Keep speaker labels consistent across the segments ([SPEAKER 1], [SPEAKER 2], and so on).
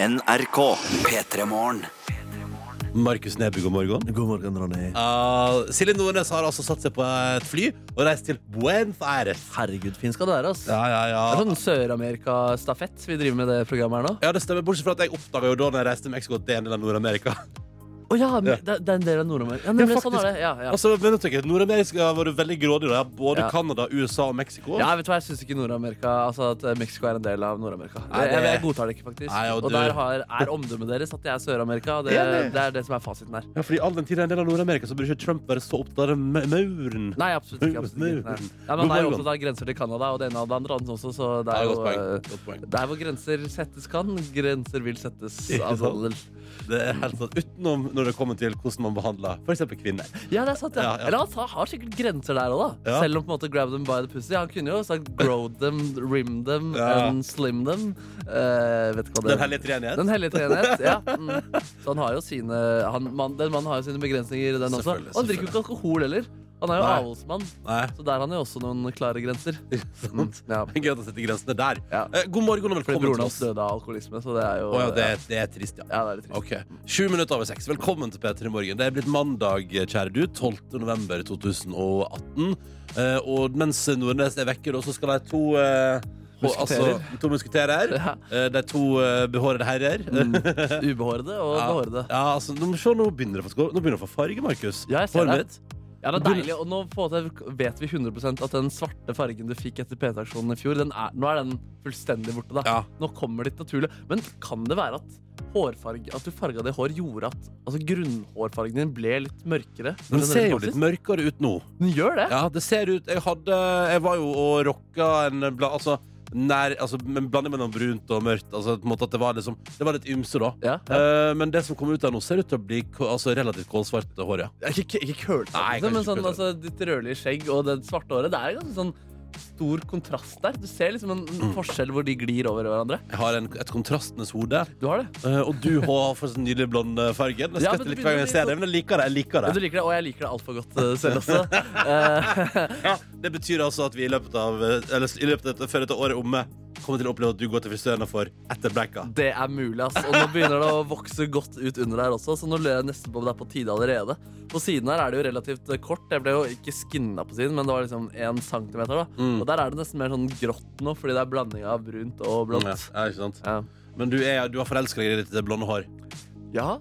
[SPEAKER 1] NRK P3 Morgen.
[SPEAKER 2] Markus Neby, god morgen.
[SPEAKER 3] God morgen, Ronny.
[SPEAKER 2] Ah, Silje Nordnes har altså satt seg på et fly og reist til Buenos Aires.
[SPEAKER 3] Herregud, fin skal du være, ass.
[SPEAKER 2] Ja, ja, ja.
[SPEAKER 3] Det er sånn Sør-Amerika-stafett vi driver med det programmet her nå.
[SPEAKER 2] Ja, det stemmer, Bortsett fra at jeg oppdaga jo da når jeg reiste til Mexico at det er en del av Nord-Amerika.
[SPEAKER 3] Å ja, men Det, det er en del av Nord-Amerika. Ja,
[SPEAKER 2] Ja,
[SPEAKER 3] nemlig,
[SPEAKER 2] faktisk.
[SPEAKER 3] sånn er det. Ja, ja.
[SPEAKER 2] Altså, men jeg tenker, Nord-Amerika har vært veldig grådig. Da. Både
[SPEAKER 3] Ja.
[SPEAKER 2] Canada, USA og Mexico.
[SPEAKER 3] Ja, vet du hva, jeg syns ikke Nord-Amerika Altså at Mexico er en del av Nord-Amerika.
[SPEAKER 2] Nei, det-
[SPEAKER 3] Jeg, jeg godtar det ikke, faktisk.
[SPEAKER 2] Nei, og
[SPEAKER 3] og
[SPEAKER 2] du-
[SPEAKER 3] der har, er omdømmet deres at det er Sør-Amerika. Og det,
[SPEAKER 2] Enig.
[SPEAKER 3] det er det som er fasiten her.
[SPEAKER 2] Ja, fordi all den tiden er en del av Nord-Amerika, så burde ikke Trump være så opptatt av den ma- mauren.
[SPEAKER 3] Nei, absolutt ikke. Absolutt ikke. Nei. Ja, men han er jo opptatt av grenser til Canada og det ene og det andre også, så det
[SPEAKER 2] Ja,
[SPEAKER 3] er
[SPEAKER 2] godt
[SPEAKER 3] jo
[SPEAKER 2] poeng.
[SPEAKER 3] eh,
[SPEAKER 2] Godt poeng.
[SPEAKER 3] Der hvor grenser settes kan, grenser vil settes.
[SPEAKER 2] Ikke
[SPEAKER 3] av
[SPEAKER 2] sant?
[SPEAKER 3] handel.
[SPEAKER 2] Det er helt sant. Utenom når det kommer til hvordan man behandler f.eks. kvinner.
[SPEAKER 3] Ja, det er sant, ja.
[SPEAKER 2] Ja, ja.
[SPEAKER 3] Eller han har- har sikkert grenser der òg, da.
[SPEAKER 2] Ja.
[SPEAKER 3] Selv om på en måte grab them by the pussy. Han kunne jo sagt grow them, rim them,
[SPEAKER 2] Ja.
[SPEAKER 3] and slim them. Eh, vet ikke hva
[SPEAKER 2] Den
[SPEAKER 3] det
[SPEAKER 2] hellige treenighet.
[SPEAKER 3] Den hellige treenhet, ja. Mm. Så han har jo sine han, mann- Den mannen har jo sine begrensninger, den også.
[SPEAKER 2] Selvfølgelig,
[SPEAKER 3] Og han drikker jo ikke alkohol heller. Han er jo
[SPEAKER 2] Nei.
[SPEAKER 3] avholdsmann,
[SPEAKER 2] Nei,
[SPEAKER 3] så der har han jo også noen klare grenser. Mm,
[SPEAKER 2] ikke sant?
[SPEAKER 3] Ja.
[SPEAKER 2] Men Gøy at han setter grensene der.
[SPEAKER 3] Ja.
[SPEAKER 2] Eh, God morgen og
[SPEAKER 3] Fordi
[SPEAKER 2] velkommen
[SPEAKER 3] broren
[SPEAKER 2] til
[SPEAKER 3] hans
[SPEAKER 2] oss.
[SPEAKER 3] døde av alkoholisme, så det er jo
[SPEAKER 2] Å ja, det, det er trist, ja.
[SPEAKER 3] Ja, det er litt trist.
[SPEAKER 2] Ok, Sju minutter over seks. Velkommen til P3 Morgen. Det er blitt mandag, kjære du. 12. november 2018. Eh, og mens Nordnes er vekker, så skal de to eh, hå-
[SPEAKER 3] Musketerer.
[SPEAKER 2] Altså, to musketerer.
[SPEAKER 3] Ja.
[SPEAKER 2] Eh, de to eh, behårede herrer.
[SPEAKER 3] Mm. Ubehårede og
[SPEAKER 2] ja.
[SPEAKER 3] behårede.
[SPEAKER 2] ja, altså, nå, se, nå begynner det å få skår- Nå begynner det å få farge, Markus.
[SPEAKER 3] Ja, jeg ser
[SPEAKER 2] Håret
[SPEAKER 3] det.
[SPEAKER 2] mitt.
[SPEAKER 3] Ja, det er
[SPEAKER 2] Begynner-
[SPEAKER 3] deilig, og nå på en måte vet vi 100 at den svarte fargen du fikk etter PT-aksjonen i fjor, den er, nå er den fullstendig borte. da.
[SPEAKER 2] Ja.
[SPEAKER 3] Nå kommer det litt naturlig. Men kan det være at hårfarge, at du farga det hår, gjorde at altså grunnhårfargen din ble litt mørkere?
[SPEAKER 2] Den ser jo
[SPEAKER 3] Sist?
[SPEAKER 2] litt mørkere ut nå.
[SPEAKER 3] Den gjør det?
[SPEAKER 2] Ja, det ser ut Jeg hadde Jeg var jo og rocka en bla, Altså Nær, altså, men blanding mellom brunt og mørkt. Altså, på en måte at det, var liksom, det var litt ymse, da.
[SPEAKER 3] Ja,
[SPEAKER 2] Eh, men det som kommer ut av nå, ser ut til å bli k- altså, relativt kålsvart hår. Ja.
[SPEAKER 3] Ikke, ikke, ikke kølt,
[SPEAKER 2] Nei,
[SPEAKER 3] men
[SPEAKER 2] kanskje
[SPEAKER 3] sånn,
[SPEAKER 2] ikke kølt.
[SPEAKER 3] altså, ditt rødlige skjegg og det svarte håret, det er ganske sånn stor kontrast der. Du ser liksom en en forskjell hvor de glir over hverandre.
[SPEAKER 2] Jeg har en, et kontrastenes hode,
[SPEAKER 3] Du har det.
[SPEAKER 2] eh, og du har for sånn nydelig blond eh, farge. Jeg
[SPEAKER 3] Ja,
[SPEAKER 2] skvetter
[SPEAKER 3] men det
[SPEAKER 2] litt hver gang jeg
[SPEAKER 3] begynner å bli
[SPEAKER 2] ser det, men jeg liker det. Jeg liker
[SPEAKER 3] Ja, du
[SPEAKER 2] det.
[SPEAKER 3] liker det, og jeg liker det altfor godt eh, selv også. Eh,
[SPEAKER 2] Ja, det betyr altså at vi i løpet av eh, Eller i løpet av dette, før dette året er omme, kommer til å oppleve at du går til frisøren og får etterbleika.
[SPEAKER 3] Det er mulig, ass. Og nå begynner det å vokse godt ut under her også, så nå lurer jeg nesten på om det er på tide allerede. På siden her er det jo relativt eh, kort. Jeg ble jo ikke skinna på siden, men det var liksom én centimeter, da.
[SPEAKER 2] Mm.
[SPEAKER 3] Og der er det nesten mer sånn grått nå, fordi det er blanding av brunt og
[SPEAKER 2] Ja,
[SPEAKER 3] blått.
[SPEAKER 2] ja, ikke sant?
[SPEAKER 3] Mm, Ja.
[SPEAKER 2] Men du, er, du har forelska deg i ditt blonde hår.
[SPEAKER 3] ja.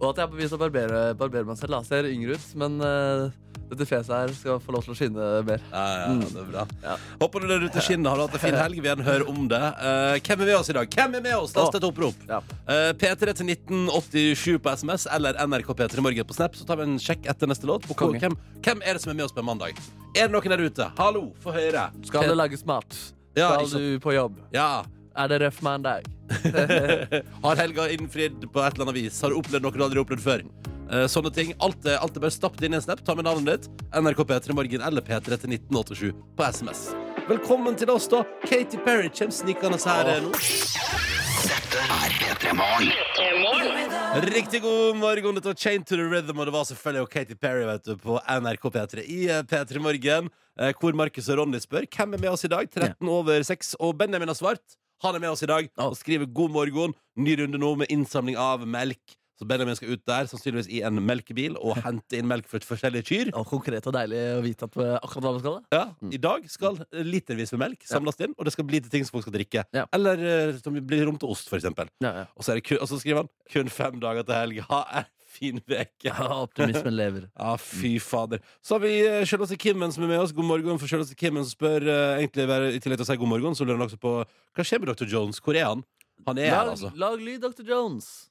[SPEAKER 3] Og at jeg har begynt å barbere, barbere meg selv. da. Ser yngre ut, men eh, dette fjeset her skal få lov til å skinne mer.
[SPEAKER 2] Ja, ja, Mm. ja, det er bra.
[SPEAKER 3] Ja.
[SPEAKER 2] Håper du der ute skinner har du hatt en fin helg. Vi gjerne hører om det. Eh, hvem er med oss i dag? Hvem er med oss? Last et opprop.
[SPEAKER 3] Ja.
[SPEAKER 2] Eh, P3 til 1987 på SMS eller NRK P3 Morgen på Snap. Så tar vi en sjekk etter neste låt. På
[SPEAKER 3] Konge.
[SPEAKER 2] hvem, hvem er det som er med oss på en mandag? Er det noen der ute? Hallo, få høre.
[SPEAKER 3] Skal det lages mat?
[SPEAKER 2] Ja,
[SPEAKER 3] Skal
[SPEAKER 2] ikke sant.
[SPEAKER 3] du på jobb?
[SPEAKER 2] Ja.
[SPEAKER 3] Er det røff mandag?
[SPEAKER 2] Har helga innfridd på et eller annet vis? Har du opplevd noe du aldri har opplevd før? Eh, sånne ting. Alt er, alt er bare stappet inn i en snap. Ta med navnet ditt. NRK P3 Morgen eller P3 til 1987 på SMS. Velkommen til oss, da. Katy Perry kommer snikende her eh, nå. Riktig god morgen. Dette var Chain to the Rhythm, og det var selvfølgelig jo Katy Perry vet du, på NRK P3 i eh, P3 Morgen, eh, hvor Markus og Ronny spør hvem er med oss i dag. 13 over 6, og Benjamin har svart. Han er med oss i dag og skriver 'God morgen'. Ny runde nå med innsamling av melk. Så Benjamin skal ut der, sannsynligvis i en melkebil, og hente inn melk fra forskjellige kyr.
[SPEAKER 3] Og konkret og deilig å vite at eh, akkurat hva man skal. da.
[SPEAKER 2] Ja, I dag skal litervis med melk samles inn, og det skal bli til ting som folk skal drikke.
[SPEAKER 3] Ja.
[SPEAKER 2] Eller eh, som blir rom til ost, for eksempel.
[SPEAKER 3] Ja, ja.
[SPEAKER 2] Og så, er det kun, og så skriver han 'kun fem dager til helg'. Ha en fin uke!
[SPEAKER 3] Ja, optimismen lever.
[SPEAKER 2] Ja, fy fader. Så har vi eh, selveste Kimmen som er med oss. God morgen for selveste Kimmen som spør eh, egentlig bare, I tillegg til å si god morgen, så lurer han også på hva skjer med Dr. Jones? Hvor er han? Han er her,
[SPEAKER 3] Lag,
[SPEAKER 2] altså.
[SPEAKER 3] lag lyd, Dr. Jones.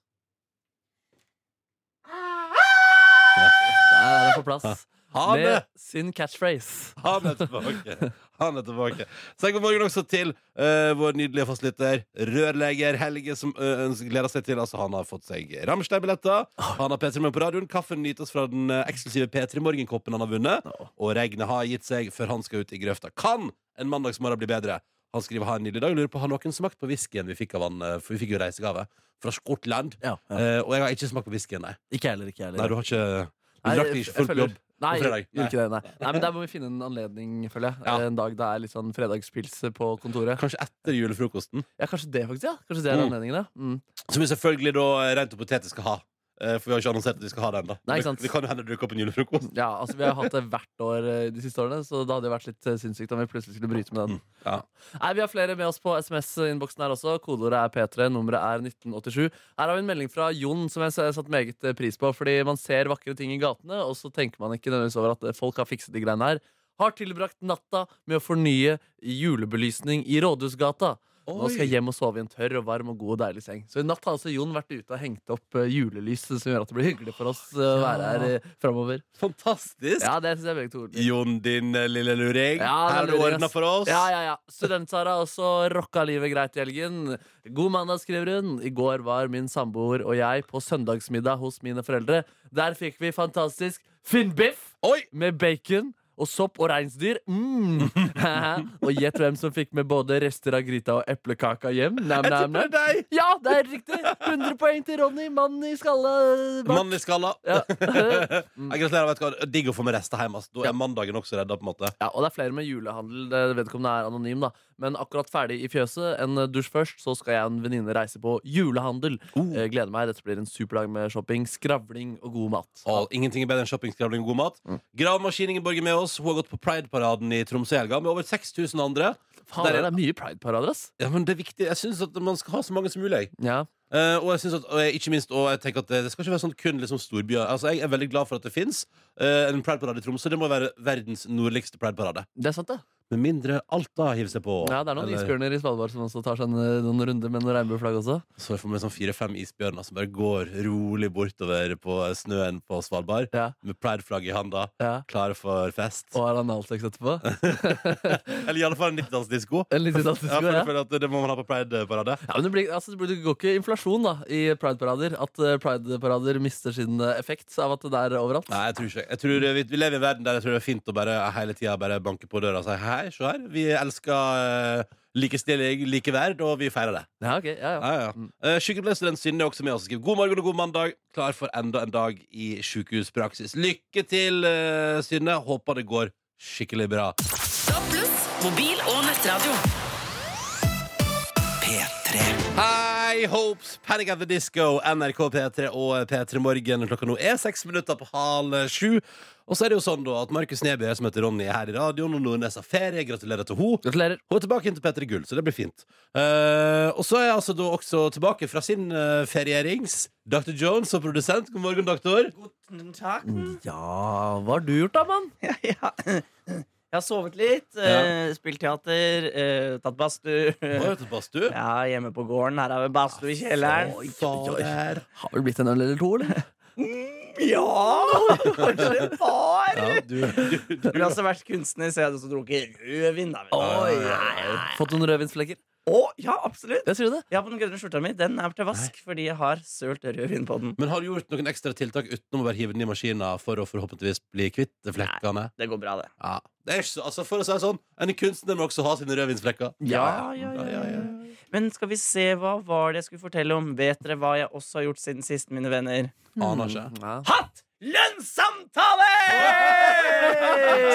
[SPEAKER 3] Der er det på plass.
[SPEAKER 2] Han
[SPEAKER 3] Med
[SPEAKER 2] er,
[SPEAKER 3] sin catchphrase.
[SPEAKER 2] han er tilbake. Han er tilbake. Si god morgen også til eh, vår nydelige fastlytter, rørleger Helge, som eh, ønsker- gleder seg til Altså, han har fått seg Rammstein-billetter. Han har P3 med på radioen. Kaffen nytes fra den eh, eksklusive P3 Morgenkoppen han har vunnet. og regnet har gitt seg før han skal ut i grøfta. Kan en mandagsmorgen bli bedre? Han skriver ha en nydelig dag. Lurer på har noen smakt på whiskyen vi fikk av han, eh, for vi fikk jo reisegave fra Skottland.
[SPEAKER 3] Ja, ja.
[SPEAKER 2] Eh, og jeg har ikke smakt på whiskyen, nei.
[SPEAKER 3] Ikke jeg heller, ikke jeg
[SPEAKER 2] Nei,
[SPEAKER 3] heller.
[SPEAKER 2] du har ikke Du
[SPEAKER 3] Nei,
[SPEAKER 2] drakk det
[SPEAKER 3] jeg-
[SPEAKER 2] ikke
[SPEAKER 3] jeg
[SPEAKER 2] fullt
[SPEAKER 3] føler-
[SPEAKER 2] jobb?
[SPEAKER 3] Nei,
[SPEAKER 2] På fredag.
[SPEAKER 3] gjorde ikke det, nei. nei, men der må vi finne en anledning, føler jeg.
[SPEAKER 2] Ja.
[SPEAKER 3] En dag det er litt sånn fredagspils på kontoret.
[SPEAKER 2] Kanskje etter julefrokosten.
[SPEAKER 3] Ja, kanskje det, faktisk. ja Kanskje det er
[SPEAKER 2] Mm.
[SPEAKER 3] anledningen, ja. Mm.
[SPEAKER 2] Som vi selvfølgelig da eh, rent og potetisk skal ha. Eh, For vi har ikke annonsert at vi skal ha den. da
[SPEAKER 3] Nei, ikke
[SPEAKER 2] det,
[SPEAKER 3] sant.
[SPEAKER 2] det kan jo hende det dukker opp en julefrokost.
[SPEAKER 3] Ja, altså Vi har hatt det hvert år eh, de siste årene, så det hadde jo vært litt eh, sinnssykt om vi plutselig skulle bryte med den.
[SPEAKER 2] Ja.
[SPEAKER 3] Nei, Vi har flere med oss på SMS-innboksen her også. Kodeordet er P3, nummeret er 1987. Her har vi en melding fra Jon som jeg s- satte meget eh, pris på. Fordi man ser vakre ting i gatene, og så tenker man ikke nødvendigvis over at eh, folk har fikset de greiene her. Har tilbrakt natta med å fornye julebelysning i Rådhusgata. Nå skal jeg hjem og sove i en tørr og varm og god og deilig seng. Så i natt har altså Jon vært ute og hengt opp eh, julelys, som gjør at det blir hyggelig for oss eh, å være her eh, framover.
[SPEAKER 2] Fantastisk!
[SPEAKER 3] Ja, det syns jeg er veldig tordelig.
[SPEAKER 2] Jon, din eh, lille luring.
[SPEAKER 3] Ja,
[SPEAKER 2] Her har
[SPEAKER 3] den
[SPEAKER 2] du
[SPEAKER 3] luringen,
[SPEAKER 2] ordna
[SPEAKER 3] ass.
[SPEAKER 2] for oss.
[SPEAKER 3] Ja, ja, ja. Student-Sara har også rocka livet greit i helgen. God mandag, skriver hun. I går var min samboer og jeg på søndagsmiddag hos mine foreldre. Der fikk vi fantastisk finnbiff
[SPEAKER 2] Oi!
[SPEAKER 3] med bacon. Og sopp og reinsdyr. Mm. og gjett hvem som fikk med både rester av gryta og eplekaka hjem? Nam,
[SPEAKER 2] Jeg
[SPEAKER 3] nam,
[SPEAKER 2] tipper
[SPEAKER 3] nam.
[SPEAKER 2] det er deg!
[SPEAKER 3] Ja, det er riktig! 100 poeng til Ronny, mannen i skalla bak.
[SPEAKER 2] Mann i skalla.
[SPEAKER 3] Ja.
[SPEAKER 2] Jeg gratulerer. vet du hva Digg å få med rester hjem. ass. Da er mandagen også redda. på en måte
[SPEAKER 3] Ja, og det er flere med julehandel. det- Vedkommende er anonym, da. Men akkurat ferdig i fjøset, en dusj først, så skal jeg og en venninne reise på julehandel. Eh, gleder meg. Dette blir en superdag med shopping, skravling og god mat.
[SPEAKER 2] Og Ingenting er bedre enn shoppingskravling og god mat.
[SPEAKER 3] Mm.
[SPEAKER 2] Gravemaskin Ingeborg er med oss. Hun har gått på Pride-paraden i Tromsø i helga med over 6000 andre.
[SPEAKER 3] Faen,
[SPEAKER 2] der
[SPEAKER 3] det
[SPEAKER 2] er-
[SPEAKER 3] er mye pride-parader, ass.
[SPEAKER 2] Ja, men det er viktig Jeg syns at man skal ha så mange som mulig. jeg.
[SPEAKER 3] Ja.
[SPEAKER 2] Eh, og jeg synes at, og jeg, ikke minst og jeg tenker at det, det skal ikke være sånn kun liksom storbyer. Altså, jeg er veldig glad for at det fins en Pride-parade i Tromsø. Det må være verdens nordligste Pride-parade.
[SPEAKER 3] Det er sant, det.
[SPEAKER 2] Med mindre Alta hiver seg på.
[SPEAKER 3] Ja, det er noen
[SPEAKER 2] Eller-
[SPEAKER 3] isbjørner i Svalbard som også tar seg en, eh, noen runder med noen regnbueflagg også.
[SPEAKER 2] Så får vi sånn fire-fem isbjørner som bare går rolig bortover på snøen på Svalbard.
[SPEAKER 3] Ja,
[SPEAKER 2] Med Pride-flagg i handa,
[SPEAKER 3] ja.
[SPEAKER 2] klare for fest.
[SPEAKER 3] Og har analsex etterpå.
[SPEAKER 2] Eller i alle fall en 90-tallsdisko.
[SPEAKER 3] En liten
[SPEAKER 2] Ja,
[SPEAKER 3] statistikk,
[SPEAKER 2] for jeg
[SPEAKER 3] ja.
[SPEAKER 2] føler at det må man ha på Pride-parade.
[SPEAKER 3] Ja, men det, blir, altså, det blir- det går ikke inflasjon da i pride-parader. At eh, pride-parader mister sin eh, effekt av at det er overalt.
[SPEAKER 2] Nei, jeg tror ikke jeg tror eh, vi, vi lever i en verden der jeg tror det er fint å bare hele tida bare banke på døra og si hei, se her. Vi elsker uh, likestilling, likeverd, og vi feirer det.
[SPEAKER 3] Ja, ok, ja, ja.
[SPEAKER 2] Ja, ja. Eh, Sykepleierstudent Synne er også med oss og skriver god morgen og god mandag. Klar for enda en dag i sykehuspraksis. Lykke til, eh, Synne. Håper det går skikkelig bra.
[SPEAKER 4] Stopp pluss, mobil og nettradio.
[SPEAKER 1] P3
[SPEAKER 2] Hei, Hopes, Panic at the Disco, NRK P3 og P3 Morgen. Klokka nå er seks minutter på halv eh, sju. Og så er det jo sånn da at Markus Neby, som heter Ronny, er her i radioen, og Nordnes har ferie. Gratulerer til henne.
[SPEAKER 3] Gratulerer.
[SPEAKER 2] Hun er tilbake inn til P3 Gull, så det blir fint. Eh, og så er jeg altså da også tilbake fra sin eh, ferierings. Dr. Jones som produsent. God morgen, doktor.
[SPEAKER 5] Tusen takk.
[SPEAKER 3] Ja, hva har du gjort da, mann?
[SPEAKER 5] Ja, ja. Jeg har sovet litt, eh, spilt teater, eh, tatt badstue.
[SPEAKER 2] Hva heter badstue?
[SPEAKER 5] Ja, hjemme på gården. Her har vi badstue i kjelleren.
[SPEAKER 2] Fader.
[SPEAKER 3] Har vel blitt en øl eller to, eller?
[SPEAKER 5] Ja! Kanskje det var
[SPEAKER 2] Ja, du, du, du.
[SPEAKER 5] Jeg har også vært kunstner, så jeg hadde også drukket rødvin. da, vet du.
[SPEAKER 3] Fått noen rødvinsflekker?
[SPEAKER 5] Å, ja, absolutt.
[SPEAKER 3] Jeg sier det.
[SPEAKER 5] Ja, på den grønne skjorta mi. Den er til vask fordi jeg har sølt rødvin på den.
[SPEAKER 2] Men har du gjort noen ekstra tiltak utenom å bare hive den i maskina for å forhåpentligvis bli kvitt flekkene?
[SPEAKER 5] Det går bra, det.
[SPEAKER 2] Ja. Det er ikke så, altså for å si det sånn, En kunstner må også ha sine rødvinsflekker.
[SPEAKER 5] Ja, ja, ja, ja, ja. Men skal vi se, hva var det jeg skulle fortelle om? Vet dere hva jeg også har gjort siden sist, mine venner?
[SPEAKER 2] Aner ikke.
[SPEAKER 3] Ja.
[SPEAKER 5] hatt lønnssamtale!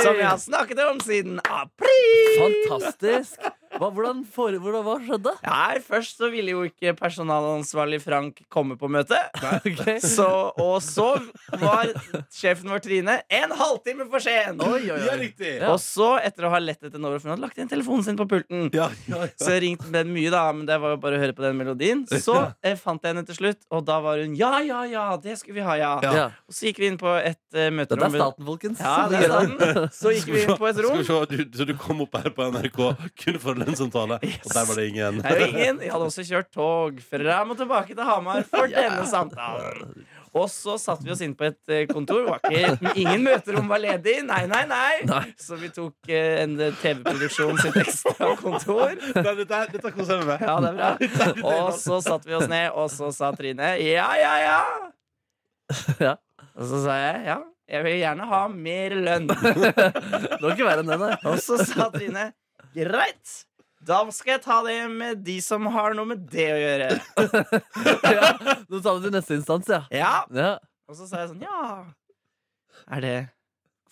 [SPEAKER 5] Som jeg har snakket om siden april.
[SPEAKER 3] Fantastisk! Hva, hvordan fore, hvordan, hva skjedde?
[SPEAKER 5] Nei, først så ville jo ikke personalansvarlig Frank komme på møtet.
[SPEAKER 3] Ok.
[SPEAKER 5] Så, og så var sjefen vår Trine en halvtime for sen.
[SPEAKER 2] Ja, riktig!
[SPEAKER 3] Ja.
[SPEAKER 5] Og så, etter å ha lett etter Nora, for hun hadde lagt igjen telefonen sin på pulten.
[SPEAKER 2] Ja, ja, ja.
[SPEAKER 5] Så jeg ringte den mye, da, men det var jo bare å høre på den melodien. Så eh, fant jeg henne til slutt, og da var hun ja, ja, ja, det skulle vi ha, ja.
[SPEAKER 2] Ja.
[SPEAKER 3] Ja.
[SPEAKER 5] Og så gikk vi inn på et eh,
[SPEAKER 3] Dette
[SPEAKER 5] møterom.
[SPEAKER 3] er staten, folkens.
[SPEAKER 5] Ja, det er staten. Så gikk vi inn på et
[SPEAKER 2] Skal
[SPEAKER 5] rom.
[SPEAKER 2] vi se, du, så du kom opp her på NRK kun for lønnssamtale, og der var det ingen.
[SPEAKER 5] Det er jo ingen. Jeg hadde også kjørt tog fram og tilbake til Hamar for denne samtalen. Og så satte vi oss inn på et eh, kontor. Var ikke, ingen møterom var ledig. Nei, nei, nei.
[SPEAKER 3] Nei.
[SPEAKER 5] Så vi tok eh, en TV-produksjon sitt ekstra kontor.
[SPEAKER 2] Nei, Dette, dette koser jeg meg med.
[SPEAKER 5] Ja, det er bra. Og så satte vi oss ned, og så sa Trine ja, ja, ja.
[SPEAKER 3] Ja.
[SPEAKER 5] Og så sa jeg ja, jeg vil gjerne ha mer lønn.
[SPEAKER 3] Det var ikke verre enn det, nei.
[SPEAKER 5] Og så sa Trine Greit, da skal jeg ta det med de som har noe med det å gjøre.
[SPEAKER 3] Ja. Du tar det til neste instans, ja.
[SPEAKER 5] Ja,
[SPEAKER 3] ja.
[SPEAKER 5] Og så sa jeg sånn Ja, er det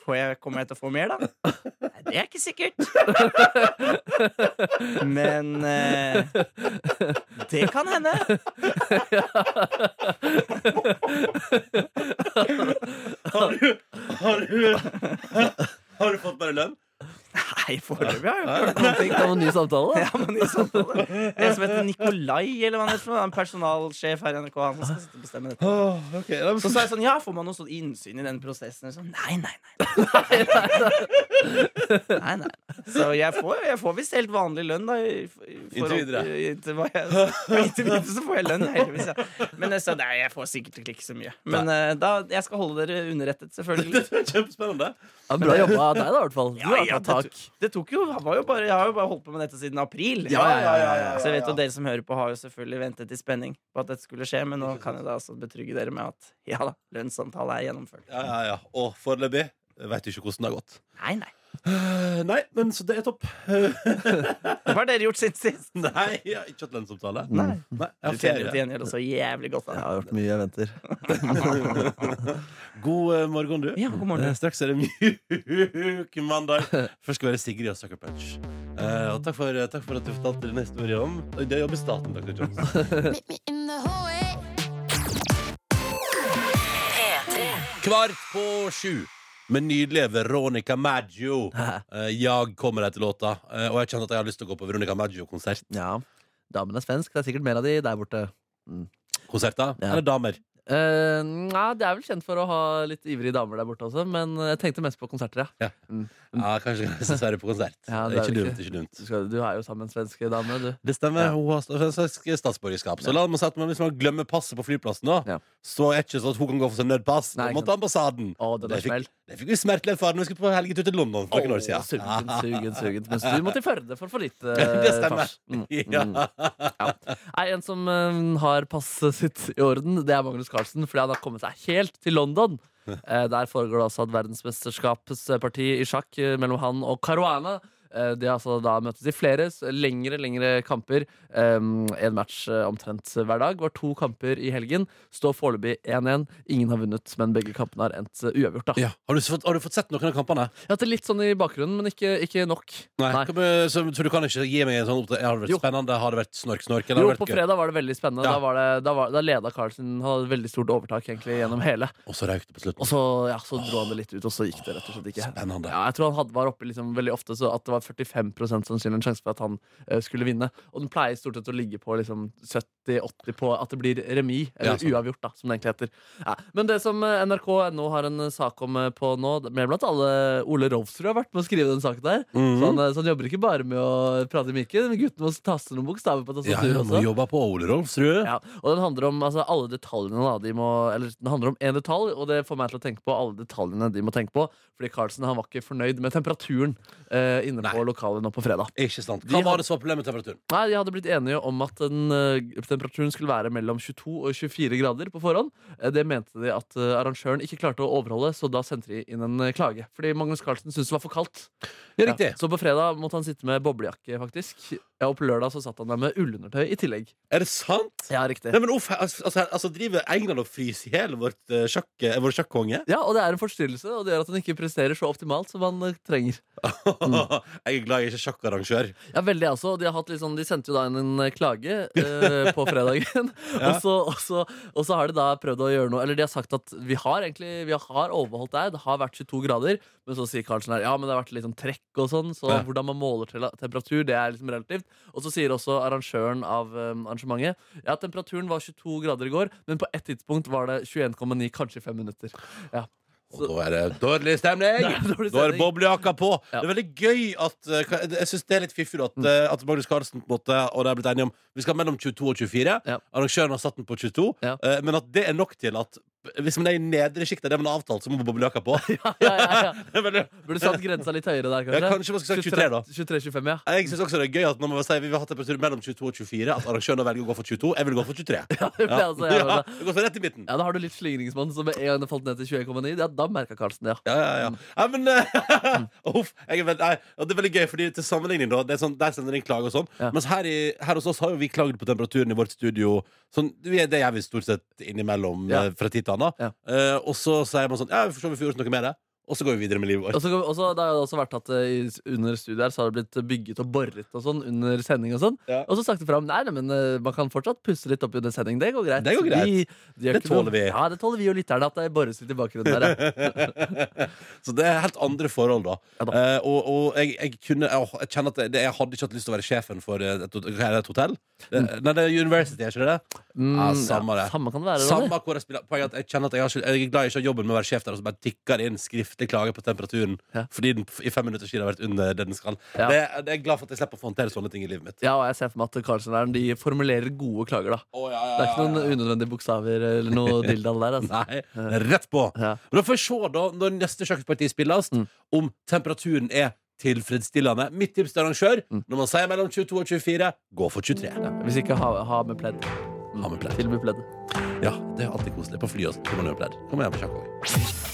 [SPEAKER 5] får jeg, kommer jeg til å få mer, da? Nei, det er ikke sikkert. Men eh, det kan hende.
[SPEAKER 2] Har du Har du, har du fått bare lønn?
[SPEAKER 5] Nei, foreløpig har jeg jo ikke hørt noen ting.
[SPEAKER 3] Det var en ny samtale.
[SPEAKER 5] Ja, men i sånn fall, da. En som heter Nikolai, eller hva han heter. for noe, Han er personalsjef her i NRK. Han som skal sitte og bestemme dette.
[SPEAKER 2] Åh, ok, da-
[SPEAKER 5] Så sa jeg sånn, ja, får man noe sånn innsyn i den prosessen? Og Sånn, nei, nei, nei. nei, nei. Så jeg får, jeg får visst helt vanlig lønn, da. i- i- for-
[SPEAKER 2] Inntil videre.
[SPEAKER 5] i- Inntil hva jeg- inntil videre så får jeg lønn, heldigvis. Ja. Men jeg sa, nei, jeg får sikkert ikke så mye. Men eh, da, jeg skal holde dere underrettet, selvfølgelig.
[SPEAKER 2] Det er kjempespennende.
[SPEAKER 3] Ja, bra jobba av deg, da, i hvert fall. Du
[SPEAKER 5] Ja,
[SPEAKER 3] har
[SPEAKER 5] ja,
[SPEAKER 3] tatt tak.
[SPEAKER 5] Det tok jo, han var jo bare, jeg har jo bare holdt på med dette siden april.
[SPEAKER 3] Ja, ja, ja,
[SPEAKER 5] Så jeg vet jo dere som hører på, har jo selvfølgelig ventet i spenning på at dette skulle skje, men nå kan jeg da altså betrygge dere med at ja da, lønnssamtale er gjennomført.
[SPEAKER 2] Ja, ja, ja. Og foreløpig veit du ikke hvordan det har gått.
[SPEAKER 5] Nei, nei.
[SPEAKER 2] Eh, Nei, men så det er topp.
[SPEAKER 5] Hva har dere gjort siden sist?
[SPEAKER 2] Nei, jeg har ikke hatt lønnsomtale.
[SPEAKER 5] Nei.
[SPEAKER 2] Nei, jeg
[SPEAKER 5] Du
[SPEAKER 2] har
[SPEAKER 5] tjener jo til
[SPEAKER 2] ferie.
[SPEAKER 5] gjengjeld så jævlig godt.
[SPEAKER 3] Jeg
[SPEAKER 5] Da.
[SPEAKER 3] har gjort mye, jeg venter.
[SPEAKER 2] God eh, morgen, du.
[SPEAKER 5] Ja, god morgen.
[SPEAKER 2] Eh, Straks er det mjuk mandag. Først skal være Sigrid og Sucker Punch. Eh, og takk for, takk for at du fortalte din historie om Det jobber staten, Dr. Jones.
[SPEAKER 6] Meet me in the hallway.
[SPEAKER 2] Kvart på sju. Med nydelige Veronica Maggio. Eh, jeg kommer etter låta, eh, og jeg kjenner at jeg har lyst til å gå på Veronica Maggio-konsert.
[SPEAKER 3] Ja, Damen er svensk. Det er sikkert mer av de der borte.
[SPEAKER 2] Konserter?
[SPEAKER 3] Ja.
[SPEAKER 2] Eller damer?
[SPEAKER 3] Eh, nei, Det er vel kjent for å ha litt ivrige damer der borte også, men jeg tenkte mest på konserter. ja
[SPEAKER 2] Ja, kanskje dessverre på konsert.
[SPEAKER 3] Mm. Ja,
[SPEAKER 2] det er ikke
[SPEAKER 3] vel
[SPEAKER 2] dumt. ikke dumt
[SPEAKER 3] Du, skal, du er jo sammen med en svensk dame, du.
[SPEAKER 2] Det stemmer.
[SPEAKER 3] Ja.
[SPEAKER 2] Hun har svensk statsborgerskap. Så
[SPEAKER 3] Ja.
[SPEAKER 2] la meg si at man, Hvis man glemmer passet på flyplassen, da,
[SPEAKER 3] Ja.
[SPEAKER 2] så er det ikke sånn at hun kan gå for seg nødpass.
[SPEAKER 3] Nei,
[SPEAKER 2] Hun
[SPEAKER 3] ikke
[SPEAKER 2] måtte til ambassaden.
[SPEAKER 3] Å, den
[SPEAKER 2] det,
[SPEAKER 3] er smell.
[SPEAKER 2] fikk, det fikk vi smertelig erfare når vi skulle på helgetur til London for noen år
[SPEAKER 3] Å,
[SPEAKER 2] siden.
[SPEAKER 3] Sugent, sugent, sugent. Mens du måtte i Førde for å få litt eh,
[SPEAKER 2] Det stemmer.
[SPEAKER 3] fars. Mm,
[SPEAKER 2] Ja.
[SPEAKER 3] mm. Ja. Nei, en som eh, har passet sitt i orden, det er Magnus Carlsen, fordi han har kommet seg helt til London. Eh, der foregår det altså et verdensmesterskapsparti i sjakk eh, mellom han og Caruana. Eh, de har altså da møttes i flere s- lengre lengre kamper. Én match eh, omtrent hver dag. Var to kamper i helgen. Står foreløpig 1-1. Ingen har vunnet, men begge kampene har endt eh, uavgjort. da
[SPEAKER 2] Ja. Har, du fått, har du fått sett noen av kampene?
[SPEAKER 3] Jeg har hatt det litt sånn i bakgrunnen, men ikke, ikke nok.
[SPEAKER 2] Nei.
[SPEAKER 3] Nei.
[SPEAKER 2] Kom, eh, Så, så du kan ikke gi meg en sånn oppdatering? Har det vært
[SPEAKER 3] Jo.
[SPEAKER 2] spennende? Har det vært snork-snork?
[SPEAKER 3] Jo,
[SPEAKER 2] Eller har
[SPEAKER 3] på
[SPEAKER 2] det vært gøy?
[SPEAKER 3] fredag var det veldig spennende.
[SPEAKER 2] Ja.
[SPEAKER 3] Da, var det, da, var, da leda Carlsen Han hadde veldig stort overtak egentlig gjennom hele.
[SPEAKER 2] Og så røyk det på
[SPEAKER 3] Og
[SPEAKER 2] slutten.
[SPEAKER 3] så, ja, så dro han det litt ut, og så gikk det rett og slett ikke.
[SPEAKER 2] Spennende.
[SPEAKER 3] Ja, jeg tror han hadde, var oppe liksom veldig ofte så at det var 45 sannsynlig en sjanse for at han eh, skulle vinne. Og den pleier stort sett å ligge på liksom 70-80 på at det blir remis,
[SPEAKER 2] Ja,
[SPEAKER 3] eller
[SPEAKER 2] sant.
[SPEAKER 3] uavgjort, da, som det egentlig heter. Ja. Men det som eh, NRK nå har en eh, sak om eh, på nå, med blant alle Ole Rolfsrud har vært med å skrive den saken der.
[SPEAKER 2] Mhm.
[SPEAKER 3] så, han, eh, så han jobber ikke bare med å prate i mikken, men guttene må taste noen bokstaver på
[SPEAKER 2] Ja,
[SPEAKER 3] tastaturet
[SPEAKER 2] ja,
[SPEAKER 3] også.
[SPEAKER 2] må jobbe på Ole Rolfsrud.
[SPEAKER 3] Ja, og den handler om altså, alle detaljene da, de må, Eller den handler om en detalj Og det får meg til å tenke på alle detaljene de må tenke på Fordi Carlsen han var ikke fornøyd med temperaturen eh, Inne på lokalet nå på fredag
[SPEAKER 2] Ikke sant.
[SPEAKER 3] De
[SPEAKER 2] Hva
[SPEAKER 3] har-
[SPEAKER 2] var det som var problemet med temperaturen?
[SPEAKER 3] Nei, de hadde blitt enige om at den, eh, temperaturen skulle være mellom 22 og 24 grader på forhånd Eh, Det mente de at eh, arrangøren ikke klarte å overholde Så da sendte de inn en eh, klage Fordi Magnus Carlsen syntes det var for kaldt
[SPEAKER 2] Ja, riktig.
[SPEAKER 3] Så på fredag måtte han sitte med boblejakke faktisk Ja, og på lørdag så satt han der med ullundertøy i tillegg
[SPEAKER 2] Er det sant?
[SPEAKER 3] Ja, riktig
[SPEAKER 2] Nei, men uff, altså, altså, altså driver England og fryser i hjel vårt, eh, sjakk- eh, vår sjakkonge?
[SPEAKER 3] Ja, og det er en forstyrrelse, og det gjør at han ikke presterer så optimalt som han eh, trenger. Mm.
[SPEAKER 2] Jeg er glad jeg ikke er sjakkarrangør.
[SPEAKER 3] Ja, veldig altså, og de, har hatt litt sånn, de sendte jo da inn en eh, klage eh, på fredagen, og, så, og, så, og så har de da prøvd å gjøre noe, eller de har sagt at vi har egentlig, vi har overholdt det, her, det har vært 22 grader, men så sier Karlsen her, ja, men det har vært litt sånn trekk og sånn, så
[SPEAKER 2] Ja.
[SPEAKER 3] hvordan man måler til temperatur, det er liksom relativt. Og så sier også arrangøren av eh, arrangementet, ja, temperaturen var 22 grader i går, men på ett tidspunkt var det 21,9, kanskje 5 minutter. Ja.
[SPEAKER 2] Og da er det dårlig stemning!
[SPEAKER 3] Det er dårlig
[SPEAKER 2] Da er det
[SPEAKER 3] stemning.
[SPEAKER 2] boblejakka på!
[SPEAKER 3] Ja. Mm.
[SPEAKER 2] Det er veldig gøy at eh, hva- Jeg syns det er litt fiffig da, at, eh, at Magnus Carlsen på en måte, og de er blitt enige om Vi skal mellom 22 og 24.
[SPEAKER 3] Ja.
[SPEAKER 2] Arrangøren har satt den på 22,
[SPEAKER 3] Ja.
[SPEAKER 2] eh, men at det er nok til at hvis man er i nedre sjikt av det man har avtalt, så må boblejakka på.
[SPEAKER 3] Ja, ja, ja.
[SPEAKER 2] Det er veldig-
[SPEAKER 3] Burde satt grensa litt høyere der, kanskje?
[SPEAKER 2] Ja, kanskje man skulle sagt 23 da.
[SPEAKER 3] 23-25, ja.
[SPEAKER 2] Eh, Jeg syns også det er gøy at når man sier vi vil ha temperatur mellom 22 og 24, at arrangøren velger å gå for 22. Jeg vil gå for 23. Ja,
[SPEAKER 3] det ble altså jeg
[SPEAKER 2] ja,
[SPEAKER 3] var
[SPEAKER 2] det går så rett i midten.
[SPEAKER 3] Ja, Da har du litt slingringsmonn som med en gang det falt ned til 20,9. Ja, da merka Karlsen det, ja.
[SPEAKER 2] Ja, ja, ja. ja men eh, Uff. Jeg er veld, nei, og det er veldig gøy, fordi til sammenligning, da. Det er sånn, der sender de inn klage og sånn.
[SPEAKER 3] Ja.
[SPEAKER 2] Mens her, i, her hos oss har jo vi klagd på temperaturen i vårt studio. Sånn, vi er- det gjør vi stort sett innimellom
[SPEAKER 3] Ja.
[SPEAKER 2] eh, fra tid til annen.
[SPEAKER 3] Ja.
[SPEAKER 2] Eh, og så sier man sånn Ja, vi får se om vi får gjort noe med det. og så går vi videre med livet vårt.
[SPEAKER 3] Og så, og så, det har jo også vært at eh, i- under studiet her så har det blitt bygget og boret og sånn under sending og sånn.
[SPEAKER 2] Ja.
[SPEAKER 3] Og så snakket vi fram Nei, nei, men eh, man kan fortsatt pusse litt opp under sending. Det går greit.
[SPEAKER 2] Det går greit.
[SPEAKER 3] Vi, de gjør
[SPEAKER 2] Det
[SPEAKER 3] ikke noe-
[SPEAKER 2] tåler vi.
[SPEAKER 3] Ja, det tåler vi og lytterne at det bores litt i bakgrunnen der. ja.
[SPEAKER 2] Så det er helt andre forhold, da.
[SPEAKER 3] Ja da.
[SPEAKER 2] Eh, og og jeg, jeg kunne Jeg, jeg kjenner at det, jeg hadde ikke hatt lyst til å være sjefen for eh, et, hot- hva er det, et hotell. Det, Nei, det er University, er ikke det det?
[SPEAKER 3] Mm,
[SPEAKER 2] Ja, samme det.
[SPEAKER 3] samme kan det være. Ronny.
[SPEAKER 2] Samme hvor jeg spiller Poenget er at jeg kjenner at jeg, har ikke, jeg er glad jeg ikke har jobben med å være sjef der, og så bare tikker det inn skriftlig klage på temperaturen
[SPEAKER 3] Ja.
[SPEAKER 2] fordi den f- i fem minutter siden har vært under det den skal.
[SPEAKER 3] Ja.
[SPEAKER 2] Det, det er jeg glad for at jeg slipper å få håndtere sånne ting i livet mitt.
[SPEAKER 3] Ja, og jeg ser for meg at Karlsen-læren de formulerer gode klager, da.
[SPEAKER 2] Å, ja, ja,
[SPEAKER 3] Det er
[SPEAKER 2] ja,
[SPEAKER 3] ikke
[SPEAKER 2] ja.
[SPEAKER 3] noen unødvendige bokstaver eller noe dilldall der. Altså.
[SPEAKER 2] Nei, det er rett på.
[SPEAKER 3] Ja.
[SPEAKER 2] Men da får vi se, da, når neste sjakkparti spilles,
[SPEAKER 3] Mm.
[SPEAKER 2] om temperaturen er tilfredsstillende. Mitt tips til arrangør
[SPEAKER 3] Mm.
[SPEAKER 2] når man sier mellom 22 og 24, gå for 23.
[SPEAKER 3] Hvis ikke, ha, ha med pledd. Mm.
[SPEAKER 2] Ha med pledd.
[SPEAKER 3] Tilby pledd.
[SPEAKER 2] Ja, det er alltid koselig. På flyet også. Kan man gjøre pledd. Kan man gjøre på sjakk også.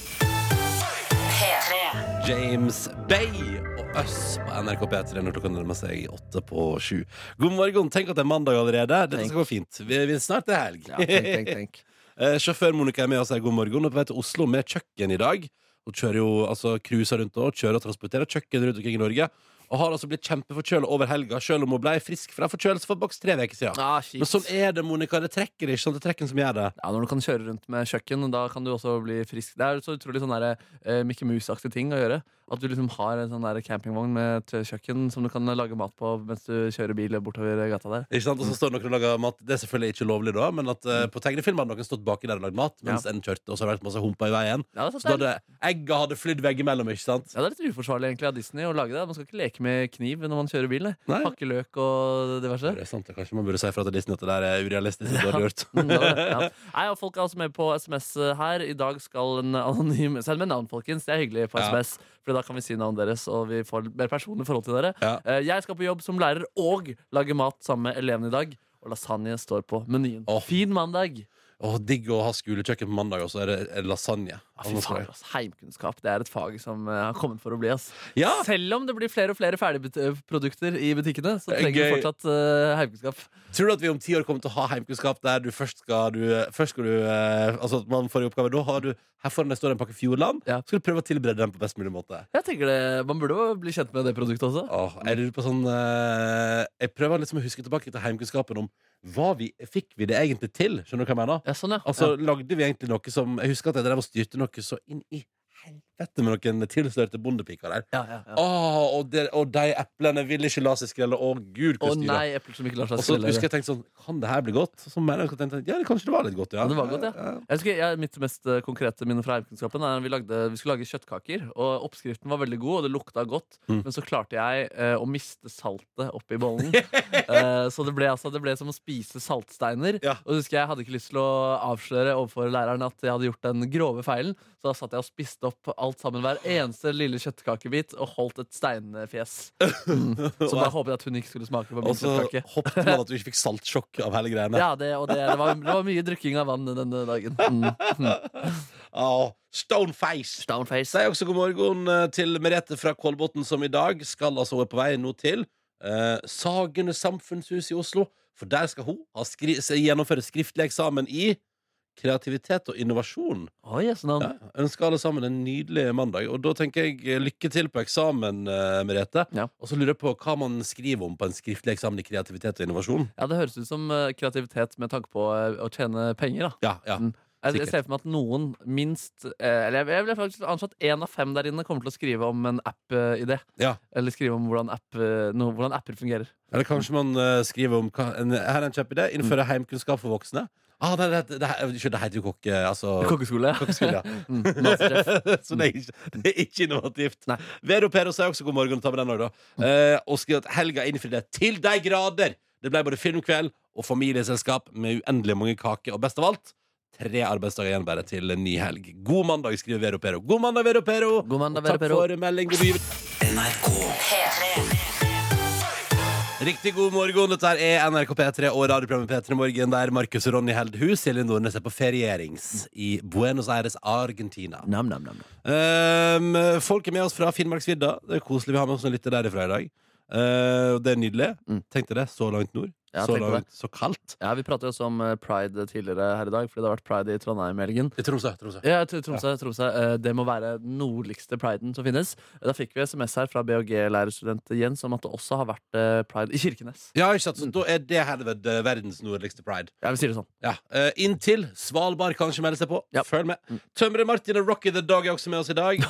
[SPEAKER 2] James Bay og Øss på NRK P3 når klokka nærmer seg åtte på sju. God morgen. Tenk at det er mandag allerede. Dette skal gå fint. Vi, vi snart er helg.
[SPEAKER 3] Ja, tenk, tenk, tenk.
[SPEAKER 2] Eh, sjåfør Monica er med og sier god morgen. Og på vei til Oslo med kjøkken i dag. Hun kjører jo, altså cruiser rundt og kjører og transporterer kjøkken rundt omkring i Norge. Og har altså blitt kjempeforkjøla over helga, sjøl om hun ble frisk fra forkjølelse for boks tre uker siden.
[SPEAKER 3] Ah,
[SPEAKER 2] Men sånn er det, Monica. Det trekker ikke sånn. Det er trekken som gjør det.
[SPEAKER 3] Ja, Når du kan kjøre rundt med kjøkken, da kan du også bli frisk. Det er så utrolig sånn der, eh, Mickey Mouse-aktig ting å gjøre. At du liksom har en sånn der campingvogn med t- kjøkken som du kan eh, lage mat på mens du kjører bil bortover eh, gata der.
[SPEAKER 2] Ikke sant? Og så står det noen og lager mat. Det er selvfølgelig ikke lovlig, da, men at eh, på tegnefilm hadde noen stått baki der og lagd mat, mens en kjørte, og så har det vært masse humper i veien.
[SPEAKER 3] Ja, det er,
[SPEAKER 2] Så da
[SPEAKER 3] sant, det
[SPEAKER 2] hadde
[SPEAKER 3] er,
[SPEAKER 2] egga hadde flydd veggimellom, ikke sant?
[SPEAKER 3] ja, det er litt uforsvarlig egentlig av Disney å lage det. Man skal ikke leke med kniv når man kjører bil. nei.
[SPEAKER 2] Nei.
[SPEAKER 3] Hakke løk og diverse.
[SPEAKER 2] Det er sant, det. Kanskje man burde si fra til Disney at det der er urealistisk. Ja. Gjort.
[SPEAKER 3] Mm, det var det, ja. Nei, og Folk er også med på SMS eh, her. I dag skal en anonym Send med navn, folkens. Det er hyggelig på
[SPEAKER 2] Ja.
[SPEAKER 3] SMS, for da kan vi si navnet deres, og vi får mer personlig forhold til dere.
[SPEAKER 2] Ja.
[SPEAKER 3] Eh, Jeg skal på jobb som lærer og lage mat sammen med elevene i dag. Og lasagne står på menyen.
[SPEAKER 2] Åh.
[SPEAKER 3] Fin mandag!
[SPEAKER 2] Åh, digg å ha skolekjøkken på mandag, og så er det er det lasagne.
[SPEAKER 3] Ja, Ah, fy faen, ass. Heimkunnskap det er et fag som eh, har kommet for å bli. Ass.
[SPEAKER 2] Ja!
[SPEAKER 3] Selv om det blir flere og flere ferdigprodukter i butikkene, så
[SPEAKER 2] Det er
[SPEAKER 3] trenger vi
[SPEAKER 2] gøy.
[SPEAKER 3] fortsatt eh, heimkunnskap.
[SPEAKER 2] Tror du at vi om ti år kommer til å ha heimkunnskap der du først skal du, først skal du eh, Altså at man får i oppgave Da har du Her foran deg står det en pakke Fjordland.
[SPEAKER 3] Ja.
[SPEAKER 2] Skal du prøve å tilberede den på best mulig måte?
[SPEAKER 3] Jeg tenker det, Man burde jo bli kjent med det produktet også.
[SPEAKER 2] Åh, jeg lurer på sånn eh, Jeg prøver liksom å huske tilbake til heimkunnskapen om hva vi fikk vi det egentlig til. Skjønner du hva jeg mener?
[SPEAKER 3] Ja, sånn, ja.
[SPEAKER 2] Altså, lagde vi egentlig noe som Jeg husker at jeg drev og styrte noe så inn i helvete med noen tilslørte bondepiker der.
[SPEAKER 3] ja, ja, ja.
[SPEAKER 2] Åh, og, det, og de eplene ville ikke la seg skrelle. Å, gud,
[SPEAKER 3] Å
[SPEAKER 2] hvor styret.
[SPEAKER 3] nei, epler som ikke lar seg
[SPEAKER 2] Og så
[SPEAKER 3] skrelle.
[SPEAKER 2] husker jeg tenkte sånn Kan det her bli godt? Så mener jeg at jeg tenkte, Ja, det kanskje det var litt godt, ja.
[SPEAKER 3] Ja, det var godt, ja. Jeg husker, jeg, mitt mest eh, konkrete minne fra heimkunnskapen er at vi, lagde, vi skulle lage kjøttkaker. Og Oppskriften var veldig god, og det lukta godt.
[SPEAKER 2] Mm.
[SPEAKER 3] Men så klarte jeg eh, å miste saltet oppi bollen. Eh, så det ble, altså, det ble som å spise saltsteiner.
[SPEAKER 2] Ja.
[SPEAKER 3] Og husker Jeg hadde ikke lyst til å avsløre overfor læreren at jeg hadde gjort den grove feilen. Så da satt jeg og spiste opp alt sammen, hver eneste lille kjøttkakebit, og holdt et steinfjes. Mm. Så da håpet jeg at hun ikke skulle smake på
[SPEAKER 2] Og
[SPEAKER 3] min
[SPEAKER 2] så
[SPEAKER 3] kjøttkake.
[SPEAKER 2] hoppet man at du ikke fikk saltsjokk av hele greiene.
[SPEAKER 3] Ja, det, og det, det, var, det var mye drikking av vann denne dagen. Mm.
[SPEAKER 2] Åh, stone face!
[SPEAKER 3] Stoneface.
[SPEAKER 2] Sier også god morgen eh, til Merete fra Kolbotn, som i dag skal altså hun er på vei nå til eh, Sagene samfunnshus i Oslo. For der skal hun ha skri se- gjennomføre skriftlig eksamen i kreativitet og innovasjon.
[SPEAKER 3] Oi, jøsse navn.
[SPEAKER 2] Ja, ønsker alle sammen en nydelig mandag. Og da tenker jeg eh, lykke til på eksamen, eh, Merete.
[SPEAKER 3] Ja.
[SPEAKER 2] Og så lurer jeg på hva man skriver om på en skriftlig eksamen i kreativitet og innovasjon.
[SPEAKER 3] Ja, Det høres ut som eh, kreativitet med tanke på eh, å tjene penger. da
[SPEAKER 2] Ja, ja.
[SPEAKER 3] Mm. jeg, jeg
[SPEAKER 2] sikkert.
[SPEAKER 3] ser for meg at noen minst eh, Eller jeg, jeg vil faktisk anslå at én av fem der inne kommer til å skrive om en app-idé.
[SPEAKER 2] Ja.
[SPEAKER 3] Eller skrive om hvordan, app, eh, noe- hvordan apper fungerer.
[SPEAKER 2] Eller kanskje man eh, skriver om hva, en, Her er en kjapp idé. Innføre heimkunnskap for voksne. Ah, det, det, det, det, det heter jo kokke... Altså,
[SPEAKER 3] Kokkeskole.
[SPEAKER 2] kokkeskole, ja.
[SPEAKER 3] mm, Masterchef.
[SPEAKER 2] Så det er ikke, det er ikke innovativt.
[SPEAKER 3] Nei.
[SPEAKER 2] Vero Pero sier også god morgen. Ta med den også, da. Eh, og skriver at helga innfridde til de grader. Det ble både filmkveld og familieselskap med uendelig mange kaker. Og best av alt, tre arbeidsdager igjen bare til en ny helg. God mandag, skriver Vero Pero. God mandag, Vero Pero.
[SPEAKER 3] God mandag,
[SPEAKER 2] og takk
[SPEAKER 3] Vero Pero.
[SPEAKER 2] for melding. God jul.
[SPEAKER 1] NRK
[SPEAKER 2] Riktig god morgen. Dette her er NRK P3 og radioprogrammet P3 Morgen, der Markus og Ronny holder hus. Silje Nordnes er på ferierings i Buenos Aires, Argentina.
[SPEAKER 3] Nam, nam, nam.
[SPEAKER 2] Ehm, folk er med oss fra Finnmarksvidda. Det er koselig. Vi har med oss en lytter derifra i dag. Ehm, det er nydelig.
[SPEAKER 3] Mm.
[SPEAKER 2] Tenkte det. Så langt nord.
[SPEAKER 3] Ja,
[SPEAKER 2] så
[SPEAKER 3] tenk på det.
[SPEAKER 2] langt, så kaldt.
[SPEAKER 3] Ja, Vi pratet jo også om eh, pride tidligere her i dag, fordi det har vært pride i Trondheim i helgen.
[SPEAKER 2] I Tromsø. Tromsø.
[SPEAKER 3] Ja, til Tromsø, Tromsø. Eh, Det må være den nordligste priden som finnes. Da fikk vi SMS her fra BHG-lærerstudent Jens om at det også har vært eh, pride i Kirkenes.
[SPEAKER 2] Ja, ikke sant? Så da er det helvete verdens nordligste pride.
[SPEAKER 3] Ja, vi sier det sånn.
[SPEAKER 2] Ja. eh, inntil Svalbard kanskje melder seg på.
[SPEAKER 3] Ja. Mm.
[SPEAKER 2] Følg med. Tømrer Martin og Rocky the Dog er også med oss i dag.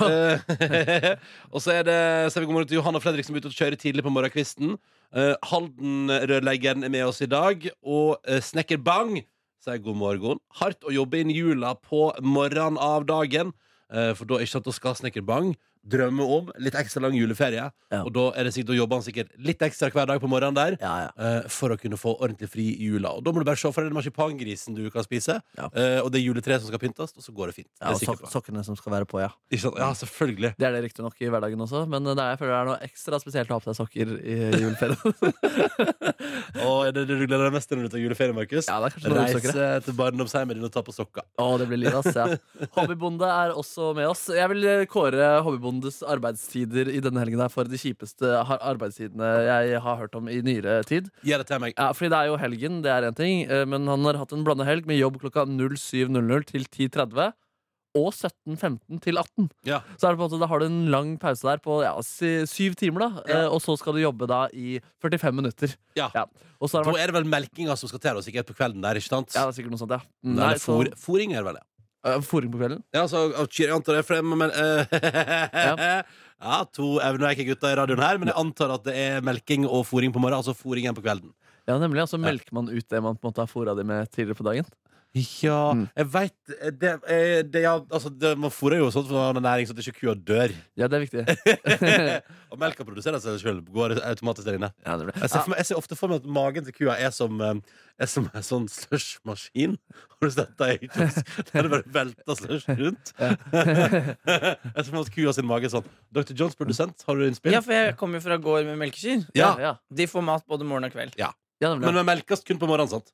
[SPEAKER 2] Eh, og så er det så er vi god morgen til Johanna Fredrik som er ute og kjører tidlig på morgenkvisten. Eh, Halden-rørleggeren er med oss i dag. Og eh, snekker Bang sier god morgen. Hardt å jobbe inn jula på morgenen av dagen. eh, for da, ikke sant, da skal snekker Bang drømme om litt ekstra lang juleferie.
[SPEAKER 3] Ja.
[SPEAKER 2] Og da, er det sikkert, da jobber han sikkert litt ekstra hver dag på morgenen der
[SPEAKER 3] Ja, ja.
[SPEAKER 2] eh, for å kunne få ordentlig fri i jula. Og Da må du bare se for deg den marsipangrisen du kan spise,
[SPEAKER 3] Ja.
[SPEAKER 2] eh, og det juletreet som skal pyntes, og så går det fint.
[SPEAKER 3] Ja,
[SPEAKER 2] det
[SPEAKER 3] og
[SPEAKER 2] er sikkert
[SPEAKER 3] sok
[SPEAKER 2] bra.
[SPEAKER 3] sokkene som skal være på, ja.
[SPEAKER 2] Ikke sant? Ja, selvfølgelig.
[SPEAKER 3] Det er det riktignok i hverdagen også, men eh, det er, jeg føler det er noe ekstra spesielt å ha på seg sokker i juleferien.
[SPEAKER 2] Og er det det du gleder deg mest til når du tar juleferie, Markus?
[SPEAKER 3] ja, det er kanskje noe usikker.
[SPEAKER 2] Reise til barndomshjemmet ditt og ta på sokker.
[SPEAKER 3] Å, det blir liv, ass. Ja. Hobbybonde er også med oss. Jeg vil eh, kåre hobbybondes arbeidstider i denne helgen her for de kjipeste har- arbeidstidene jeg har hørt om i nyere tid.
[SPEAKER 2] Gi det til meg.
[SPEAKER 3] Ja, fordi det er jo helgen, det er en ting, eh, men han har hatt en blanda helg med jobb klokka 07.00 til 10.30. Og 17.15 til 18.
[SPEAKER 2] Ja.
[SPEAKER 3] Så er det på en måte, da har du en lang pause der på ja, si- syv timer, da. eh, Og så skal du jobbe da i 45 minutter.
[SPEAKER 2] Ja.
[SPEAKER 3] Ja. Og så har det
[SPEAKER 2] Da
[SPEAKER 3] vært
[SPEAKER 2] er det vel melkinga som skal til, og sikkert på kvelden der, ikke sant?
[SPEAKER 3] ja, det er sikkert noe sånt, ja. Mm,
[SPEAKER 2] Eller
[SPEAKER 3] nei, så-
[SPEAKER 2] fôr, fôring er det vel det.
[SPEAKER 3] eh, Fôring på kvelden?
[SPEAKER 2] Ja, så av kyr- jeg antar det, for jeg må mel- ja. eh, ja, to evner jeg ikke gutta i radioen her, men jeg antar at det er melking og fôring på morgenen, altså fôring igjen på kvelden.
[SPEAKER 3] Ja, nemlig. Og så melker man ut det man på en måte har fôra de med tidligere på dagen.
[SPEAKER 2] Ja, jeg veit det, eh, det, ja, altså, det, Man fôrer jo sånn for å ha noe næring, så at ikke kua dør.
[SPEAKER 3] Ja, det er viktig.
[SPEAKER 2] Og melka produserer seg sjøl. Går automatisk der inne.
[SPEAKER 3] Ja, nemlig.
[SPEAKER 2] Jeg ser, for meg, jeg ser ofte for meg at magen til kua er som, eh, er som en sånn slushmaskin. Har du sett det? i kiosk? Der det bare velter slush rundt. jeg ser for meg at kua sin mage er sånn. Dr. Johns produsent, har du innspill?
[SPEAKER 5] Ja, for jeg kommer jo fra gård med melkekyr.
[SPEAKER 2] Ja.
[SPEAKER 3] ja.
[SPEAKER 5] De får mat både morgen og kveld.
[SPEAKER 3] ja nemlig.
[SPEAKER 2] Men den melkes kun på morgenen, sant?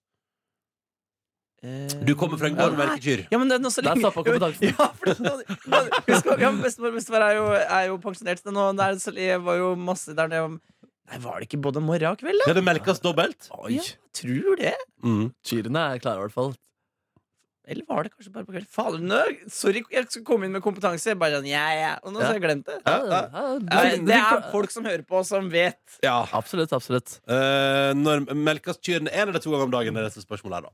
[SPEAKER 2] Du kommer fra en gård med melkekyr.
[SPEAKER 5] Ja, men det er noe så
[SPEAKER 3] Eh, Der
[SPEAKER 5] lenge
[SPEAKER 3] stoppa kompetansen.
[SPEAKER 5] Ja, for det, nå, husk, ja, men bestemor bestemor er, jo, er jo pensjonert så nå. Det er, så, jeg var jo masse der det Nei, var det ikke både morgen og kveld, da?
[SPEAKER 2] Ja, det melkes dobbelt.
[SPEAKER 5] Ja, tror det.
[SPEAKER 2] Mm.
[SPEAKER 3] Kyrne er klare, i hvert fall.
[SPEAKER 5] Eller var det kanskje bare på kvelden? Fader, nå- sorry, jeg skulle komme inn med kompetanse. Bare sånn, ja, ja. Og nå
[SPEAKER 3] Ja.
[SPEAKER 5] har jeg glemt det.
[SPEAKER 3] Ja, ja, ja, du-
[SPEAKER 5] Eh, Det
[SPEAKER 3] du-
[SPEAKER 5] er folk som hører på, som vet.
[SPEAKER 2] Ja.
[SPEAKER 3] Absolutt, absolutt.
[SPEAKER 2] Eh, når melkes kyrne én eller to ganger om dagen? er dette spørsmålet her, da.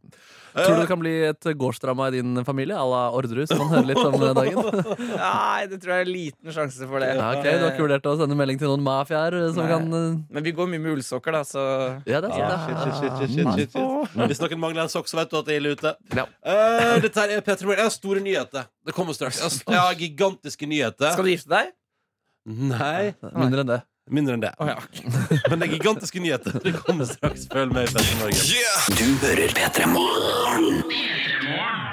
[SPEAKER 3] Tror du det kan bli et gårdsdrama i din familie à la Orderud, som man hører litt om eh,
[SPEAKER 2] Eh,
[SPEAKER 3] dagen?
[SPEAKER 5] Nei, det tror jeg er liten sjanse for det.
[SPEAKER 3] Ja, ok, Du har ikke vurdert å sende melding til noen mafiaer som
[SPEAKER 5] Nei.
[SPEAKER 3] kan eh,
[SPEAKER 5] Men vi går mye med ullsokker, da, så
[SPEAKER 3] Ja, det er
[SPEAKER 2] Shit,
[SPEAKER 3] sant.
[SPEAKER 2] shit,
[SPEAKER 3] ja.
[SPEAKER 2] shit, shit, shit, shit, shit. Hvis noen mangler en sokk, så vet du at det er ille ute. Eh, dette her er Petra Morgen. Jeg har store nyheter. Det kommer straks. Jeg har- Jeg har gigantiske nyheter.
[SPEAKER 5] Skal du gifte deg?
[SPEAKER 2] Nei,
[SPEAKER 3] Mindre enn det.
[SPEAKER 2] mindre enn det. Men det er gigantiske nyheter. Det kommer straks. Følg med i Petra Morgen.
[SPEAKER 1] Du hører P3 Morgen.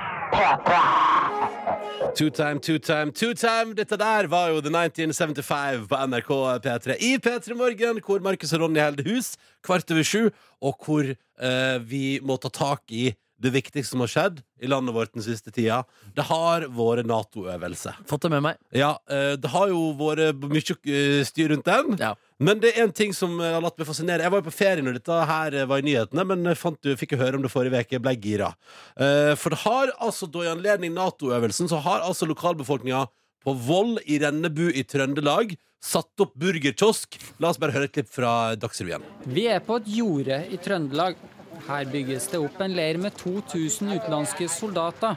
[SPEAKER 2] Two time, two time, two time. Dette der var jo The 1975 på NRK P3 i P3 Morgen, hvor Markus og Ronny holder hus kvart over sju, og hvor eh, vi må ta tak i det viktigste som har skjedd i landet vårt den siste tida. Det har vært Nato-øvelse.
[SPEAKER 3] Fått det med meg.
[SPEAKER 2] Ja, eh, det har jo vært mye eh, styr rundt den.
[SPEAKER 3] Ja.
[SPEAKER 2] Men det er en ting som eh, har latt meg fascinere. Jeg var jo på ferie når dette her eh, var i nyhetene, men jeg fant, jo- fikk jo høre om det forrige uke. Ble gira. Eh, For det har altså, da i anledning Nato-øvelsen, så har altså lokalbefolkninga på Voll i Rennebu i Trøndelag satt opp burgerkiosk. La oss bare høre et klipp fra Dagsrevyen.
[SPEAKER 7] Vi er på et jorde i Trøndelag. Her bygges det opp en leir med 2000 utenlandske soldater.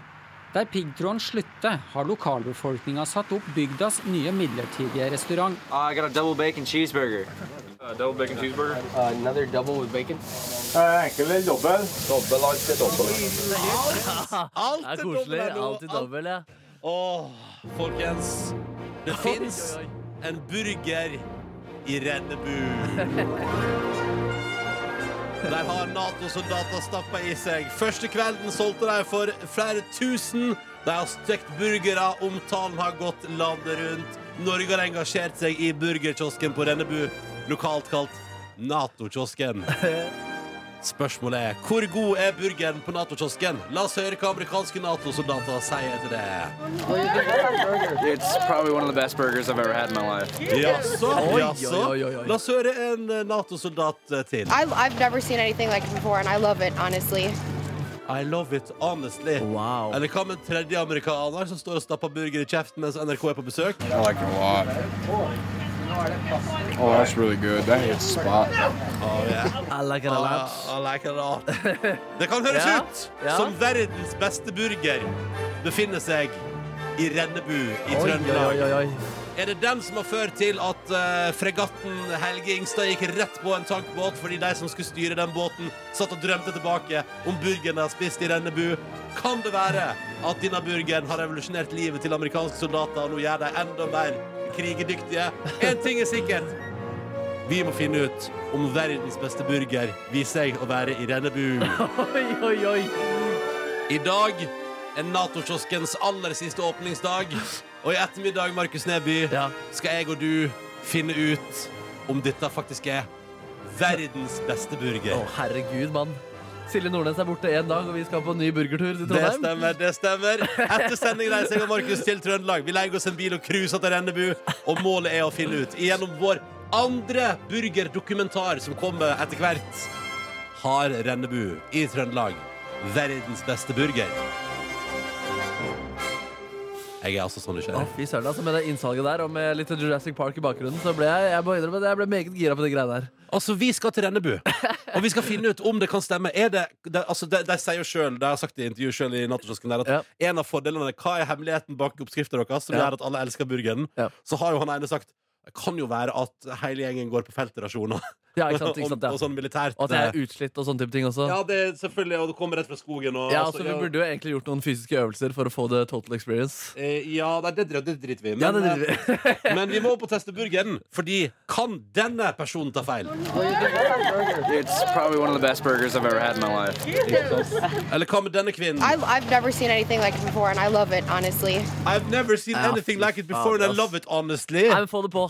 [SPEAKER 7] Der piggtråden slutter, har lokalbefolkninga satt opp bygdas nye midlertidige restaurant.
[SPEAKER 8] I got a double bacon cheeseburger. another double with bacon.
[SPEAKER 2] Alt
[SPEAKER 3] Det er koselig. Alltid dobbel, ja.
[SPEAKER 2] Åh, folkens. Det fins en burger i Rennebu. Der har Nato-soldater stappa i seg. Første kvelden solgte de for flere tusen. De har stekt burgere, omtalen har gått landet rundt. Norge har engasjert seg i burgerkiosken på Rennebu, lokalt kalt Nato-kiosken. Spørsmålet er hvor god er burgeren på Nato-kiosken? La oss høre hva amerikanske Nato-soldater sier til det.
[SPEAKER 8] It's probably one of the best burgers I've ever had in my life.
[SPEAKER 2] Jaså?
[SPEAKER 3] Oi,
[SPEAKER 2] jaså.
[SPEAKER 3] oi, oi, oi.
[SPEAKER 2] La oss høre en eh, Nato-soldat eh, til.
[SPEAKER 9] I, I've never seen anything like it before, and I love it, honestly.
[SPEAKER 2] I love it, honestly.
[SPEAKER 3] Wow.
[SPEAKER 2] Eller hva med en tredje amerikaner som står og stapper burger i kjeften mens NRK er på besøk?
[SPEAKER 10] I like it a lot. Oh, that's really good. That hits the spot.
[SPEAKER 3] I like it a
[SPEAKER 2] Ah,
[SPEAKER 3] lot.
[SPEAKER 2] Oh, I like it a lot. Det kan høres
[SPEAKER 3] Ja,
[SPEAKER 2] ut
[SPEAKER 3] ja.
[SPEAKER 2] som verdens beste burger befinner seg i Rennebu i
[SPEAKER 3] Oi,
[SPEAKER 2] Trøndelag.
[SPEAKER 3] oi, oi, oi.
[SPEAKER 2] Er det den som har ført til at eh, fregatten Helge Ingstad gikk rett på en tankbåt fordi de som skulle styre den båten, satt og drømte tilbake om burgeren de har spist i Rennebu? Kan det være at denne burgeren har revolusjonert livet til amerikanske soldater og nå gjør de enda mer krigedyktige? Én ting er sikkert. Vi må finne ut om verdens beste burger viser seg å være i Rennebu.
[SPEAKER 3] Oi, oi, oi.
[SPEAKER 2] I dag er Nato-kioskens aller siste åpningsdag. Og i ettermiddag Markus Neby,
[SPEAKER 3] Ja.
[SPEAKER 2] skal jeg og du finne ut om dette faktisk er verdens beste
[SPEAKER 3] Å,
[SPEAKER 2] burger.
[SPEAKER 3] herregud, mann. Silje Nordnes er borte én dag, og vi skal på en ny burgertur til
[SPEAKER 2] Det
[SPEAKER 3] Trondheim.
[SPEAKER 2] stemmer. det stemmer Etter sending reiser jeg og Markus til Trøndelag. Vi legger oss en bil og cruiser til Rennebu, og målet er å finne ut gjennom vår andre burgerdokumentar som kommer etter hvert. Har Rennebu i Trøndelag verdens beste burger? Jeg er altså så
[SPEAKER 3] Å,
[SPEAKER 2] nysgjerrig.
[SPEAKER 3] fy søren, altså Med det innsalget der og med litt Jurassic Park i bakgrunnen, så ble jeg, jeg, må innrømme det, jeg ble meget gira på de greiene der.
[SPEAKER 2] Altså, vi skal til Rennebu, og vi skal finne ut om det kan stemme. Er det, det, altså, de, de sier jo selv, de har sagt det i intervju selv i Nattosjosken der, at en av fordelene er hva er hemmeligheten bak oppskriften deres, som
[SPEAKER 3] Ja.
[SPEAKER 2] gjør at alle elsker burgeren.
[SPEAKER 3] Ja.
[SPEAKER 2] Så har jo han ene sagt det kan jo være at hele gjengen går på feltrasjoner.
[SPEAKER 3] Ja, ikke sant, ikke sant,
[SPEAKER 2] og, og
[SPEAKER 3] ja.
[SPEAKER 2] sånn militært.
[SPEAKER 3] Og at jeg er utslitt og sånne type ting også.
[SPEAKER 2] ja, det er selvfølgelig. Og du kommer rett fra skogen. Og,
[SPEAKER 3] Ja,
[SPEAKER 2] altså,
[SPEAKER 3] altså Vi burde jo egentlig gjort noen fysiske øvelser for å få the total experience.
[SPEAKER 2] ja, eh, ja, nei, det, dri- det driter vi i.
[SPEAKER 3] Ja,
[SPEAKER 2] Men,
[SPEAKER 3] det driver vi
[SPEAKER 2] eh, men vi må opp og teste burgeren, fordi kan denne personen ta feil?
[SPEAKER 8] It's probably one of the best burgers I've ever had in my life.
[SPEAKER 2] Eller hva med denne kvinnen?
[SPEAKER 9] I, I've never seen anything like it before, and I love it, honestly.
[SPEAKER 2] I've never seen
[SPEAKER 3] Ja,
[SPEAKER 2] anything
[SPEAKER 3] fy
[SPEAKER 2] like it before, and I
[SPEAKER 3] faen, ass.
[SPEAKER 2] love it, honestly.
[SPEAKER 3] Nei, men Få det på.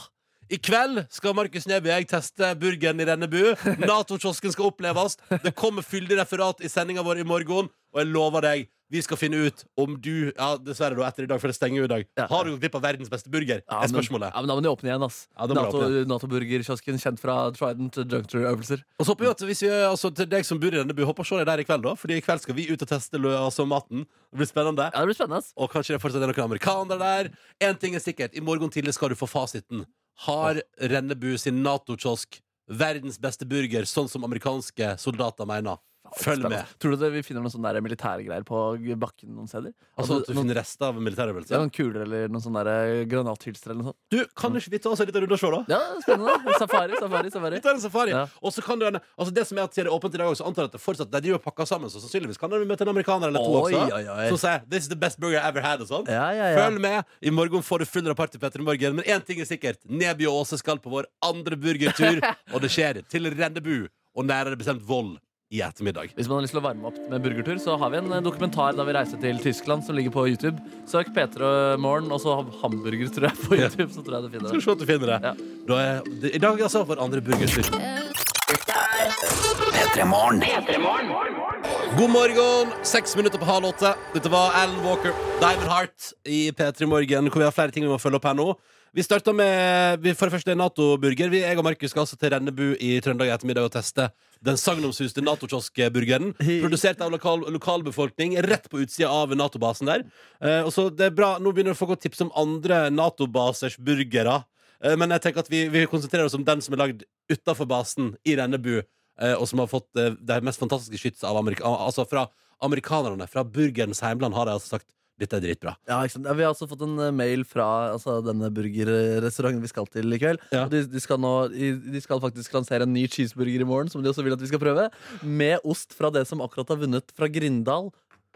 [SPEAKER 2] I kveld skal Markus Neby og jeg teste burgeren i Rennebu. Nato-kiosken skal oppleves. Det kommer fyldig referat i sendinga vår i morgen, og jeg lover deg, vi skal finne ut om du Ja, dessverre, da, etter i dag, for det stenger jo i dag.
[SPEAKER 3] Ja.
[SPEAKER 2] Har du gått glipp av verdens beste burger?
[SPEAKER 3] Ja,
[SPEAKER 2] er
[SPEAKER 3] men,
[SPEAKER 2] spørsmålet.
[SPEAKER 3] ja, men Da må de åpne igjen. ass
[SPEAKER 2] Ja, det må de
[SPEAKER 3] NATO,
[SPEAKER 2] åpne
[SPEAKER 3] Nato-burgerkiosken kjent fra Trident Juncture-øvelser.
[SPEAKER 2] Og så håper vi at hvis vi, altså, til deg som bor i Rennebu, håper å se deg der i kveld, da. Fordi i kveld skal vi ut og teste lø- altså, maten. Det blir spennende.
[SPEAKER 3] Ja, Det blir spennende. ass
[SPEAKER 2] Og kanskje det fortsatt er noen amerikanere der. En ting er sikkert, i morgen tidlig skal du få fasiten. Har Rennebu sin NATO-kiosk verdens beste burger, sånn som amerikanske soldater mener? Følg
[SPEAKER 3] Spennende.
[SPEAKER 2] med.
[SPEAKER 3] Tror du det, vi finner noen sånne der militære greier på bakken noen steder?
[SPEAKER 2] Altså at du
[SPEAKER 3] noen,
[SPEAKER 2] finner rester av en
[SPEAKER 3] ja,
[SPEAKER 2] militærøvelse.
[SPEAKER 3] noen kuler eller noen sånne der granathylster eller noe sånt.
[SPEAKER 2] Du, kan ikke vi ta oss en liten runde og se, da?
[SPEAKER 3] Ja, spennende. Safari, safari, safari.
[SPEAKER 2] Vi tar en safari.
[SPEAKER 3] Ja.
[SPEAKER 2] Og så kan du, altså det som er at Siden det er åpent i dag, også, antar jeg at det fortsatt, de driver og pakker sammen, så sannsynligvis kan du møte en amerikaner eller to
[SPEAKER 3] Oi,
[SPEAKER 2] også.
[SPEAKER 3] oi, oi.
[SPEAKER 2] Som sier 'This is the best burger I ever had', og sånn.
[SPEAKER 3] Ja, ja, ja.
[SPEAKER 2] Følg med. I morgen får du full rapport til Petter i Morgen. Men én ting er sikkert. Neby og Åse skal på vår andre burgertur, og det skjer til Rennebu og nærere bestemt Vold i ettermiddag.
[SPEAKER 3] Hvis man har lyst til å varme opp med burgertur, så har vi en eh, dokumentar da vi reiser til Tyskland, som ligger på YouTube. Søk P3 Morgen, og så hamburger, tror jeg, på YouTube, så tror jeg du finner
[SPEAKER 2] Skal vi
[SPEAKER 3] det.
[SPEAKER 2] se at du finner det.
[SPEAKER 3] Ja.
[SPEAKER 2] Da er, det- I dag altså vår andre burgertur.
[SPEAKER 1] Petremorne.
[SPEAKER 2] God morgen! Seks minutter på halv åtte. Dette var Alan Walker, Diamond Heart, i P3 Morgen, hvor vi har flere ting vi må følge opp her nå. Vi starta med vi- for det første Nato-burger. Vi, Jeg og Markus skal altså til Rennebu i Trøndelag i ettermiddag og teste den sagnomsuste Nato-kioskburgeren. Produsert av lokal, lokalbefolkning rett på utsida av Nato-basen der. Eh, og så det er bra, Nå begynner folk å tipse om andre Nato-basers burgere. Eh, men jeg tenker at vi, vi konsentrerer oss om den som er lagd utafor basen i Rennebu. Eh, og som har fått eh, det mest fantastiske skytset av amerika altså fra amerikanerne. Fra burgerens heimland har de altså sagt dette er dritbra.
[SPEAKER 3] Ja, ikke sant? Ja, Vi har også fått en eh, mail fra altså, denne burgerrestauranten vi skal til i kveld.
[SPEAKER 2] Ja.
[SPEAKER 3] Og De, de, skal nå, i- de skal faktisk lansere en ny cheeseburger i morgen, som de også vil at vi skal prøve. Med ost fra det som akkurat har vunnet fra Grindal,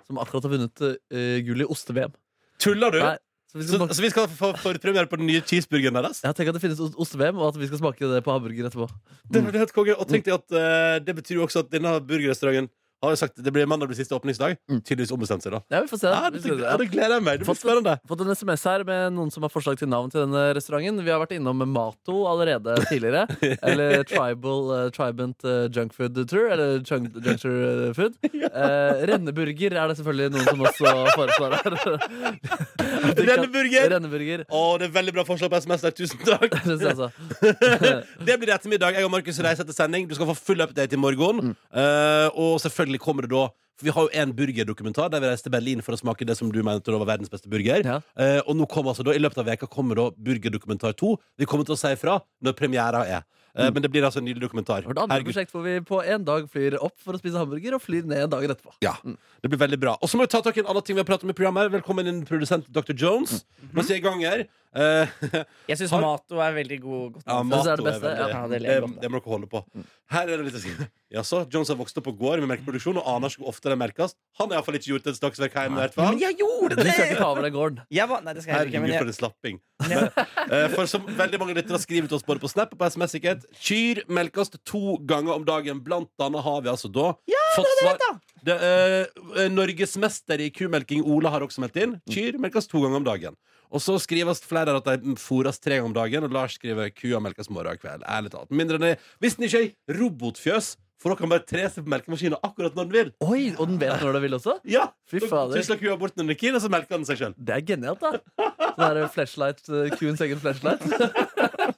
[SPEAKER 3] som akkurat har vunnet eh, gull i oste-VM.
[SPEAKER 2] Tuller du?
[SPEAKER 3] Nei, Så vi
[SPEAKER 2] Så,
[SPEAKER 3] skal smake
[SPEAKER 2] så vi skal få forpremiere på den nye cheeseburgeren deres?
[SPEAKER 3] jeg tenker at det finnes ost- oste-VM, og at vi skal smake det på hamburger etterpå.
[SPEAKER 2] Det er helt konge. Og tenk deg at eh, det betyr jo også at denne burgerrestauranten har jo sagt det blir mandag blir siste åpningsdag. Tydeligvis ombestemt seg, da.
[SPEAKER 3] Ja, vi får se.
[SPEAKER 2] Mm. Ja, det, ja, det gleder jeg meg. Det blir
[SPEAKER 3] Fått,
[SPEAKER 2] spennende.
[SPEAKER 3] fått en SMS her med noen som har forslag til navn til denne restauranten. Vi har vært innom Mato allerede tidligere. Eller Tribal eh, Tribant eh, Junk Food Tour. Eller junk, Juncture eh, Food. Eh, renneburger er det selvfølgelig noen som også foreslår her. At de kan-
[SPEAKER 2] Renneburger!
[SPEAKER 3] Renneburger.
[SPEAKER 2] Å, det er veldig bra forslag på SMS der. Tusen takk.
[SPEAKER 3] Det synes jeg altså.
[SPEAKER 2] Det blir det ettermiddag. Jeg og Markus reiser etter sending. Du skal få full update i
[SPEAKER 3] Mm.
[SPEAKER 2] morgen. Eh, og selvfølgelig kommer det da For vi har jo en burgerdokumentar der vi reiste til Berlin for å smake det som du mente da var verdens beste burger.
[SPEAKER 3] Ja.
[SPEAKER 2] Eh, og nå kommer altså da, i løpet av veka kommer da burgerdokumentar 2. Vi kommer til å si ifra når premiera er.
[SPEAKER 3] Mm.
[SPEAKER 2] Eh, Men det blir altså en nydelig dokumentar.
[SPEAKER 3] Vårt andre prosjekt hvor vi på en dag flyr opp for å spise hamburger, og flyr ned dagen etterpå.
[SPEAKER 2] Ja, det blir veldig bra Og så må vi ta tak i en annen ting vi har pratet om i programmet Velkommen inn produsent Dr. Jones
[SPEAKER 3] Mm.
[SPEAKER 2] Mens vi er i gang her eh,
[SPEAKER 5] Jeg syns
[SPEAKER 2] Har-
[SPEAKER 5] Mato er veldig god. Godt
[SPEAKER 2] ja,
[SPEAKER 5] navn.
[SPEAKER 3] Det er det
[SPEAKER 2] Mato
[SPEAKER 3] beste,
[SPEAKER 2] veldig-
[SPEAKER 5] ja. Ja,
[SPEAKER 2] det,
[SPEAKER 5] det lever godt,
[SPEAKER 2] det må dere holde på Her er det litt Jaså, Jones har vokst opp på gård med melkeproduksjon Og aner ikke hvor ofte det merkes Han har i hvert fall ikke gjort et slagsverk hjemme i hvert fall
[SPEAKER 5] Men jeg gjorde
[SPEAKER 3] Du skal
[SPEAKER 5] det!
[SPEAKER 3] ikke ta over den gården.
[SPEAKER 5] Jeg var, nei, det skal jeg heller ikke. Men
[SPEAKER 2] Herregud for
[SPEAKER 5] jeg,
[SPEAKER 2] en slapping Men, eh, For som veldig mange lytter har skrivet oss Både på Snap og på SMS sikkert Kyr melkes to ganger om dagen Blant annet har vi altså da Fått svar det, eh, Norgesmester i kumelking Ola har også meldt inn. Kyr melkes to ganger om dagen. Og så skrives flere at de fôres tre ganger om dagen, og Lars skriver kua melkes morgen og kveld. Ærlig talt. Mindre enn det. Hvis den ikke er ei robotfjøs, for da kan bare tre seg på melkemaskinen akkurat når den vil.
[SPEAKER 3] Oi, Og den vet når den vil også?
[SPEAKER 2] Ja!
[SPEAKER 3] Fy
[SPEAKER 2] Så
[SPEAKER 3] fader.
[SPEAKER 2] tusler kua bort under kien, og så melker den seg sjøl.
[SPEAKER 3] Det er genialt, da. Sånn der flashlight, eh, Kuens egen flashlight.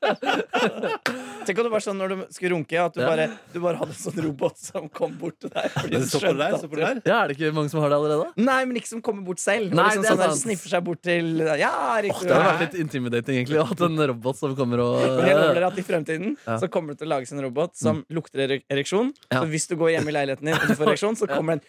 [SPEAKER 5] tenk om det var sånn når du skulle runke, at du
[SPEAKER 3] Ja.
[SPEAKER 5] bare, du bare hadde en sånn robot som kom bort til deg. fordi den
[SPEAKER 2] Så på det
[SPEAKER 5] skjønte
[SPEAKER 2] der,
[SPEAKER 5] at
[SPEAKER 2] så på det der.
[SPEAKER 3] Ja, Er det ikke mange som har det allerede?
[SPEAKER 5] Nei, men ikke som kommer bort selv.
[SPEAKER 3] Nei,
[SPEAKER 5] og liksom
[SPEAKER 3] det er
[SPEAKER 5] sånn der,
[SPEAKER 3] sant.
[SPEAKER 5] sniffer seg bort til Ja,
[SPEAKER 3] Åh,
[SPEAKER 5] riktig.
[SPEAKER 3] det hadde vært litt intimidating egentlig å ha hatt en robot som kommer og
[SPEAKER 5] Men jeg lover dere at i fremtiden
[SPEAKER 3] Ja. Mm.
[SPEAKER 5] så kommer det til å lages en robot som lukter ere- ereksjon.
[SPEAKER 3] Ja.
[SPEAKER 5] Så hvis du går hjemme i leiligheten din og du får ereksjon, så kommer det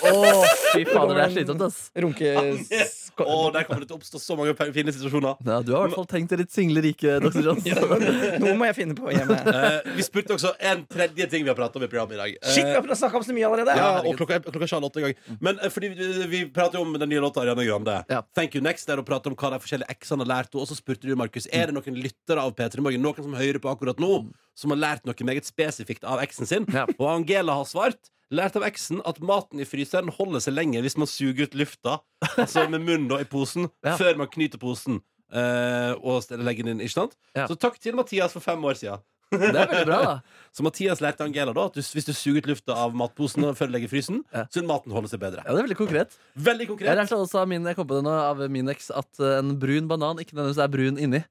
[SPEAKER 3] Åh, fy fader, det er slitsomt, ass.
[SPEAKER 5] en runkes...
[SPEAKER 2] Å, der kommer det til å oppstå så mange fine situasjoner.
[SPEAKER 3] Ja, du har i hvert fall tenkt deg litt single rike, Dr. Johns.
[SPEAKER 5] Noe må jeg finne på hjemme.
[SPEAKER 2] Eh, vi spurte også en tredje ting vi har pratet om i programmet i dag. Eh,
[SPEAKER 5] Shit, vi har snakka om så mye allerede!
[SPEAKER 2] Ja, og klokka, klokka er halv åtte i gang. Men eh, fordi vi, vi prater jo om den nye låta Ariana Grande.
[SPEAKER 3] Ja.
[SPEAKER 2] Thank you next der og prater om hva de forskjellige eksene har lært henne. Og så spurte du, Markus, er det noen lyttere av P3 Morgen, noen som hører på akkurat nå, som har lært noe meget spesifikt av eksen sin?
[SPEAKER 3] Ja.
[SPEAKER 2] Og Angela har svart. Lært av eksen at maten i fryseren holder seg lenger hvis man suger ut lufta, altså med munnen da i posen,
[SPEAKER 3] Ja.
[SPEAKER 2] før man knyter posen. eh, og legger den inn, ikke sant?
[SPEAKER 3] Ja.
[SPEAKER 2] Så takk til Mathias for fem år siden.
[SPEAKER 3] Det er veldig bra, da.
[SPEAKER 2] Så Mathias lærte Angela da at du, hvis du suger ut lufta av matposen før du legger i frysen,
[SPEAKER 3] Ja.
[SPEAKER 2] så vil maten holde seg bedre.
[SPEAKER 3] Ja, det er veldig konkret.
[SPEAKER 2] Veldig
[SPEAKER 3] Jeg
[SPEAKER 2] konkret.
[SPEAKER 3] lærte også av min, jeg kom på det nå, av min eks at eh, en brun banan ikke nødvendigvis er brun inni.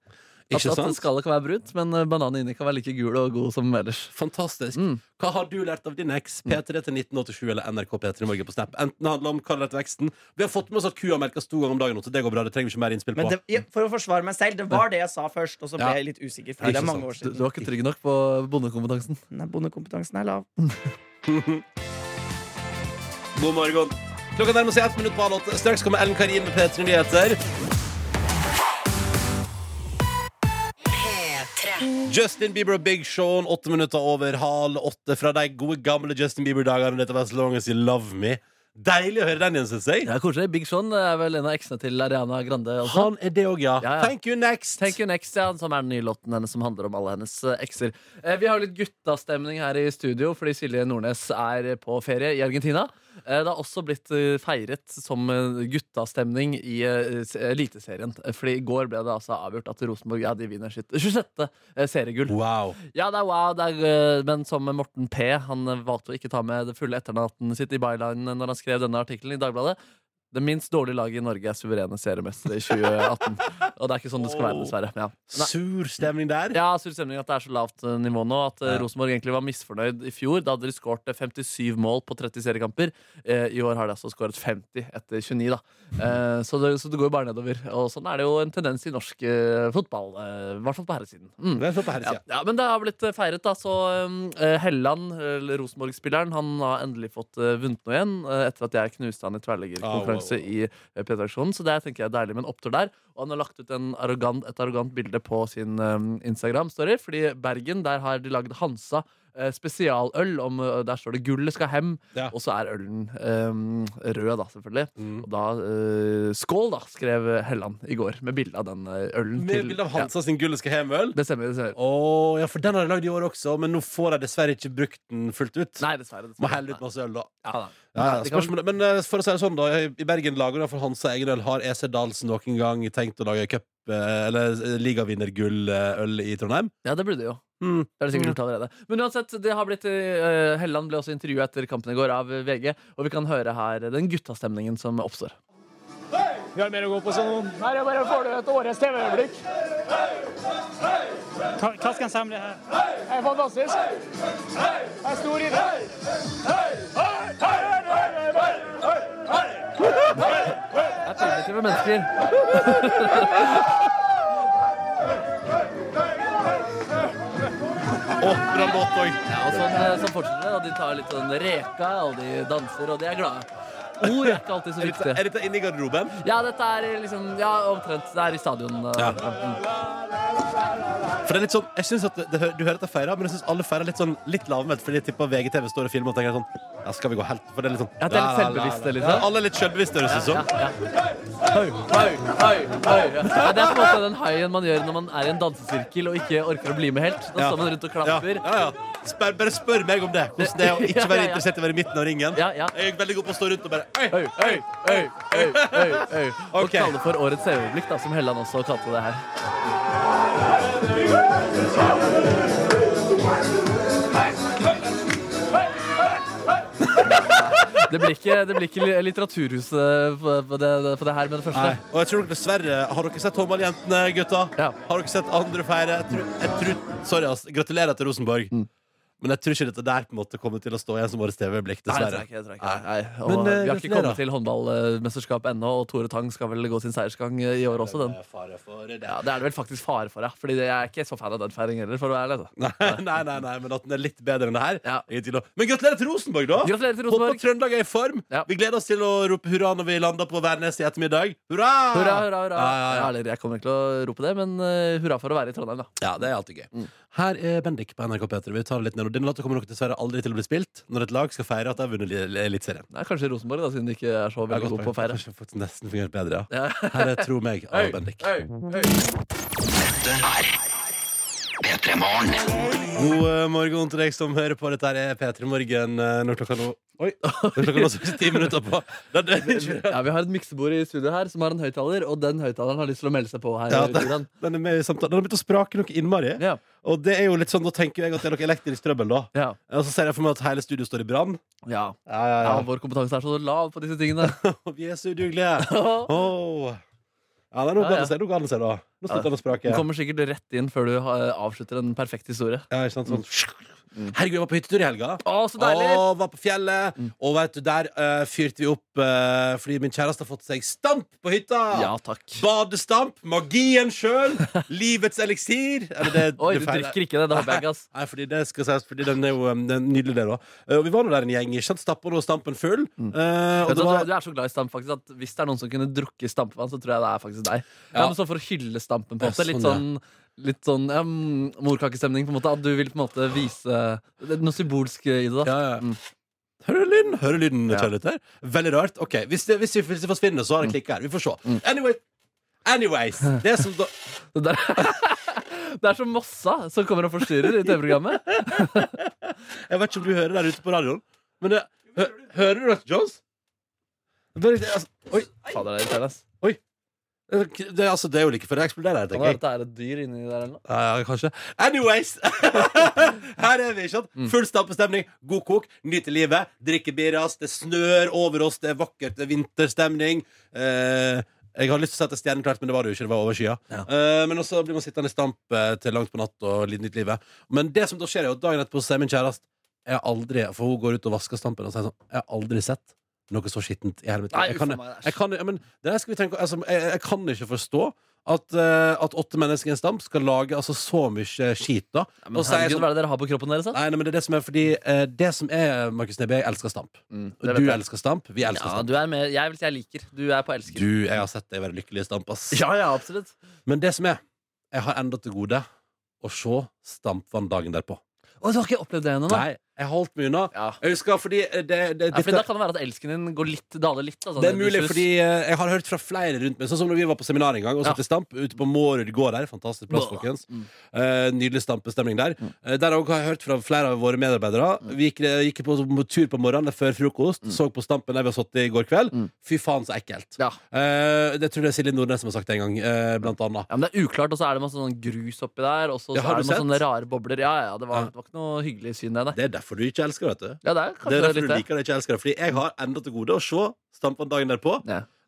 [SPEAKER 3] At,
[SPEAKER 2] Ikke
[SPEAKER 3] at
[SPEAKER 2] sant?
[SPEAKER 3] skallet kan være brunt, men eh, bananen inni kan være like gul og god som ellers.
[SPEAKER 2] Fantastisk.
[SPEAKER 3] Mm.
[SPEAKER 2] Hva har du lært av din eks? P3 til 1987 eller NRK P3 i morgen på Snap. Enten det handler om hva du lærte av eksen Vi har fått med oss at kua melkes to ganger om dagen nå, så det går bra. Det trenger vi ikke mer innspill på.
[SPEAKER 5] Men det, ja, for å forsvare meg selv, det var det jeg sa først, og så ble
[SPEAKER 2] Ja.
[SPEAKER 5] jeg litt usikker. Fordi det
[SPEAKER 2] Ikke
[SPEAKER 5] er mange
[SPEAKER 2] sant.
[SPEAKER 5] år
[SPEAKER 3] Du, du
[SPEAKER 5] siden
[SPEAKER 3] var ikke trygg nok på bondekompetansen.
[SPEAKER 5] Nei, Bondekompetansen er lav.
[SPEAKER 2] God morgen. Klokka nærmer seg ett minutt på halv åtte. Straks kommer Ellen Karin med P3 Nyheter. Justin Bieber og Big Sean, åtte minutter over halv åtte fra de gode gamle Justin Bieber-dagene. Dette var As Long As You Love Me. Deilig å høre den igjen, syns jeg.
[SPEAKER 3] Ja, koselig. Big Sean er vel en av eksene til Ariana Grande. altså. Også.
[SPEAKER 2] Han er det òg, ja.
[SPEAKER 3] Ja, ja.
[SPEAKER 2] Thank you next.
[SPEAKER 3] Thank You Next, ja, som er den nye låten hennes som handler om alle hennes eh, ekser. Eh, Vi har jo litt guttastemning her i studio fordi Silje Nordnes er på ferie i Argentina. Eh, Det har også blitt eh, feiret som eh, guttastemning i eh, s- Eliteserien. Eh, Fordi i går ble det altså avgjort at Rosenborg ja, de vinner sitt 26. seriegull.
[SPEAKER 2] Wow.
[SPEAKER 3] Ja, det er wow, det er, eh, men som Morten P. Han eh, valgte å ikke ta med det fulle etternavnet sitt i bylinen når han skrev denne artikkelen i Dagbladet. Det minst dårlige laget i Norge er suverene seriemestere i 2018. Og det er ikke sånn det skal være, dessverre. Ja. Nei.
[SPEAKER 2] Sur stemning der.
[SPEAKER 3] Ja, sur stemning at det er så lavt eh, nivå nå. At eh,
[SPEAKER 2] Ja.
[SPEAKER 3] Rosenborg egentlig var misfornøyd i fjor. Da hadde de skåret eh, 57 mål på 30 seriekamper. Eh, I år har de altså skåret 50 etter 29, da. Eh, så, det, så det går jo bare nedover. Og sånn er det jo en tendens i norsk eh, fotball. eh, I hvert fall på herresiden. Mm.
[SPEAKER 2] Men så på her
[SPEAKER 3] Ja.
[SPEAKER 2] siden.
[SPEAKER 3] ja, men det har blitt eh, feiret, da. Så um, eh, Helland, eller Rosenborg-spilleren, han har endelig fått eh, vunnet noe igjen. eh, etter at jeg knuste han i tverrleggerkonkurranse
[SPEAKER 2] Au, au, au.
[SPEAKER 3] i p 3 Så det er, tenker jeg er deilig med en opptur der. Og han har lagt ut en arrogant, et arrogant bilde på sin um, Instagram-story, fordi Bergen, der har de lagd Hansa. eh, eh, spesialøl. Om, eh, der står det 'gullet skal hem', og så er ølen eh, rød, da, selvfølgelig.
[SPEAKER 2] Mm.
[SPEAKER 3] Og da eh, 'Skål', da, skrev Helland i går, med bilde av den eh, ølen.
[SPEAKER 2] Med
[SPEAKER 3] til-
[SPEAKER 2] bilde av
[SPEAKER 3] Ja.
[SPEAKER 2] Hansa sin gulleske hemøl?
[SPEAKER 3] Det stemmer. det stemmer.
[SPEAKER 2] Å, ja, for den har de lagd i år også, men nå får de dessverre ikke brukt den fullt ut.
[SPEAKER 3] Nei, dessverre.
[SPEAKER 2] Må helle ut masse øl, da.
[SPEAKER 3] Ja, da.
[SPEAKER 2] Ja, ja,
[SPEAKER 3] Det kan-
[SPEAKER 2] spørsmålet- Men eh, for å si det sånn, da. I Bergen lager de for Hansa egen øl. Har EC Dahlsen noen gang tenkt å lage cup eh, eller eh, ligavinnergulløl i Trondheim?
[SPEAKER 3] Ja, det burde de jo.
[SPEAKER 2] Mm.
[SPEAKER 3] Det er det sikkert gjort allerede. Men uansett, det har blitt eh, Helland ble også intervjuet etter kampen i går av eh, VG, og vi kan høre her den guttastemningen som oppstår.
[SPEAKER 11] Vi har mer å gå på sånn. Her er bare får du et årets TV-øyeblikk. Klassen samler her. Det er fantastisk. Det er stor idé.
[SPEAKER 3] Det er primitive mennesker. Ja, og sånn, eh, sånn fortsetter det. Og de tar litt sånn reka, og de danser, og de er glade. Ord er ikke alltid så viktig.
[SPEAKER 2] Er dette inne i garderoben?
[SPEAKER 3] Ja, dette er liksom Ja, omtrent. Det er i stadion. eh, mm.
[SPEAKER 2] For det er litt sånn, jeg synes at det, det, hø- Du hører at jeg feirer, men jeg syns alle feirer litt sånn Litt lavmælt, fordi jeg tipper VGTV står og filmer og tenker sånn Ja, skal vi gå helt For det er litt sånn
[SPEAKER 3] Ja, det er
[SPEAKER 2] la, la, la,
[SPEAKER 3] litt
[SPEAKER 2] la.
[SPEAKER 3] selvbevisste, liksom.
[SPEAKER 2] Ja, alle er litt sånn. selvbevisste, høres det ut som.
[SPEAKER 3] Høy, høy, høy, høy. Ja, det er på en måte den høyen man gjør når man er i en dansesirkel og ikke orker å bli med helt. Da
[SPEAKER 2] Ja.
[SPEAKER 3] står man rundt og klapper.
[SPEAKER 2] Ja, ja, ja. Spør, bare spør meg om det. Hvordan det er å
[SPEAKER 3] Ja,
[SPEAKER 2] ikke
[SPEAKER 3] ja,
[SPEAKER 2] være
[SPEAKER 3] ja.
[SPEAKER 2] interessert i å være i midten av ringen. Jeg er veldig god på å stå rundt og bare
[SPEAKER 3] Øy, øy, øy, øy, øy, øy. Og kalle det for årets øyeblikk, da, som Helland også kalte det her. Det blir ikke, det blir ikke Litteraturhuset på på det, på det her med det første.
[SPEAKER 2] Nei. Og jeg tror nok dessverre Har dere sett håndballjentene, gutta? Har dere sett andre feire? Jeg tror, jeg tror, sorry, ass. Gratulerer til Rosenborg.
[SPEAKER 3] Mm.
[SPEAKER 2] Men jeg tror ikke dette der på en måte kommer til å stå igjen som årets TV-øyeblikk, dessverre.
[SPEAKER 3] Nei, jeg tror ikke, jeg tror
[SPEAKER 2] Nei.
[SPEAKER 3] ikke. Nei. Og
[SPEAKER 2] Men, eh,
[SPEAKER 3] vi har ikke
[SPEAKER 2] gratulerer.
[SPEAKER 3] kommet til håndballmesterskap ennå, og Tore Tang skal vel gå sin seiersgang eh, i år også, den. Ja, det er det vel faktisk fare for, ja. Fordi det- jeg er ikke så fan av den feiringen heller, for å være ærlig. altså.
[SPEAKER 2] Nei, nei, nei, nei, men at den er litt bedre enn det her. Ingen tvil om. Men gratulerer til Rosenborg, da!
[SPEAKER 3] Gratulerer til Rosenborg.
[SPEAKER 2] Håper Trøndelag er i form. Vi gleder oss til å rope hurra når vi lander på Værnes i ettermiddag. Hurra!
[SPEAKER 3] Hurra, hurra, hurra.
[SPEAKER 2] Ja, ja, ja.
[SPEAKER 3] Ja, eller jeg kommer ikke til å rope det, men eh, hurra for å være i Trondheim, da.
[SPEAKER 2] Ja, det er alltid gøy.
[SPEAKER 3] Mm.
[SPEAKER 2] Her er Bendik på NRK P3. Vi tar det litt ned. Og Denne låta kommer nok dessverre aldri til å bli spilt når et lag skal feire at de har vunnet li- Eliteserien.
[SPEAKER 3] Nei, kanskje Rosenborg, da, siden de ikke er så
[SPEAKER 2] Ja,
[SPEAKER 3] veldig
[SPEAKER 2] godt
[SPEAKER 3] gode på å feire.
[SPEAKER 2] Kanskje faktisk nesten fungert bedre, ja. Her er Tro meg av Bendik. God eh, morgen til deg som hører på. Dette her er P3 Morgen eh, når klokka nå Oi! Når klokka nå er ti minutter på. Det er det-
[SPEAKER 3] Ja, Vi har et miksebord i studio her som har en høyttaler, og den høyttaleren har lyst til å melde seg på her.
[SPEAKER 2] Ja,
[SPEAKER 3] i
[SPEAKER 2] den,
[SPEAKER 3] Trondheim.
[SPEAKER 2] den er med i samtalen. Den har begynt å sprake noe innmari. Og det er jo litt sånn, da tenker jeg at det er noe elektrisk trøbbel, da. Og så ser jeg for meg at hele studioet står i brann.
[SPEAKER 3] Ja.
[SPEAKER 2] Ja, ja,
[SPEAKER 3] Ja, vår kompetanse er så lav på disse tingene.
[SPEAKER 2] Vi er så udugelige. Åh. Ja, nei, nå
[SPEAKER 3] Ja,
[SPEAKER 2] ga
[SPEAKER 3] ja.
[SPEAKER 2] det seg, nå ga det seg, da. Nå
[SPEAKER 3] Ja.
[SPEAKER 2] slutter den å
[SPEAKER 3] Du
[SPEAKER 2] sprake.
[SPEAKER 3] kommer sikkert rett inn før du eh, avslutter en perfekt historie.
[SPEAKER 2] Ja, ikke sant? Sånn.
[SPEAKER 3] Mm.
[SPEAKER 2] Herregud, jeg var på hyttetur i helga.
[SPEAKER 3] Å, så deilig! Mm.
[SPEAKER 2] Og var på fjellet. Og vet du, der eh, fyrte vi opp eh, fordi min kjæreste har fått seg stamp på hytta.
[SPEAKER 3] Ja, takk.
[SPEAKER 2] Badestamp. Magien sjøl. Livets eliksir. Eller det,
[SPEAKER 3] Oi, du drikker ikke det, det håper jeg ikke, ass.
[SPEAKER 2] Nei, fordi det skal sies, fordi den er jo um, den er nydelig, det, da. Eh, Og vi var nå der en gjeng. Ikke sant? Stappa nå stampen full. Eh, og
[SPEAKER 3] Vet du,
[SPEAKER 2] det
[SPEAKER 3] hva,
[SPEAKER 2] var
[SPEAKER 3] Altså, du er Mm. så glad i stamp faktisk at hvis det er noen som kunne drukke stampevann, så tror jeg det er faktisk deg. Ja,
[SPEAKER 2] Ja.
[SPEAKER 3] men så For å hylle stampen, på
[SPEAKER 2] Ja,
[SPEAKER 3] en måte. Litt sånn,
[SPEAKER 2] sånn,
[SPEAKER 3] litt sånn ja, mm, morkakestemning, på en måte. At du vil på en måte vise det er noe symbolsk i det. da Mm.
[SPEAKER 2] Hører du lyden? Hører du lyden, kjærligheter? Veldig rart. Ok, Hvis det, hvis det, hvis det forsvinner, så har
[SPEAKER 3] Mm.
[SPEAKER 2] det klikka her. Vi får se. Anyway, anyways. Det som da
[SPEAKER 3] Det, der, det er som Mossa som kommer og forstyrrer i TV-programmet.
[SPEAKER 2] Jeg vet ikke om du hører der ute på radioen, men det, hø, hører du Dr. Jones? Bare, det, altså, oi.
[SPEAKER 3] Fader, det er irriterende, ass.
[SPEAKER 2] Oi. Det, det, altså, det er jo like før det eksploderer her,
[SPEAKER 3] Kan
[SPEAKER 2] tenker jeg.
[SPEAKER 3] det være at det er et dyr inni der eller noe?
[SPEAKER 2] Ja, ja, kanskje. Anyways! Her er vi, ikke sant?
[SPEAKER 3] Mm.
[SPEAKER 2] Full stampestemning, god kok, nyter livet, drikker birras, det snør over oss, det er vakkert, det er vinterstemning. Eh, jeg har lyst til å sette stjerneklart, men det var det jo ikke. Det var over skya. Eh, men også blir man sittende i stamp eh, til langt på natt og litt nytt livet. Men det som da skjer, er jo at dagen etterpå sier min kjæreste jeg har aldri, For hun går ut og vasker stampen og sier sånn Jeg har aldri sett noe så skittent i hele mitt
[SPEAKER 3] Nei,
[SPEAKER 2] liv. Jeg kan,
[SPEAKER 3] uff a meg, æsj.
[SPEAKER 2] jeg kan, ja, men, det der skal vi tenke, altså, jeg, jeg kan ikke forstå at, eh, at åtte mennesker i en stamp skal lage altså, så mye skit. da
[SPEAKER 3] Ja, men
[SPEAKER 2] Og så er jeg
[SPEAKER 3] herregud,
[SPEAKER 2] sånn-
[SPEAKER 3] Hva er det dere har på kroppen deres? da?
[SPEAKER 2] Nei, nei, men det er det som er fordi eh, Det som er, Markus Neby, jeg elsker stamp.
[SPEAKER 3] Mm, det
[SPEAKER 2] du
[SPEAKER 3] vet jeg.
[SPEAKER 2] elsker stamp, vi elsker
[SPEAKER 3] Ja,
[SPEAKER 2] stamp.
[SPEAKER 3] du er med. Jeg vil si jeg liker. Du er på elsker.
[SPEAKER 2] Du, jeg har sett deg være lykkelig i stamp, ass.
[SPEAKER 3] Ja, ja, absolutt.
[SPEAKER 2] Men det som er, jeg har enda til gode å se stampvann dagen derpå.
[SPEAKER 3] Å, du har ikke opplevd det ennå? da?
[SPEAKER 2] Nei, jeg holdt meg unna. Jeg husker fordi eh, det, det,
[SPEAKER 3] Ja, for
[SPEAKER 2] dette-
[SPEAKER 3] da kan det være at elsken din går litt, daler litt. Altså,
[SPEAKER 2] Det er
[SPEAKER 3] ned i
[SPEAKER 2] mulig,
[SPEAKER 3] sus.
[SPEAKER 2] fordi eh, jeg har hørt fra flere rundt meg. Sånn som når vi var på seminar en gang og satt i stamp ute på Mårud gård her. Fantastisk plass,
[SPEAKER 3] Bra.
[SPEAKER 2] folkens. Eh, nydelig stampestemning der. Eh, der òg har jeg hørt fra flere av våre medarbeidere. Vi gikk, eh, gikk på, på tur på morgenen før frokost, så på stampen der vi har sittet i går kveld. Fy faen, så ekkelt. Eh, det tror jeg det er Silje Nordnes som har sagt det en gang, eh, blant annet.
[SPEAKER 3] Ja, men det er uklart, og så er det masse sånn grus oppi der. Og så,
[SPEAKER 2] Ja,
[SPEAKER 3] så
[SPEAKER 2] har
[SPEAKER 3] er det
[SPEAKER 2] du
[SPEAKER 3] masse
[SPEAKER 2] sett?
[SPEAKER 3] sånne rare bobler. Ja, ja, det var, det var ikke noe hyggelig syn, det. Nei.
[SPEAKER 2] Det er derfor du ikke elsker det, vet du.
[SPEAKER 3] Ja, det er
[SPEAKER 2] Det
[SPEAKER 3] kanskje
[SPEAKER 2] er derfor
[SPEAKER 3] litt
[SPEAKER 2] du
[SPEAKER 3] det.
[SPEAKER 2] liker det ikke elsker det. Fordi jeg har enda til gode å se stampene dagen derpå.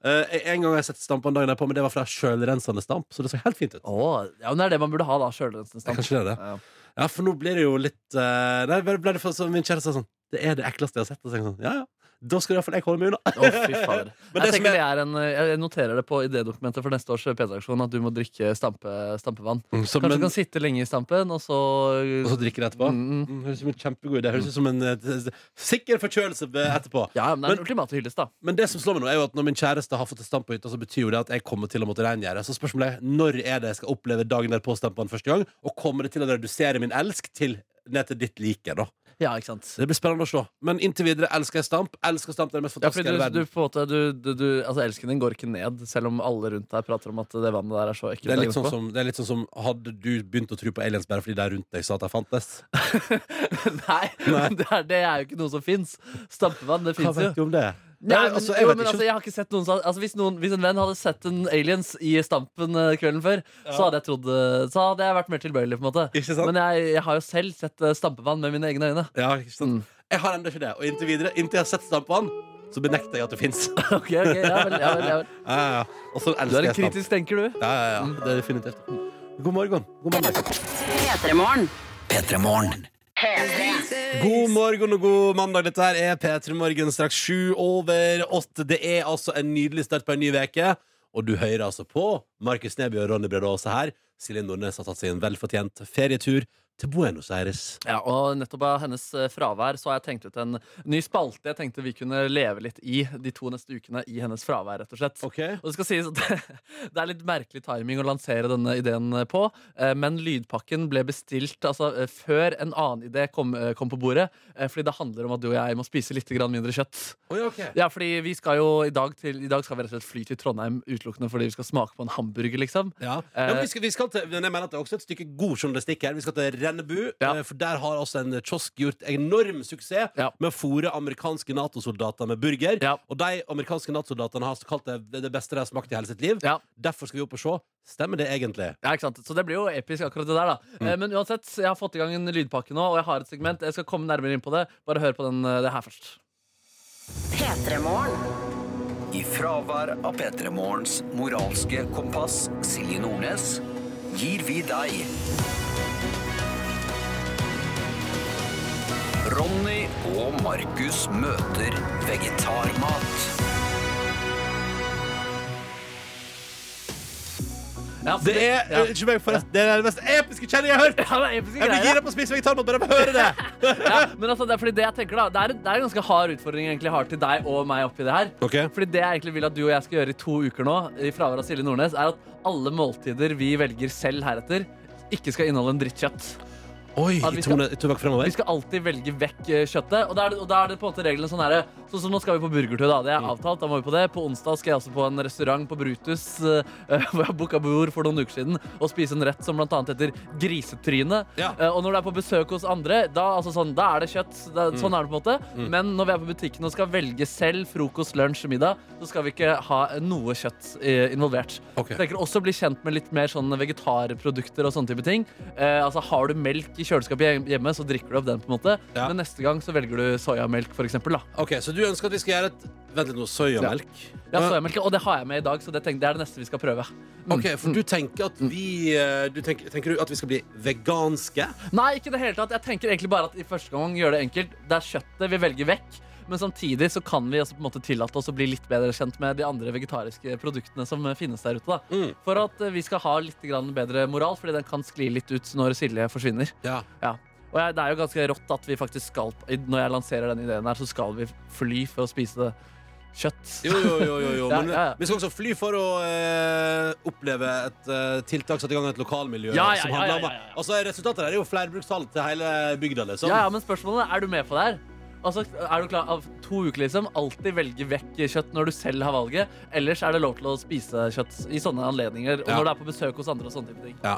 [SPEAKER 2] Eh, en gang har jeg sett stampene dagen derpå, men det var fra sjølrensende stamp, så det så helt fint ut.
[SPEAKER 3] Å, ja, men det er det man burde ha, da. Sjølrensende
[SPEAKER 2] Det er
[SPEAKER 3] stamp.
[SPEAKER 2] Kanskje det er det. Ja, for nå blir det jo litt eh, Nei, ble ble det for, så min kjære sa sånn Det er det ekleste jeg har sett. Og så tenker jeg sånn, ja, ja. Da skal iallfall jeg holde meg unna.
[SPEAKER 3] Å, fy fader.
[SPEAKER 2] Men
[SPEAKER 3] Jeg,
[SPEAKER 2] det som
[SPEAKER 3] tenker
[SPEAKER 2] er
[SPEAKER 3] det er en, jeg noterer det på idédokumentet for neste års P3-aksjon at du må drikke stampe, stampevann.
[SPEAKER 2] Mm, så-
[SPEAKER 3] Kanskje
[SPEAKER 2] men-
[SPEAKER 3] du kan sitte lenge i stampen, og så
[SPEAKER 2] Og så drikker jeg etterpå.
[SPEAKER 3] Mm,
[SPEAKER 2] Mm, Høres ut som en kjempegod idé. Høres ut som en eh, t- t- sikker forkjølelse be- etterpå.
[SPEAKER 3] Ja, men det er den
[SPEAKER 2] men,
[SPEAKER 3] ultimate hyllest, da.
[SPEAKER 2] det som slår meg nå, er jo at når min kjæreste har fått et stamp på hytta, så betyr jo det at jeg kommer til å måtte rengjøre. Så spørsmålet er når er det jeg skal oppleve dagen derpå stampene første gang, og kommer det til å redusere min elsk til ned til ditt like, da?
[SPEAKER 3] Ja, ikke sant.
[SPEAKER 2] Det blir spennende å se. Men inntil videre elsker jeg stamp. Elsker stamp, det er det mest
[SPEAKER 3] Ja, fordi
[SPEAKER 2] fantastiske i
[SPEAKER 3] du,
[SPEAKER 2] hele verden.
[SPEAKER 3] du, på en måte, du, du, du, altså, elsken din går ikke ned, selv om alle rundt deg prater om at det vannet der er så ekkelt.
[SPEAKER 2] Det er,
[SPEAKER 3] dagen
[SPEAKER 2] litt sånn
[SPEAKER 3] etterpå.
[SPEAKER 2] som, det er litt sånn som Hadde du begynt å tro på aliens bare fordi de rundt deg sa at de fantes?
[SPEAKER 3] Nei, det er, det er jo ikke noe som fins. Stampevann, det fins jo.
[SPEAKER 2] om det?
[SPEAKER 3] Nei,
[SPEAKER 2] Nei,
[SPEAKER 3] men,
[SPEAKER 2] altså, jeg
[SPEAKER 3] jo,
[SPEAKER 2] vet
[SPEAKER 3] men
[SPEAKER 2] ikke
[SPEAKER 3] altså, jeg har ikke sett noen som altså, hvis, noen, hvis en venn hadde sett en aliens i stampen eh, kvelden før, så, hadde jeg trodd, eh, så hadde jeg vært mer tilbøyelig. på en måte
[SPEAKER 2] Ikke sant?
[SPEAKER 3] Men jeg, jeg har jo selv sett eh, stampevann med mine egne øyne.
[SPEAKER 2] Ja, ikke sant?
[SPEAKER 3] Mm.
[SPEAKER 2] Jeg har ennå ikke det. Og inntil videre, inntil jeg har sett stampevann, så benekter jeg at det fins.
[SPEAKER 3] Ok, ok, ja vel, ja vel, ja vel.
[SPEAKER 2] ja, ja. Og så
[SPEAKER 3] Du
[SPEAKER 2] elsker jeg
[SPEAKER 3] er en
[SPEAKER 2] stamp.
[SPEAKER 3] kritisk tenker, du.
[SPEAKER 2] Ja, ja, ja. Det er definitivt. God morgen. God mandag.
[SPEAKER 4] P3morgen.
[SPEAKER 2] God morgen og god mandag. Dette her er P3 Morgen straks sju over åtte. Det er altså en nydelig start på en ny veke Og du hører altså på Markus Neby og Ronny Brede Aase her. Silje Nordnes har tatt seg en velfortjent ferietur til Buenos Aires.
[SPEAKER 3] Ja, og nettopp av hennes eh, fravær så har jeg tenkt ut en ny spalte jeg tenkte vi kunne leve litt i de to neste ukene i hennes fravær, rett og slett. Og det skal sies at det, det er litt merkelig timing å lansere denne ideen på, eh, men lydpakken ble bestilt altså, eh, før en annen idé kom, eh, kom på bordet, eh, fordi det handler om at du og jeg må spise litt grann mindre kjøtt. Ja, fordi vi skal jo i dag, til, i dag skal vi rett og slett fly til Trondheim utelukkende fordi vi skal smake på en hamburger, liksom.
[SPEAKER 2] Ja.
[SPEAKER 3] Eh,
[SPEAKER 2] men vi skal, vi skal til, men jeg mener at det er også et stykke god journalistikk her. Vi skal til Rennebu, eh, for der har altså en kiosk gjort enorm suksess med å fôre amerikanske Nato-soldater med burger. Og de amerikanske Nato-soldatene har kalt det det beste de har smakt i hele sitt liv. Derfor skal vi opp og se. Stemmer det egentlig?
[SPEAKER 3] Ja, ikke sant? Så det blir jo episk, akkurat det der.
[SPEAKER 2] Mm.
[SPEAKER 3] da Eh, Men uansett, jeg har fått i gang en lydpakke nå, og jeg har et segment. Jeg skal komme nærmere inn på det. Bare hør på den, eh, det her først.
[SPEAKER 1] I fravær av P3 Morgens moralske kompass, Silje Nordnes, gir vi deg Ronny og Markus møter vegetarmat.
[SPEAKER 2] det er
[SPEAKER 1] ja.
[SPEAKER 2] eh, ikke meg forresten, det er det mest episke kjennet jeg har hørt!
[SPEAKER 3] Ja, det er episke
[SPEAKER 2] jeg blir
[SPEAKER 3] greier,
[SPEAKER 2] gira på å spise vegetarmat bare av å høre det!
[SPEAKER 3] ja, men altså, det er fordi det jeg tenker da Det er, det er en ganske hard utfordring jeg egentlig har til deg og meg oppi det her. Fordi det jeg egentlig vil at du og jeg skal gjøre i to uker nå, i fravær av Silje Nordnes, er at alle måltider vi velger selv heretter, ikke skal inneholde en dritt kjøtt.
[SPEAKER 2] Oi,
[SPEAKER 3] At vi skal-
[SPEAKER 2] tobakk fremover.
[SPEAKER 3] Vi skal alltid velge vekk eh, kjøttet. Og da er det, og da er det på en måte reglene sånn her Sånn som nå skal vi på burgertur, da. Det er
[SPEAKER 12] Mm.
[SPEAKER 3] avtalt. Da må vi på det. På onsdag skal jeg altså på en restaurant på Brutus, eh, hvor jeg booka bord for noen uker siden, og spise en rett som blant annet heter grisetryne. Eh, og når du er på besøk hos andre, da, altså sånn, da er det kjøtt. Da,
[SPEAKER 12] Mm.
[SPEAKER 3] Sånn er det på en måte.
[SPEAKER 12] Mm.
[SPEAKER 3] Men når vi er på butikken og skal velge selv frokost, lunsj, middag, så skal vi ikke ha noe kjøtt eh, involvert.
[SPEAKER 2] Ok.
[SPEAKER 3] Jeg tenker også bli kjent med litt mer sånn vegetarprodukter og sånne type ting. Eh, altså Har du melk i kjøleskapet hjem- hjemme, så drikker du opp den, på en måte. Men neste gang så velger du soyamelk, for eksempel, da.
[SPEAKER 2] Ok, Så du ønsker at vi skal gjøre et Vent litt nå, soyamelk?
[SPEAKER 3] Ja, soyamelk, og det har jeg med i dag, så det, tenk, det er det neste vi skal prøve. Mm.
[SPEAKER 2] Ok, For du tenker at vi eh, du tenker, tenker du at vi skal bli veganske?
[SPEAKER 3] Nei, ikke i det hele tatt. Jeg tenker egentlig bare at i første gang gjør det enkelt. Det er kjøttet vi velger vekk. Men samtidig så kan vi altså på en måte tillate oss å bli litt bedre kjent med de andre vegetariske produktene som eh, finnes der ute. da. For at eh, vi skal ha litt grann bedre moral, fordi den kan skli litt ut når Silje forsvinner.
[SPEAKER 2] Ja.
[SPEAKER 3] Og jeg, det er jo ganske rått at vi faktisk skal, i- når jeg lanserer den ideen her, så skal vi fly for å spise det kjøtt.
[SPEAKER 2] Jo, jo, jo, jo, jo.
[SPEAKER 3] Ja,
[SPEAKER 2] Men
[SPEAKER 3] ja, ja.
[SPEAKER 2] vi skal også fly for å eh, oppleve et eh, tiltak satt i gang av et lokalmiljø.
[SPEAKER 3] Ja, ja,
[SPEAKER 2] som
[SPEAKER 3] ja,
[SPEAKER 2] handler
[SPEAKER 3] ja,
[SPEAKER 2] om-
[SPEAKER 3] ja, ja.
[SPEAKER 2] Altså, resultatet der er jo flerbrukstall til hele bygda, liksom.
[SPEAKER 3] Ja, ja, men spørsmålet er, er du med på det her? Altså, er du klar av to uker liksom Altid velge vekk kjøtt når du selv har valget Ellers er det lov til å spise kjøtt I sånne anledninger Og
[SPEAKER 2] Ja.
[SPEAKER 3] når du er på besøk hos andre og sånne type ting
[SPEAKER 2] Ja.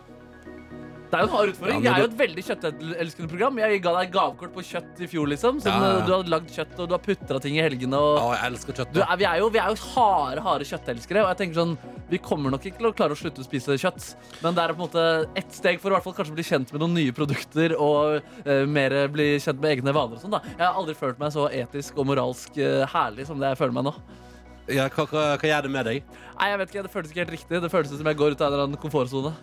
[SPEAKER 3] Det er jo en hard
[SPEAKER 2] Ja,
[SPEAKER 3] utfordring
[SPEAKER 2] men
[SPEAKER 3] Jeg er jo
[SPEAKER 2] det-
[SPEAKER 3] et veldig kjøttelskende program Jeg ga deg gavekort på kjøtt i fjor liksom som,
[SPEAKER 2] Ja, ja, ja.
[SPEAKER 3] eh, Du har lagd kjøtt og du har puttet ting i helgene og...
[SPEAKER 2] jeg elsker kjøtt
[SPEAKER 3] du, er, vi, er jo, vi er jo harde, harde kjøttelskere Og jeg tenker sånn Vi kommer nok ikke til å klare å slutte å spise kjøtt Men det er på en måte ett steg for å i hvert fall kanskje bli kjent med noen nye produkter Og eh, mer bli kjent med egne vaner og sånn da Jeg har aldri følt meg så etisk og moralsk eh, herlig som det jeg føler meg nå
[SPEAKER 2] Ja, hva, hva, hva gjør det med deg?
[SPEAKER 3] Nei, jeg vet ikke, det føles ikke helt riktig Det føles som jeg går ut av en eller annen komfortzone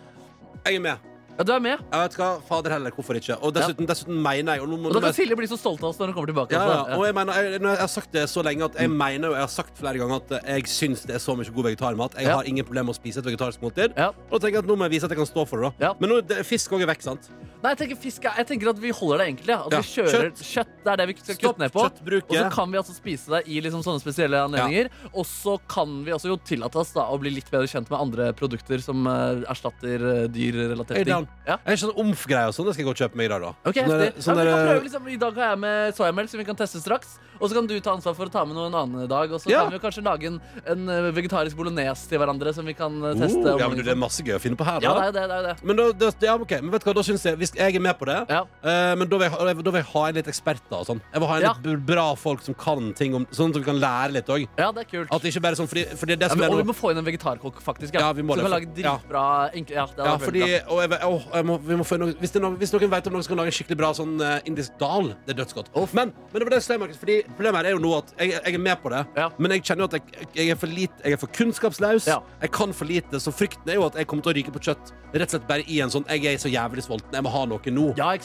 [SPEAKER 2] Jeg er med.
[SPEAKER 3] Ja, du er med
[SPEAKER 2] Jeg vet hva, Fader heller, hvorfor ikke? Og dessuten, dessuten mener jeg og nå må-
[SPEAKER 3] Og da
[SPEAKER 2] nå må
[SPEAKER 3] kan
[SPEAKER 2] jeg-
[SPEAKER 3] Silje bli så stolt av oss når hun kommer tilbake
[SPEAKER 2] ja, ja.
[SPEAKER 3] altså.
[SPEAKER 2] Og jeg mener, jeg, når jeg har sagt det så lenge at
[SPEAKER 3] Mm.
[SPEAKER 2] jeg mener jo, jeg har sagt flere ganger at jeg syns det er så mye god vegetarmat. Jeg
[SPEAKER 3] Ja.
[SPEAKER 2] har ingen problemer med å spise et vegetarisk måltid.
[SPEAKER 3] Ja.
[SPEAKER 2] Og da tenker jeg at nå må jeg vise at jeg kan stå for det. da Men nå, det, fisk òg er vekk, sant?
[SPEAKER 3] Nei, jeg tenker, fisk, er- jeg tenker at vi holder det enkelt. Ja. At
[SPEAKER 2] Ja,
[SPEAKER 3] vi kjører kjøtt. Det er det vi skal
[SPEAKER 2] Stopp
[SPEAKER 3] kutte ned på.
[SPEAKER 2] kjøttbruket.
[SPEAKER 3] Og så kan vi altså spise det i liksom sånne spesielle anledninger. Og så kan vi også jo tillate oss da å bli litt bedre kjent med andre produkter som eh, erstatter uh,
[SPEAKER 2] Jeg
[SPEAKER 3] dyrrelaterte
[SPEAKER 2] er down.
[SPEAKER 3] ting. Ja.
[SPEAKER 2] Jeg er ikke sånn omf-greier og sånn. Det skal jeg gå og kjøpe meg i dag, da.
[SPEAKER 3] Ok,
[SPEAKER 2] Sånn der-
[SPEAKER 3] heftig.
[SPEAKER 2] sånn
[SPEAKER 3] ja, men vi kan
[SPEAKER 2] der-
[SPEAKER 3] prøve, liksom, I dag har jeg med soyamelk, som vi kan teste straks. Og så kan du ta ansvar for å ta med noe en annen dag. Og så
[SPEAKER 2] Ja.
[SPEAKER 3] kan vi jo kanskje lage en, en eh, vegetarisk bolognese til hverandre som vi kan eh, teste.
[SPEAKER 2] Oh,
[SPEAKER 3] om
[SPEAKER 2] ja, men du,
[SPEAKER 3] morgenen.
[SPEAKER 2] det er masse gøy å finne på her,
[SPEAKER 3] ja,
[SPEAKER 2] da.
[SPEAKER 3] det er jo det. det, er jo det.
[SPEAKER 2] Men da, da, ja, ok, men vet du hva, da synes jeg Hvis jeg er med på det eh, Men da vil jeg, ha- da vil jeg ha en litt ekspert da og sånn. Jeg vil ha en
[SPEAKER 3] Ja.
[SPEAKER 2] litt b- bra folk som kan ting om, Sånn at vi kan lære litt også
[SPEAKER 3] Ja, det er kult.
[SPEAKER 2] At det ikke bare er sånn fordi, fordi det
[SPEAKER 3] Ja,
[SPEAKER 2] som
[SPEAKER 3] men,
[SPEAKER 2] er
[SPEAKER 3] og
[SPEAKER 2] nå-
[SPEAKER 3] vi må få inn en vegetarkokk, faktisk.
[SPEAKER 2] Ja, vi må
[SPEAKER 3] som
[SPEAKER 2] det,
[SPEAKER 3] kan
[SPEAKER 2] for-
[SPEAKER 3] lage dritbra enkle ja, det hadde
[SPEAKER 2] ja,
[SPEAKER 3] vært veldig
[SPEAKER 2] fordi,
[SPEAKER 3] bra.
[SPEAKER 2] og jeg, åh, jeg må, vi må få noen, hvis, det er noen, hvis noen vet om noen som kan lage en skikkelig bra sånn eh, indisk dal, det er dødsgodt. Men, men det var det jeg sa, Markus, fordi problemet her er jo nå at jeg, jeg er med på det, men jeg kjenner jo at jeg, jeg, er for lite, jeg er for kunnskapslaus. Jeg kan for lite, så frykten er jo at jeg kommer til å ryke på kjøtt. Rett og slett bare i en sånn Jeg er så jævlig sulten, jeg må ha noe nå. Eh,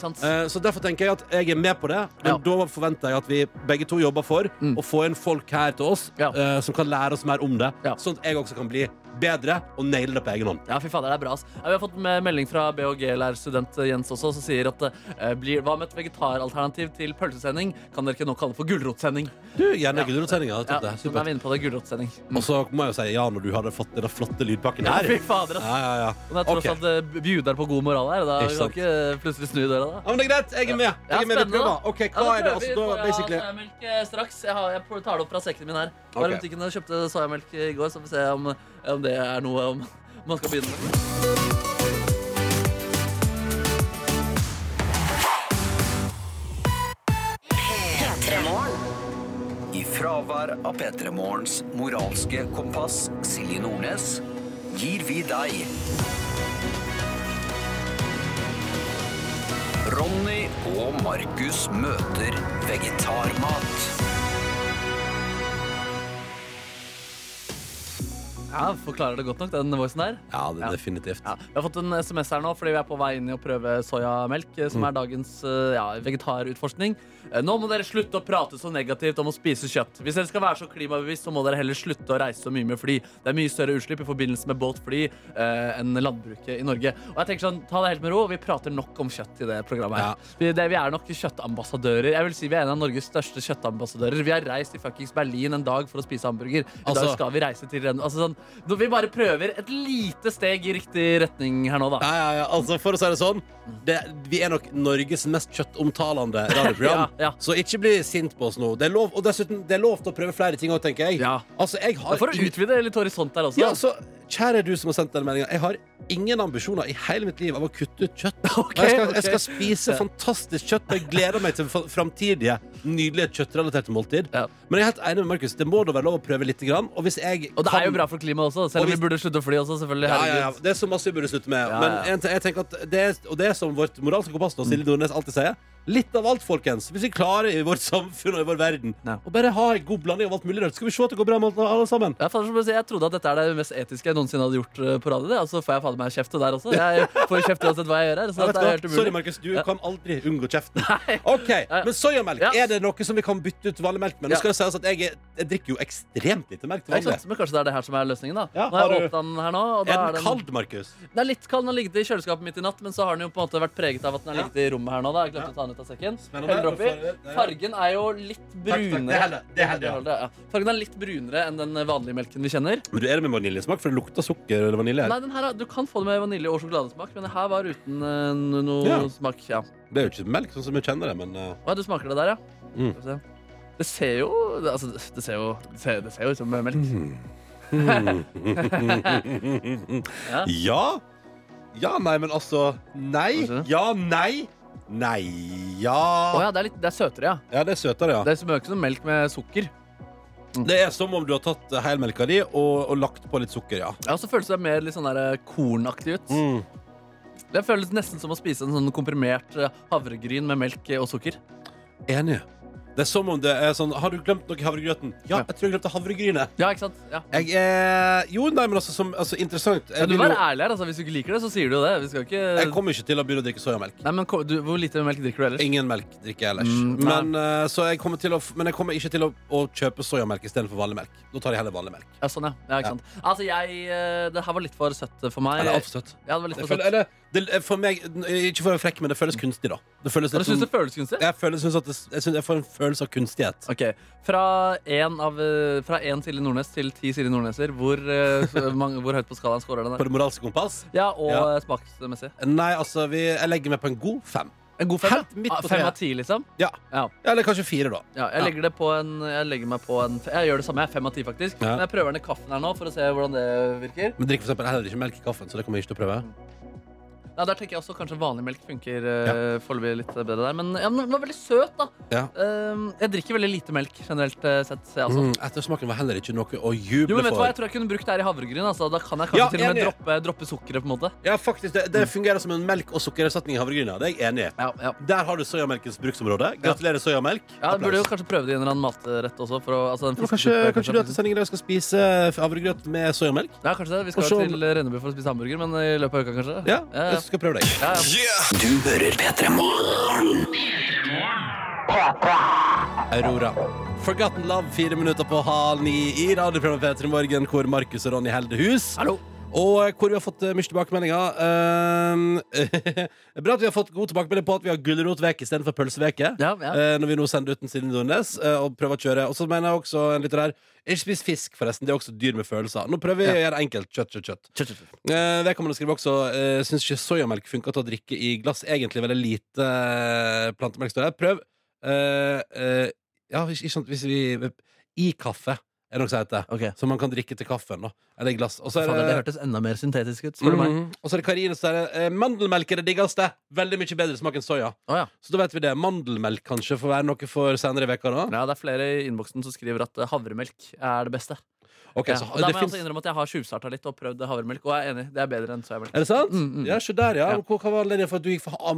[SPEAKER 2] så derfor tenker jeg at jeg er med på det, men da forventer jeg at vi begge to jobber for
[SPEAKER 3] Mm.
[SPEAKER 2] å få inn folk her til oss eh, som kan lære oss mer om det, sånn at jeg også kan bli bedre og naile det på egen hånd.
[SPEAKER 3] Ja, fy fader, det er bra. ass. Ja, Vi har fått med melding fra BHG-lærerstudent Jens også, som sier at eh, blir, hva med et vegetaralternativ til pølsesending? Kan dere ikke nå kalle det for gulrotsending?
[SPEAKER 2] Du, gjerne ja. gulrotsendinga.
[SPEAKER 3] Ja, så da er vi inne på det. Gulrotsending.
[SPEAKER 2] Og så må jeg jo si ja når du hadde fått den flotte lydpakken
[SPEAKER 3] Ja,
[SPEAKER 2] her.
[SPEAKER 3] fy fader, ass.
[SPEAKER 2] Ja, ja, ja.
[SPEAKER 3] Og det er tross
[SPEAKER 2] Ok.
[SPEAKER 3] alt eh, bjuder på god moral her. Da
[SPEAKER 2] Ikke
[SPEAKER 3] kan
[SPEAKER 2] sant.
[SPEAKER 3] ikke eh, plutselig snu døra, da.
[SPEAKER 2] Ja, men det er greit. Jeg er med. Jeg er med i
[SPEAKER 3] spennende, da.
[SPEAKER 2] prøva. Ok, hva
[SPEAKER 3] Ja,
[SPEAKER 2] er
[SPEAKER 3] da
[SPEAKER 2] det?
[SPEAKER 3] prøver
[SPEAKER 2] Altså, da
[SPEAKER 3] vi. Får jeg
[SPEAKER 2] basically
[SPEAKER 3] sojamelk eh, straks. Jeg, har, jeg tar det opp fra sekken min her. Jeg var i
[SPEAKER 2] Ok.
[SPEAKER 3] butikken og kjøpte sojamelk i går, så får vi se om, om det er noe om man skal begynne med.
[SPEAKER 1] I fravær av P3 Morgens moralske kompass, Silje Nordnes, gir vi deg Ronny og Markus møter vegetarmat.
[SPEAKER 3] Ja, Forklarer det godt nok, den voicen der?
[SPEAKER 2] Ja, det, definitivt.
[SPEAKER 3] Vi har fått en SMS her nå fordi vi er på vei inn i å prøve soyamelk, eh, som
[SPEAKER 2] Mm.
[SPEAKER 3] er dagens eh, ja, vegetarutforskning. Eh, Nå må dere slutte å prate så negativt om å spise kjøtt. Hvis dere skal være så klimabevisst, så må dere heller slutte å reise så mye med fly. Det er mye større utslipp i forbindelse med båt, fly eh, enn landbruket i Norge. Og jeg tenker sånn, Ta det helt med ro. Vi prater nok om kjøtt i det programmet. her vi, det, vi er nok kjøttambassadører. Jeg vil si Vi er en av Norges største kjøttambassadører. Vi har reist til fuckings Berlin en dag for å spise hamburger. I dag
[SPEAKER 2] Altså-
[SPEAKER 3] skal vi reise til Rennes. Altså, sånn, når vi bare prøver et lite steg i riktig retning her nå, da.
[SPEAKER 2] Ja, ja, ja. Altså, for å si det sånn, det, vi er nok Norges mest kjøttomtalende radioprogram. Så ikke bli sint på oss nå. Det er lov, og dessuten, det er lov til å prøve flere ting òg, tenker jeg. Altså, jeg
[SPEAKER 3] Det
[SPEAKER 2] har
[SPEAKER 3] er For å utvide litt horisont der også.
[SPEAKER 2] Ja, altså, kjære du som har sendt den meldinga. Jeg har ingen ambisjoner i hele mitt liv av å kutte ut kjøtt. jeg, skal, jeg skal
[SPEAKER 3] ok.
[SPEAKER 2] spise
[SPEAKER 3] Ja.
[SPEAKER 2] fantastisk kjøtt. og Jeg gleder meg til fa- framtidige nydelige kjøttrelaterte måltid. Men jeg er helt enig med Markus. Det må da være lov å prøve litt. Grann, og, hvis jeg
[SPEAKER 3] og det er jo bra for klimaet også, selv
[SPEAKER 2] Og
[SPEAKER 3] om
[SPEAKER 2] hvis-
[SPEAKER 3] vi burde slutte å fly også. selvfølgelig
[SPEAKER 2] ja, ja, ja.
[SPEAKER 3] herregud.
[SPEAKER 2] Det er så masse vi burde slutte med.
[SPEAKER 3] Ja,
[SPEAKER 2] Men
[SPEAKER 3] ja. Mm.
[SPEAKER 2] en ting- jeg tenker at det er, og det er som vårt moralske kompass nå, Silje Nordnes alltid sier. Litt av alt, folkens. Hvis vi klarer i vårt samfunn og i vår verden å bare ha en god blanding av alt mulig rart, skal vi se at det går bra med alle sammen.
[SPEAKER 3] Ja, fader, som jeg sier, jeg trodde at dette er det mest etiske jeg noensinne hadde gjort eh, på radio. det, Og så får jeg fader meg kjeft der også. Jeg får kjeft uansett hva jeg gjør her. Så
[SPEAKER 2] Ja, vet
[SPEAKER 3] det
[SPEAKER 2] du
[SPEAKER 3] er
[SPEAKER 2] hva?
[SPEAKER 3] helt umulig.
[SPEAKER 2] Sorry, Markus. Du kan aldri unngå kjeften. Ok, Men soyamelk, er det det er noe som vi kan bytte ut vanlig melk med. Nå skal det sies at jeg, er- jeg drikker jo ekstremt lite melk til
[SPEAKER 3] Ikke
[SPEAKER 2] vanlig.
[SPEAKER 3] sant? Men kanskje det er det her som er løsningen, da.
[SPEAKER 2] Ja,
[SPEAKER 3] nå har
[SPEAKER 2] har
[SPEAKER 3] jeg
[SPEAKER 2] du-
[SPEAKER 3] åpnet den her nå, og da
[SPEAKER 2] Er
[SPEAKER 3] er
[SPEAKER 2] den
[SPEAKER 3] den
[SPEAKER 2] kald, Markus?
[SPEAKER 3] Den er litt kald. Den har ligget i kjøleskapet mitt i natt, men så har den jo på en måte vært preget av at den har ligget i rommet her nå. da. Jeg glemte å ta den ut av sekken. Heller oppi. Fargen er jo litt
[SPEAKER 2] takk.
[SPEAKER 3] brunere.
[SPEAKER 2] Det holder, det holder, ja.
[SPEAKER 3] holder, ja. Fargen er litt brunere enn den vanlige melken vi kjenner.
[SPEAKER 2] Men du er det med vaniljesmak, for det lukter sukker eller vanilje
[SPEAKER 3] Nei,
[SPEAKER 2] her.
[SPEAKER 3] den her, Du kan få det med vanilje- og sjokoladesmak, men det her var uten eh, no- noe
[SPEAKER 2] Ja.
[SPEAKER 3] smak. Ja.
[SPEAKER 2] Det er jo ikke melk sånn som vi kjenner det, men eh,
[SPEAKER 3] Å, ja, du smaker det der, ja?
[SPEAKER 2] Mm.
[SPEAKER 3] Skal vi se. Det ser jo det- Altså, det ser jo Det ser, det ser jo ut som melk.
[SPEAKER 2] Mhm. ja. ja. nei, men altså Nei. Ja, nei. Nei, ja.
[SPEAKER 3] Å ja, det er, litt, det er søtere, ja.
[SPEAKER 2] Ja, det er søtere, ja.
[SPEAKER 3] Det smaker som melk med sukker.
[SPEAKER 2] Det er som om du har tatt eh, helmelka di og, og lagt på litt sukker, ja.
[SPEAKER 3] Ja, og så føles det mer litt sånn der eh, kornaktig ut.
[SPEAKER 2] Mm.
[SPEAKER 3] Det føles nesten som å spise en sånn komprimert eh, havregryn med melk eh, og sukker.
[SPEAKER 2] Enig. Det er som om det er sånn Har du glemt noe i havregrøten? Ja, jeg tror jeg glemte havregrynet.
[SPEAKER 3] Ja, ikke sant? Ja.
[SPEAKER 2] Jeg er Jo, nei, men altså, som, altså interessant. Jeg,
[SPEAKER 3] eh, Ja, du
[SPEAKER 2] vil
[SPEAKER 3] må være
[SPEAKER 2] jo,
[SPEAKER 3] ærlig her. altså Hvis du ikke liker det, så sier du jo det. Vi skal ikke...
[SPEAKER 2] jeg kommer ikke til å begynne å drikke soyamelk.
[SPEAKER 3] Nei, men ko- du, Hvor lite melk drikker du ellers?
[SPEAKER 2] Ingen melk drikker jeg ellers.
[SPEAKER 3] Mm, nei.
[SPEAKER 2] men, eh, så jeg kommer til å, f- men jeg kommer ikke til å, å kjøpe soyamelk istedenfor vanlig melk. Da tar jeg heller vanlig melk.
[SPEAKER 3] Ja, sånn, ja. ja ikke
[SPEAKER 2] Ja.
[SPEAKER 3] sant? Altså, jeg eh, Det her var litt for søtt for meg.
[SPEAKER 2] Eller altfor søtt.
[SPEAKER 3] Ja, det var litt
[SPEAKER 2] Det
[SPEAKER 3] for søtt.
[SPEAKER 2] føler, eller, det, eh, for meg, ikke for å være frekk, men det føles kunstig, da. Det føles
[SPEAKER 3] sånn- Ja, du synes det føles kunstig?
[SPEAKER 2] Jeg, føler, synes at det, jeg, synes jeg får en følelse av kunstighet.
[SPEAKER 3] Ok, Fra én av, eh, fra én Silje Nordnes til ti Silje Nordneser, hvor, eh, så mange, hvor høyt på skalaen scorer den?
[SPEAKER 2] På
[SPEAKER 3] der?
[SPEAKER 2] det moralske kompass?
[SPEAKER 3] Ja, Og
[SPEAKER 2] Ja.
[SPEAKER 3] eh, smaksmessig?
[SPEAKER 2] Nei, altså, vi, jeg legger meg på en god fem.
[SPEAKER 3] En god fem?
[SPEAKER 2] Helt
[SPEAKER 3] ja.
[SPEAKER 2] midt
[SPEAKER 3] Ah,
[SPEAKER 2] på
[SPEAKER 3] fem
[SPEAKER 2] treet.
[SPEAKER 3] av ti, liksom?
[SPEAKER 2] Ja.
[SPEAKER 3] Ja.
[SPEAKER 2] Eller kanskje fire, da.
[SPEAKER 3] Ja, jeg, legger det på en, jeg legger meg på en Jeg gjør det samme. jeg er Fem av ti, faktisk.
[SPEAKER 2] Ja.
[SPEAKER 3] Men jeg prøver den i kaffen her nå for å se hvordan det virker.
[SPEAKER 2] Men drikk for eksempel heller ikke melk i kaffen, så det kommer jeg ikke til å prøve.
[SPEAKER 3] Ja, der tenker jeg også Kanskje vanlig melk funker ja. foreløpig litt bedre der. Men ja, men den var veldig søt, da.
[SPEAKER 2] Ja.
[SPEAKER 3] Ehm, jeg drikker veldig lite melk generelt eh, sett. Jeg, altså.
[SPEAKER 2] Mm, ettersmaken var heller ikke noe å juble
[SPEAKER 3] Jo, men vet du hva,
[SPEAKER 2] for.
[SPEAKER 3] Jeg tror jeg kunne brukt det her i havregryn. Altså. Da kan jeg
[SPEAKER 2] Ja,
[SPEAKER 3] kanskje til og med
[SPEAKER 2] enig.
[SPEAKER 3] droppe, droppe sukkeret. på en måte
[SPEAKER 2] Ja, faktisk, det, det fungerer som en melk- og sukkererstatning i havregryna. Det er jeg enig i. Der har du soyamelkens bruksområde. Gratulerer, soyamelk.
[SPEAKER 3] Ja,
[SPEAKER 2] Applaus.
[SPEAKER 3] du burde jo kanskje prøve det i en eller annen matrett også. For å, altså, den
[SPEAKER 2] Ja,
[SPEAKER 3] friske
[SPEAKER 2] Kanskje,
[SPEAKER 3] fruktmelken,
[SPEAKER 2] kanskje du etter sending i dag skal spise eh, havregrøt med soyamelk?
[SPEAKER 3] Ja, kanskje det. Vi skal
[SPEAKER 2] Og så-
[SPEAKER 3] til Rennebu for å spise hamburger, men i løpet av uka, kanskje.
[SPEAKER 2] Ja, jeg skal prøve deg.
[SPEAKER 3] Ja,
[SPEAKER 1] Du hører P3 Morgen.
[SPEAKER 2] Aurora. Forgotten Love, fire minutter på halv ni i radioprogrammet P3 Morgen, hvor Markus og Ronny holder hus. Og eh, hvor vi har fått eh, mye tilbakemeldinger. Ehm, bra at vi har fått god tilbakemelding på at vi har gulrotveke istedenfor pølseveke. eh, Når vi nå sender ut den siden Nordnes eh, og prøver å kjøre. Og så mener jeg også en lytter her Ikke spis fisk, forresten. Det er også dyr med følelser. Nå prøver vi å gjøre det enkelt. Kjøtt, kjøtt, kjøtt.
[SPEAKER 3] Kjøtt, kjøtt,
[SPEAKER 2] Eh, vedkommende skriver også uh, Syns ikke soyamelk funker til å drikke i glass. Egentlig veldig lite eh, plantemelk. Står det. Prøv. eh, eh, ja, ikke ikke sant hvis vi I kaffe, er det noe som heter. Som man kan drikke til kaffen. Da. Eller i glass. Og så er
[SPEAKER 3] Fader, det
[SPEAKER 2] det,
[SPEAKER 3] hørtes enda mer syntetisk ut, spør du meg.
[SPEAKER 2] Mhm. Og så er det Karine som sier eh, mandelmelk er det diggeste. Veldig mye bedre smak enn soya. Så da vet vi det. Mandelmelk kanskje får være noe for senere i veka da.
[SPEAKER 3] Ja, det er flere i innboksen som skriver at eh, havremelk er det beste.
[SPEAKER 2] Ok,
[SPEAKER 3] ja.
[SPEAKER 2] så
[SPEAKER 3] og da må
[SPEAKER 2] det
[SPEAKER 3] jeg
[SPEAKER 2] finnes-
[SPEAKER 3] også innrømme at jeg har tjuvstarta litt og prøvd havremelk, og jeg er enig. Det er bedre enn soyamelk.
[SPEAKER 2] Er det sant?
[SPEAKER 3] Mm,
[SPEAKER 2] Ja, se der, ja. Hva, hva var anledningen for at du gikk for ha-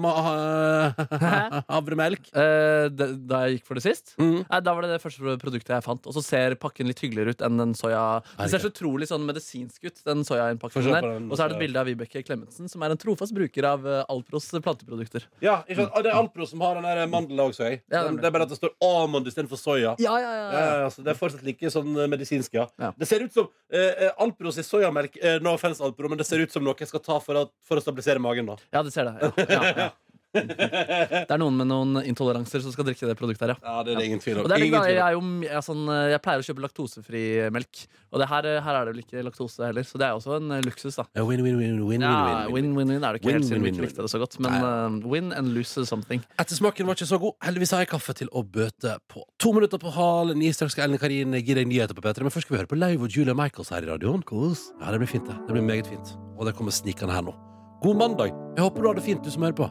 [SPEAKER 2] ma- havremelk?
[SPEAKER 3] Eh, da da jeg gikk for det sist?
[SPEAKER 2] Mm.
[SPEAKER 3] Nei, da var det det første produktet jeg fant. Og så ser pakken litt hyggeligere ut enn den soya Den ser så utrolig sånn medisinsk ut, den
[SPEAKER 2] Få
[SPEAKER 3] soyainnpakningen
[SPEAKER 2] se på
[SPEAKER 3] der.
[SPEAKER 2] den
[SPEAKER 3] Og så er
[SPEAKER 2] soya.
[SPEAKER 3] det et bilde av Vibeke Klemetsen, som er en trofast bruker av eh, Alpros planteprodukter.
[SPEAKER 2] Ja, ikke sant? Og det er Alpro som har den der eh, mandelen også. Jeg.
[SPEAKER 3] Ja,
[SPEAKER 2] Den-
[SPEAKER 3] nemlig.
[SPEAKER 2] det er bare at det står almond istedenfor soya.
[SPEAKER 3] Ja, ja, ja, ja.
[SPEAKER 2] så det er fortsatt like sånn eh, medisinsk, ja. Det ser ut som eh, eh, Alpro sin soyamelk eh, No offense, Alpro, men det ser ut som noe jeg skal ta for å, for å stabilisere magen. da
[SPEAKER 3] Ja, du ser det. Ja. Ja, ja. Det er noen med noen intoleranser som skal drikke det produktet her, ja.
[SPEAKER 2] Ja, det er det ingen tvil om.
[SPEAKER 3] Og det er litt,
[SPEAKER 2] Ingen
[SPEAKER 3] jeg,
[SPEAKER 2] tvil om.
[SPEAKER 3] er jo, jeg, er sånn, eh, jeg pleier å kjøpe laktosefri melk, og det her, eh, her er det vel ikke laktose heller, så det er også en eh, luksus, da.
[SPEAKER 2] Ja, Win, win, win, win,
[SPEAKER 3] Ja,
[SPEAKER 2] win, win, win.
[SPEAKER 3] Win-win-win er det ikke
[SPEAKER 2] Win,
[SPEAKER 3] helt siden vi
[SPEAKER 2] win,
[SPEAKER 3] ikke
[SPEAKER 2] win,
[SPEAKER 3] likte det så godt, men eh, win and lose is something.
[SPEAKER 2] Ettersmaken var ikke så god. Heldigvis har jeg kaffe til å bøte på. To minutter på hal ni, straks skal Ellen Karin gi deg nyheter på P3. Men først skal vi høre på Live og Julia Michaels her i radioen. Ja, det blir fint, det. Det blir meget fint. Og det kommer snikende her nå. God mandag. Jeg håper du har det fint, du som hører på.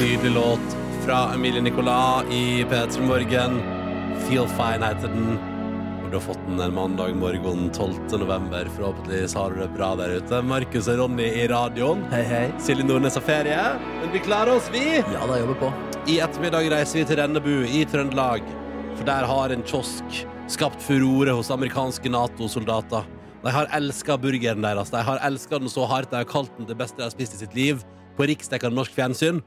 [SPEAKER 2] Nydelig låt fra Emilie Nicolas i P3 Morgen. Feel fine heter den. Og du har fått den en mandag morgen 12. november. Forhåpentligvis har du det bra der ute. Markus og Ronny i radioen.
[SPEAKER 3] Hei, hei.
[SPEAKER 2] Silje Nordnes har ferie. Men vi klarer oss, vi.
[SPEAKER 3] Ja, da jobber på.
[SPEAKER 2] I ettermiddag reiser vi til Rennebu i Trøndelag, for der har en kiosk skapt furore hos amerikanske Nato-soldater. De har elska burgeren deres. De har elska den så hardt de har kalt den det beste de har spist i sitt liv på riksdekkende norsk fjernsyn.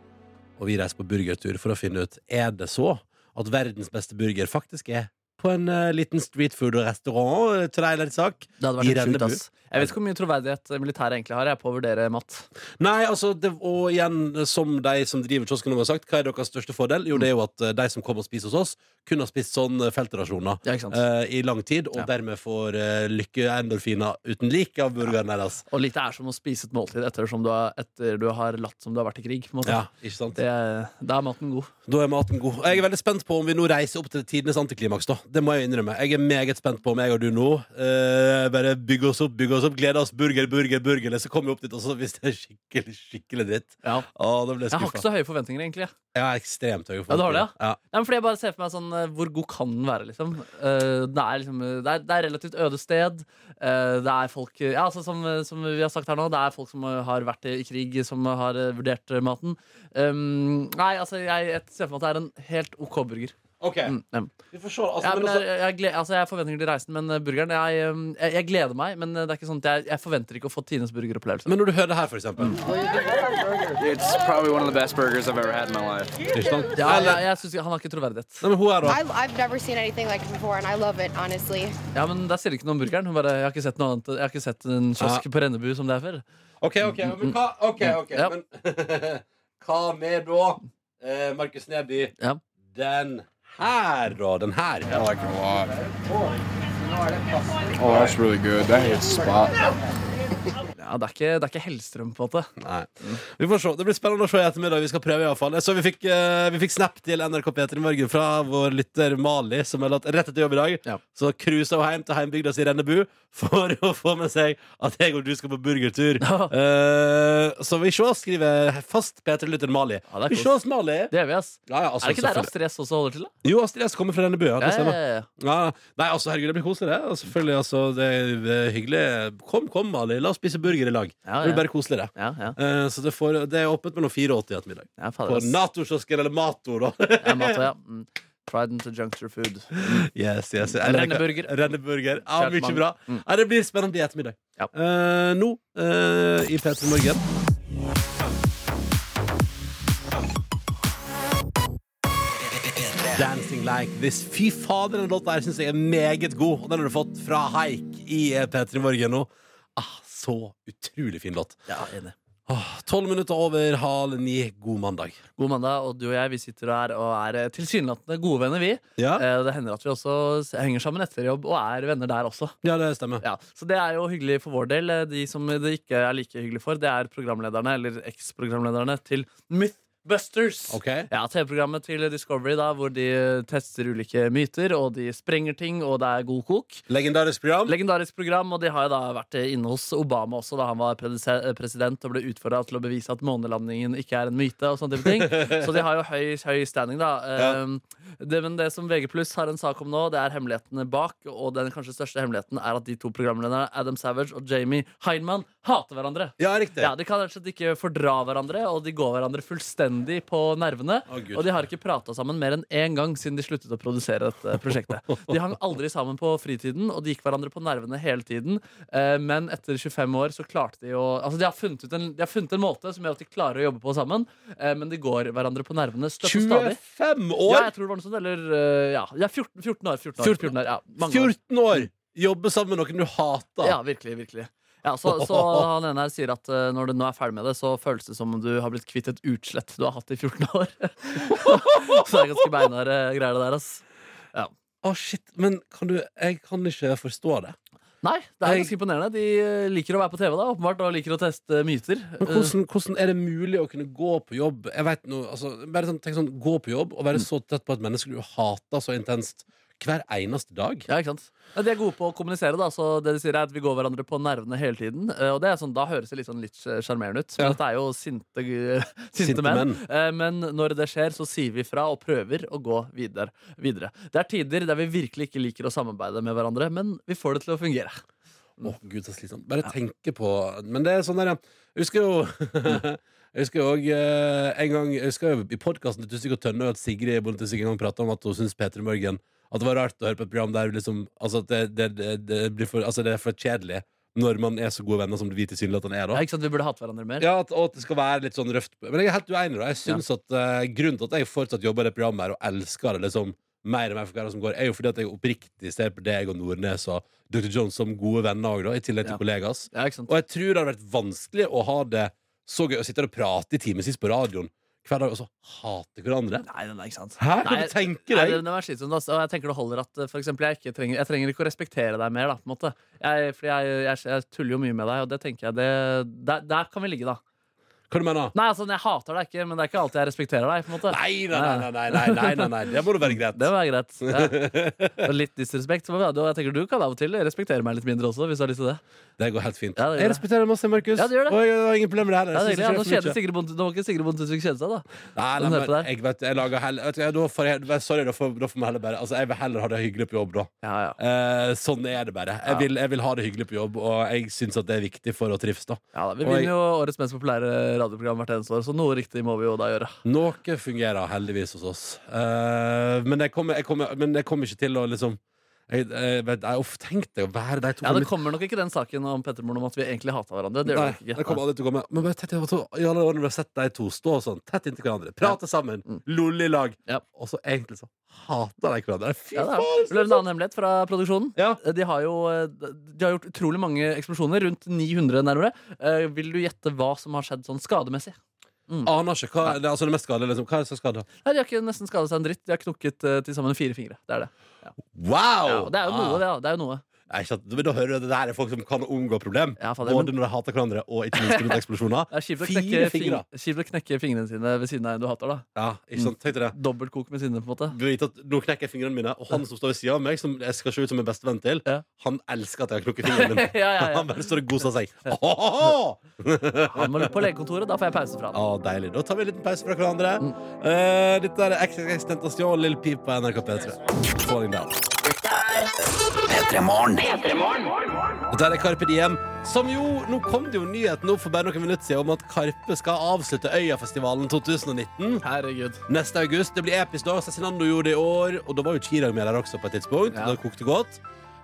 [SPEAKER 2] Og vi reiser på burgertur for å finne ut Er det så at verdens beste burger faktisk er på en eh, liten street food-restaurant. Trailersak.
[SPEAKER 3] Det hadde
[SPEAKER 2] i
[SPEAKER 3] vært helt sjukt,
[SPEAKER 2] Rennebu.
[SPEAKER 3] ass. Jeg vet ikke hvor mye troverdighet eh, militæret egentlig har jeg på å vurdere mat.
[SPEAKER 2] Nei, altså, det, og igjen, som de som driver kiosken har sagt, hva er deres største fordel? Jo, det er jo at eh, de som kommer og spiser hos oss, kun har spist sånn eh, feltrasjoner eh, i lang tid, og dermed får eh, lykkeendorfiner uten lik av burgeren deres.
[SPEAKER 3] Og litt er som å spise et måltid etter, som du har, etter du har latt som du har vært i krig. På en måte.
[SPEAKER 2] Ja, ikke sant?
[SPEAKER 3] Det, er- da er maten god.
[SPEAKER 2] Da er maten god. Og Jeg er veldig spent på om vi nå reiser opp til tidenes antiklimaks. da Det må jeg innrømme. Jeg er meget spent på om jeg og du nå eh, bare bygger oss opp, bygger oss opp, gleder oss. Burger, burger, burger. eller Så kommer vi opp dit, og så hvis det er skikkelig skikkelig dritt
[SPEAKER 3] ja.
[SPEAKER 2] Å, da blir
[SPEAKER 3] Jeg
[SPEAKER 2] jeg
[SPEAKER 3] har ikke så
[SPEAKER 2] skuffa.
[SPEAKER 3] høye forventninger, egentlig. jeg.
[SPEAKER 2] Jeg har ekstremt høye
[SPEAKER 3] Ja, du har det,
[SPEAKER 2] ja? ja.
[SPEAKER 3] Nei, men fordi jeg bare ser for meg sånn, eh, Hvor god kan den være, liksom? Eh, det, er liksom eh, det, er, det er relativt øde sted. Eh, det er folk eh, ja, altså, som, eh, som vi har sagt her nå, det er folk som eh, har vært i krig, som har eh, vurdert eh, maten. Um, nei, altså, jeg, jeg ser for meg at det er en helt OK burger.
[SPEAKER 2] Ok.
[SPEAKER 3] Mm, ja.
[SPEAKER 2] Vi får se. Altså,
[SPEAKER 3] ja,
[SPEAKER 2] men
[SPEAKER 3] men
[SPEAKER 2] altså-
[SPEAKER 3] jeg, jeg, gled- altså, jeg har forventninger til reisen, men eh, burgeren jeg, eh, jeg, jeg gleder meg, men eh, det er ikke sånn at jeg, jeg forventer ikke å få Tines burgeropplevelse.
[SPEAKER 2] Men når du hører det her, for
[SPEAKER 3] Mm.
[SPEAKER 2] eksempel
[SPEAKER 8] It's probably one of the best burgers I've ever had in my life.
[SPEAKER 3] Ja, jeg, jeg synes ikke- Han har ikke troverdighet.
[SPEAKER 2] Nei, men hun
[SPEAKER 9] I, I've never seen anything like it before, and I love it, honestly.
[SPEAKER 3] Ja, men Der sier du ikke noe om burgeren. Hun bare, jeg har ikke sett noe annet Jeg har ikke sett en kiosk
[SPEAKER 2] Ja.
[SPEAKER 3] på Rennebu som det er før.
[SPEAKER 2] OK, OK. Men hva, ok, ok,
[SPEAKER 3] Mm. Ja.
[SPEAKER 2] men hva med da, eh, Markus Neby?
[SPEAKER 3] Ja.
[SPEAKER 2] Den her, da. Den her. Ja.
[SPEAKER 10] Oh, that's really good. That hits spot.
[SPEAKER 3] Ja, det er ikke, det er ikke Hellstrøm, på en måte.
[SPEAKER 2] Nei. Vi får se. Det blir spennende å se i ettermiddag. Vi skal prøve i alle fall. Jeg Så vi fikk, eh, vi fikk snap til NRK P3 i morgen fra vår lytter Mali, som har latt rett etter jobb i dag. Så cruisa hun hjem til heimbygda si Rennebu for å få med seg at jeg og du skal på burgertur. Eh, så vi sjås, skriver fast P3-lytter Mali. vi
[SPEAKER 3] kos.
[SPEAKER 2] sjås, Mali.
[SPEAKER 3] Det gjør vi, ass.
[SPEAKER 2] Ja, ja, altså,
[SPEAKER 3] er det ikke der
[SPEAKER 2] selvfølgelig.
[SPEAKER 3] Astrid S også holder til? da?
[SPEAKER 2] Jo, Astrid S kommer fra Rennebu, ja.
[SPEAKER 3] Ja,
[SPEAKER 2] Det
[SPEAKER 3] ja,
[SPEAKER 2] stemmer.
[SPEAKER 3] ja, ja.
[SPEAKER 2] Ja, nei, altså, herregud, det blir koselig, det. Og Selvfølgelig, altså, det er eh, hyggelig. Kom, kom, Ali. La oss spise burger i lag. Det
[SPEAKER 3] ja.
[SPEAKER 2] blir bare koselig, det. Eh, så det, får, det er åpent mellom fire og åtte i ettermiddag.
[SPEAKER 3] fader,
[SPEAKER 2] På
[SPEAKER 3] ass.
[SPEAKER 2] Nato-kiosken, eller Mato, da.
[SPEAKER 3] Ja, mat, ja. Mm. Pride into juncture food.
[SPEAKER 2] yes, yes. Eller-
[SPEAKER 3] Renneburger.
[SPEAKER 2] Renneburger. Ja,
[SPEAKER 3] Kjært
[SPEAKER 2] mye
[SPEAKER 3] mann.
[SPEAKER 2] bra.
[SPEAKER 3] Mm.
[SPEAKER 2] Ja, det blir spennende i ettermiddag. Eh, nå eh, i P3 Morgen. Dancing like this. Fy fader, den låta her syns jeg er meget god. Og den har du fått fra Haik i eh, P3 Morgen nå. Ah, så utrolig fin låt. Åh, Tolv minutter over halv ni. God mandag.
[SPEAKER 3] God mandag, og du og jeg vi sitter her og er eh, tilsynelatende gode venner, vi.
[SPEAKER 2] Ja.
[SPEAKER 3] Eh, Det hender at vi også s- henger sammen etter jobb og er venner der også.
[SPEAKER 2] Ja, det stemmer.
[SPEAKER 3] Ja, så det er jo hyggelig for vår del. Eh, De som det ikke er like hyggelig for, det er programlederne, eller eks-programlederne, til Mythbusters. Ja, TV-programmet til Discovery, da, hvor de eh, tester ulike myter, og de sprenger ting, og det er god kok.
[SPEAKER 2] Legendarisk program.
[SPEAKER 3] Legendarisk program, og de har jo da vært eh, inne hos Obama også da han var predise- eh, president og ble utfordra til å bevise at månelandingen ikke er en myte. og sånne type ting Så de har jo høy, høy standing, da. Ehm, Det, men det som VG Pluss har en sak om nå, det er hemmelighetene bak. Og den kanskje største hemmeligheten er at de to programlederne, Adam Savage og Jamie Heinman, hater hverandre.
[SPEAKER 2] Ja, riktig
[SPEAKER 3] De kan rett og slett ikke fordra hverandre, og de går hverandre fullstendig på nervene.
[SPEAKER 2] Gud.
[SPEAKER 3] og de har ikke prata sammen mer enn én gang siden de sluttet å produsere dette prosjektet. De hang aldri sammen på fritiden, og de gikk hverandre på nervene hele tiden. Eh, Men etter 25 år så klarte de å Altså, de har funnet, ut en, de har funnet en måte som gjør at de klarer å jobbe på sammen, eh, men de går hverandre på nervene støtt og stadig.
[SPEAKER 2] 25 år?
[SPEAKER 3] Ja, jeg tror det var noe sånt. Eller eh, ja. ja 14, 14 år. 14
[SPEAKER 2] 14
[SPEAKER 3] år, 14 år ja, mange år. Mm.
[SPEAKER 2] 14 år! Jobbe sammen med noen du hater.
[SPEAKER 3] Ja, virkelig, virkelig. Ja, så, så han ene her sier at eh, når du nå er ferdig med det, så føles det som om du har blitt kvitt et utslett du har hatt i 14 år. så det er ganske beinharde greier, det der, ass. Ja.
[SPEAKER 2] Å, shit. Men kan du Jeg kan ikke forstå det.
[SPEAKER 3] Nei, det er ganske imponerende. De eh, liker å være på TV, da, åpenbart, og liker å teste myter.
[SPEAKER 2] Men hvordan, hvordan er det mulig å kunne gå på jobb Jeg vet noe, altså, bare sånn, tenk sånn, Gå på jobb og være
[SPEAKER 3] Mm.
[SPEAKER 2] så tett på et menneske du hater så intenst hver eneste dag.
[SPEAKER 3] Ja, ikke sant? Ja, De er gode på å kommunisere, da, så det de sier er at vi går hverandre på nervene hele tiden. Eh, Og det er sånn, Da høres det litt sånn litt eh, sjarmerende ut, men dette er jo sinte, eh, sinte,
[SPEAKER 2] Sinte
[SPEAKER 3] menn.
[SPEAKER 2] menn.
[SPEAKER 3] Eh, Men når det skjer, så sier vi fra og prøver å gå videre. videre. Det er tider der vi virkelig ikke liker å samarbeide med hverandre, men vi får det til å fungere.
[SPEAKER 2] Å, gud, så slitsomt. Bare tenke på Men det er sånn der, ja. Jeg husker jo Jeg husker jo også, eh, en gang Jeg husker jo i podkasten til Tusvik og Tønne at Sigrid Bonde Tusvik en gang prata om at hun syns Peter Morgen At det var rart å høre på et program der liksom Altså at det, det, det, det blir for Altså det er for kjedelig. når man er så gode venner som vi tilsynelatende er. da
[SPEAKER 3] Ja, ikke sant, Vi burde hatt hverandre mer.
[SPEAKER 2] Ja, at, og at det skal være litt sånn røft. Men jeg er helt uenig. da Jeg synes at eh, Grunnen til at jeg fortsatt jobber i det programmet her og elsker det liksom mer og mer for hver dag som går, er jo fordi at jeg oppriktig ser på deg og Nordnes og Dr. Jones som gode venner også, da, i tillegg til
[SPEAKER 3] Ja.
[SPEAKER 2] kollegas.
[SPEAKER 3] Ja, ikke sant?
[SPEAKER 2] Og jeg tror det hadde vært vanskelig å ha det så gøy å sitte her og prate i timevis på radioen hver dag og så hate hverandre.
[SPEAKER 3] Nei, den er ikke sant.
[SPEAKER 2] Hæ? Kan
[SPEAKER 3] Nei,
[SPEAKER 2] du tenke
[SPEAKER 3] nei,
[SPEAKER 2] deg?
[SPEAKER 3] den er slitsom, altså, og jeg tenker det holder at eh, for eksempel, jeg, ikke trenger, jeg trenger ikke å respektere deg mer. Da, på en måte. Jeg, fordi jeg, jeg, jeg tuller jo mye med deg, og det tenker jeg det, der, der kan vi ligge, da.
[SPEAKER 2] Hva du mener
[SPEAKER 3] Nei, altså, Jeg hater deg ikke, men det er ikke alltid jeg respekterer deg. på en måte
[SPEAKER 2] Nei, nei, nei, nei, nei, nei, nei, nei. Det må da være greit.
[SPEAKER 3] Det må være greit. Ja. Og litt disrespekt. Så må vi ha det, og jeg tenker Du kan av og til respektere meg litt mindre også, hvis du har lyst til det.
[SPEAKER 2] Det går helt fint.
[SPEAKER 3] Ja, det gjør
[SPEAKER 2] jeg
[SPEAKER 3] det.
[SPEAKER 2] respekterer deg masse, Markus.
[SPEAKER 3] Ja, det gjør det.
[SPEAKER 2] Og jeg har ingen problemer med det her.
[SPEAKER 3] Ja, det er
[SPEAKER 2] Jeg
[SPEAKER 3] hyggelig, ja, nå
[SPEAKER 2] synes ikke det er for
[SPEAKER 3] kjeder
[SPEAKER 2] mye.
[SPEAKER 3] Sigrid Bonde Nå må ikke Sigrid Bonde Tusvik kjede seg, da.
[SPEAKER 2] Nei,
[SPEAKER 3] Den
[SPEAKER 2] nei,
[SPEAKER 3] hører på
[SPEAKER 2] men
[SPEAKER 3] deg.
[SPEAKER 2] jeg vet, jeg lager heller vet du, hva, da får jeg, vel, Sorry, da får, da får man heller bare Altså, jeg vil heller ha det hyggelig på jobb, da. Eh, sånn er det bare. Jeg vil, jeg vil ha det hyggelig på jobb, og jeg syns at det er viktig for å trives, da.
[SPEAKER 3] Ja, da, Vi
[SPEAKER 2] Og jeg-
[SPEAKER 3] vinner jo årets mest populære radioprogram hvert eneste år, så noe riktig må vi jo da gjøre.
[SPEAKER 2] Noe fungerer heldigvis hos oss. Eh, men, jeg kommer, jeg kommer, men jeg kommer ikke til å liksom Jeg, jeg, vet, jeg ofte tenkte å være de to
[SPEAKER 3] Ja, Det kommer nok ikke den saken om Pettermoren om at vi egentlig hata hverandre. Det gjør det nok
[SPEAKER 2] Nei, det kommer
[SPEAKER 3] ikke.
[SPEAKER 2] aldri til å komme. Men bare tett, I alle årene vi har sett de to stå sånn tett inntil hverandre, prate sammen,
[SPEAKER 3] Mm.
[SPEAKER 2] lolle i lag, og så egentlig så hater de hverandre. Fy
[SPEAKER 3] Ja, det er.
[SPEAKER 2] faen!
[SPEAKER 3] Vil du høre en annen hemmelighet fra produksjonen? De, har jo, eh, de har gjort utrolig mange eksplosjoner, rundt 900 nærmere. Eh, Vil du gjette hva som har skjedd sånn skademessig?
[SPEAKER 2] Aner ikke. Hva, det, er altså det mest skadelige, liksom. Hva er det som skader?
[SPEAKER 3] Nei, De har ikke nesten skadet seg en dritt. De har knukket eh, til sammen fire fingre. Det Ah. er det.
[SPEAKER 2] Wow!
[SPEAKER 3] Ja, og det er jo noe, det. da. det er jo noe.
[SPEAKER 2] Nei, ikke sant? Men Da hører du at det her er folk som kan omgå problem.
[SPEAKER 3] fader,
[SPEAKER 2] Både
[SPEAKER 3] men-
[SPEAKER 2] når de hater hverandre, og ikke minst rundt eksplosjoner.
[SPEAKER 3] Det er kjipt å,
[SPEAKER 2] Fire
[SPEAKER 3] knekke fing
[SPEAKER 2] fingre!
[SPEAKER 3] kjipt å knekke fingrene sine ved siden av en du hater. da
[SPEAKER 2] Ja, ikke sant? Tenkte det.
[SPEAKER 3] Dobbelt kok med sinne, på en måte.
[SPEAKER 2] Du vet Mm. at Nå knekker jeg fingrene mine, og han som står ved siden av meg, som jeg skal se ut som en bestevenn til, han elsker at jeg har knukket fingeren min.
[SPEAKER 3] Ja, ja, ja.
[SPEAKER 2] Han bare står og goser seg. Åhåhå!
[SPEAKER 3] Han må på legekontoret, da får jeg pause fra han.
[SPEAKER 2] Ja, deilig. Da tar vi en liten pause fra hverandre. Eh, dette er XXX Tentasjon, Lill Peep på NRK P3. Falling down. Dette er Karpe Diem, som jo Nå kom det jo nyheten opp for bare noen minutter siden om at Karpe skal avslutte Øyafestivalen 2019.
[SPEAKER 3] Herregud
[SPEAKER 2] Neste august. Det blir episk, da. Cezinando gjorde det i år, og da var jo Chirag med der også på et tidspunkt. Da kokte det godt.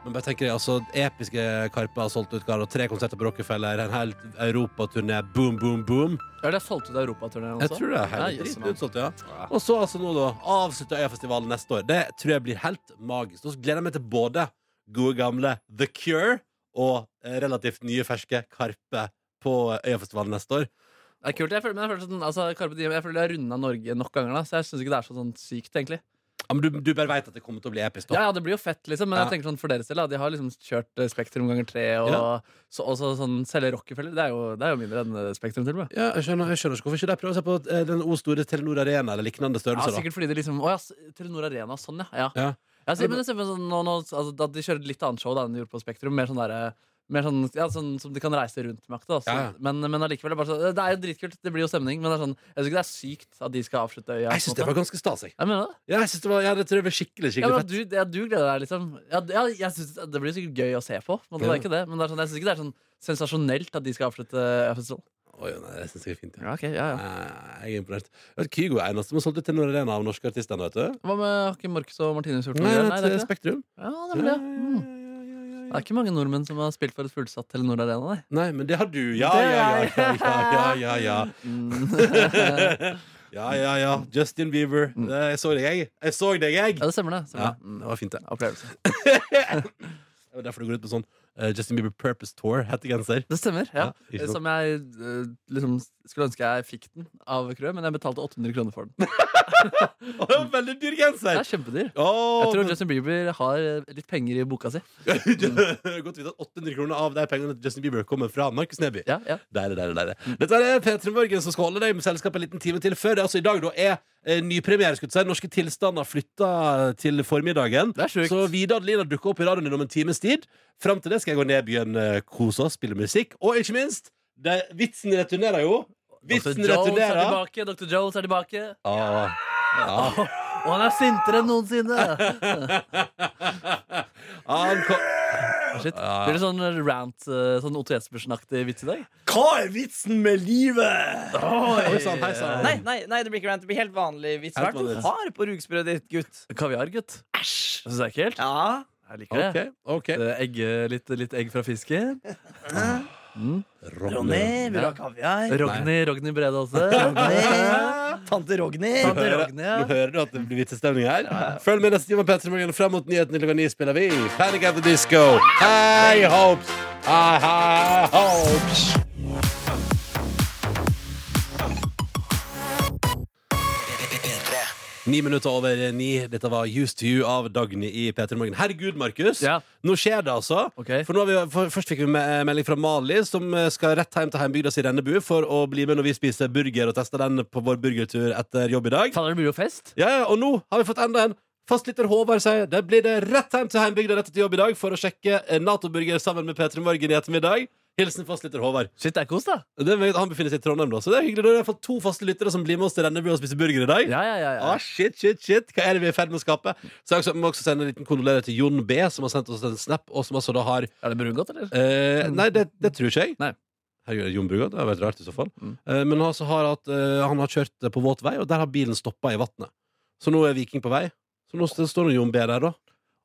[SPEAKER 2] Men bare tenker jeg, altså, episke Karpe har solgt ut Karo. Tre konserter på Rockefeller, en hel europaturné, boom, boom, boom.
[SPEAKER 3] Er det solgt ut europaturneen
[SPEAKER 2] Jeg
[SPEAKER 3] også?
[SPEAKER 2] tror det er
[SPEAKER 3] Nei,
[SPEAKER 2] helt
[SPEAKER 3] jøsse,
[SPEAKER 2] dritkult
[SPEAKER 3] mann.
[SPEAKER 2] solgt, ja. Og så altså nå, da. Avslutte Øyafestivalen neste år. Det tror jeg blir helt magisk. Og så gleder jeg meg til både gode gamle The Cure og eh, relativt nye ferske Karpe på Øyafestivalen neste år.
[SPEAKER 3] Det er kult, jeg føler, men jeg føler sånn, altså, Carpe Diem, jeg føler jeg har runda Norge nok ganger, da, så jeg syns ikke det er så sånn sykt, egentlig.
[SPEAKER 2] Ja, men du, du bare veit at det kommer til å bli episk,
[SPEAKER 3] Ja,
[SPEAKER 2] da.
[SPEAKER 3] ja, det blir jo fett, liksom, men
[SPEAKER 2] Ja.
[SPEAKER 3] jeg tenker sånn for deres del, da, de har liksom kjørt eh, Spektrum ganger tre, og
[SPEAKER 2] Ja.
[SPEAKER 3] så, også sånn selve Rockefeller, det er, jo, det er jo mindre enn eh, Spektrum, til og med.
[SPEAKER 2] Ja, jeg skjønner, jeg skjønner ikke hvorfor ikke de prøver å se på eh, den O store Telenor Arena eller lignende
[SPEAKER 3] Ja,
[SPEAKER 2] størrelser. da.
[SPEAKER 3] sikkert fordi de liksom Å ja, s- Telenor Arena, sånn, ja. ja.
[SPEAKER 2] Ja.
[SPEAKER 3] Ja, så, men jeg ser for meg sånn, nå, nå, altså, at de kjører et litt annet show da, enn de gjorde på Spektrum. Mer sånn, der, mer sånn, ja, sånn som de kan reise rundt med. aktig, Da, så,
[SPEAKER 2] Ja, ja.
[SPEAKER 3] Men, men allikevel, det er, bare så, det er jo dritkult. Det blir jo stemning. Men det er sånn, jeg syns ikke det er sykt at de skal avslutte øya.
[SPEAKER 2] Jeg syns det var ganske stas. Jeg.
[SPEAKER 3] Jeg mener det.
[SPEAKER 2] Ja, jeg synes det var, ja, det tror jeg blir skikkelig
[SPEAKER 3] sånn, Ja,
[SPEAKER 2] skikkelig
[SPEAKER 3] men
[SPEAKER 2] fett.
[SPEAKER 3] at du, ja, du gleder deg, liksom. Ja, det- ja, jeg synes, det blir sikkert gøy å se på. Men det
[SPEAKER 2] Ja.
[SPEAKER 3] er ikke det. Men det er sånn, jeg syns ikke det er sånn sensasjonelt at de skal avslutte sånn. øya-festivalen.
[SPEAKER 2] Oi, nei, det synes jeg er fint.
[SPEAKER 3] Ja, ok, ja, ja.
[SPEAKER 2] Eh, Jeg er imponert. Jeg vet, Kygo er eneste som har solgt ut Telenor Arena av norske artister ennå, vet du.
[SPEAKER 3] Hva med har ikke Marcus og Martinus gjort
[SPEAKER 2] Nei,
[SPEAKER 3] greier?
[SPEAKER 2] nei,
[SPEAKER 3] det er
[SPEAKER 2] til
[SPEAKER 3] ikke det.
[SPEAKER 2] Spektrum.
[SPEAKER 3] Ja, det er vel det. Mm. Det er ikke mange nordmenn som har spilt for et fullsatt Telenor Arena, nei.
[SPEAKER 2] Nei, men det har du. Ja,
[SPEAKER 3] Det
[SPEAKER 2] ja,
[SPEAKER 3] er-
[SPEAKER 2] ja. ja, ja, ja, ja.
[SPEAKER 3] Mm.
[SPEAKER 2] Ja, ja, ja. Justin Bieber. Det, jeg så deg, jeg. Jeg så deg, jeg.
[SPEAKER 3] Ja, det stemmer, det. Mm.
[SPEAKER 2] Ja,
[SPEAKER 3] Stemmer.
[SPEAKER 2] det var fint, det.
[SPEAKER 3] Opplevelse.
[SPEAKER 2] Det var derfor du går ut med sånn eh, Justin Bieber Purpose Tour hettegenser.
[SPEAKER 3] Det stemmer. ja,
[SPEAKER 2] ikke sant?
[SPEAKER 3] Som jeg eh, liksom skulle ønske jeg fikk den av Krø, men jeg betalte 800 kroner for den.
[SPEAKER 2] Å, det var en veldig dyr genser!
[SPEAKER 3] Det er kjempedyr.
[SPEAKER 2] Åh,
[SPEAKER 3] Jeg tror
[SPEAKER 2] men-
[SPEAKER 3] Justin Bieber har eh, litt penger i boka si.
[SPEAKER 2] Godt å vite at 800 kroner av de pengene til Justin Bieber kommer fra Markus Neby.
[SPEAKER 3] Ja, ja.
[SPEAKER 2] Deilig, deilig, deilig. Dette er P3 Morgen som skal holde deg med selskap en liten time til før. det Altså, I dag da er eh, nypremiere. skulle jeg Si. Norske tilstander flytta til formiddagen.
[SPEAKER 3] Det er sjukt.
[SPEAKER 2] Så Vidar Lina dukker opp i radioen din om en times tid. Fram til det skal jeg gå ned i byen, eh, kose oss, spille musikk. Og ikke minst, det, vitsen returnerer jo.
[SPEAKER 3] Dr.
[SPEAKER 2] Vitsen
[SPEAKER 3] Jones er
[SPEAKER 2] returnerer.
[SPEAKER 3] tilbake. Dr. Jones er tilbake.
[SPEAKER 2] Ah, ah.
[SPEAKER 3] Og han er sintere enn noensinne!
[SPEAKER 2] Han kom
[SPEAKER 3] Shit. Blir det sånn rant, eh, sånn Otto Jespersen-aktig vits i dag?
[SPEAKER 2] Hva er vitsen med livet? Oi sann, hei sann.
[SPEAKER 5] Nei, nei, nei, det blir ikke rant. Det blir helt vanlig vits. Hva
[SPEAKER 2] Helt
[SPEAKER 5] er det
[SPEAKER 2] vanlig.
[SPEAKER 5] du har på rugsprødet ditt, gutt?
[SPEAKER 3] Kaviar, gutt. Æsj! Det syns jeg er ikke helt.
[SPEAKER 5] Ja,
[SPEAKER 3] Jeg liker det.
[SPEAKER 2] Ok,
[SPEAKER 3] Eh, Egge, litt, litt egg fra fisken. Mm.
[SPEAKER 5] Ronny, Eh, vil du ha kaviar?
[SPEAKER 3] Rogny, Rogny Brede også.
[SPEAKER 5] Rogny. Tante Rogny.
[SPEAKER 2] Nå hører, nå hører du at det blir vitsestemning her. Følg med neste time med Petter Morgan fram mot nyhetene klokka ni spiller vi Panic at the Disco. Hei, hopes! Hei, hei, hopes! Ni minutter over ni. Dette var Used to You av Dagny i P3 Morgen. Herregud, Markus. Nå skjer det, altså. For, nå har vi, for Først fikk vi me- eh, melding fra Mali, som eh, skal rett hjem til heimbygda si Rennebu for å bli med når vi spiser burger og tester den på vår burgertur etter jobb i dag.
[SPEAKER 3] Faller det blir jo fest?
[SPEAKER 2] Ja, ja, og nå har vi fått enda en. Fastlytter Håvard sier det blir det rett hjem til heimbygda rett etter jobb i dag for å sjekke eh, Nato-burger sammen med P3 Morgen i ettermiddag. Hilsen fastlytter Håvard.
[SPEAKER 3] Shit, det er kos, da.
[SPEAKER 2] Det er meget- han befinner seg i Trondheim, da, så det er hyggelig. Da har vi fått to faste lyttere som blir med oss til Rennebu og spiser burger i dag.
[SPEAKER 3] Ja, ja, ja, ja.
[SPEAKER 2] Ah, shit, shit, shit. Hva er det vi er i ferd med å skape? Så jeg også- må også sende en liten kondolerer til Jon B, som har sendt oss en snap, og som altså da har
[SPEAKER 3] Er det brugodt, eller?
[SPEAKER 2] Eh, nei, det, det tror ikke jeg. Herregud, Jon Brugodt. Det hadde vært rart i så fall. Eh, men han, altså har hatt, eh, han har kjørt eh, på våt vei, og der har bilen stoppa i vannet. Så nå er Viking på vei. Så nå st- står nå Jon B der, da.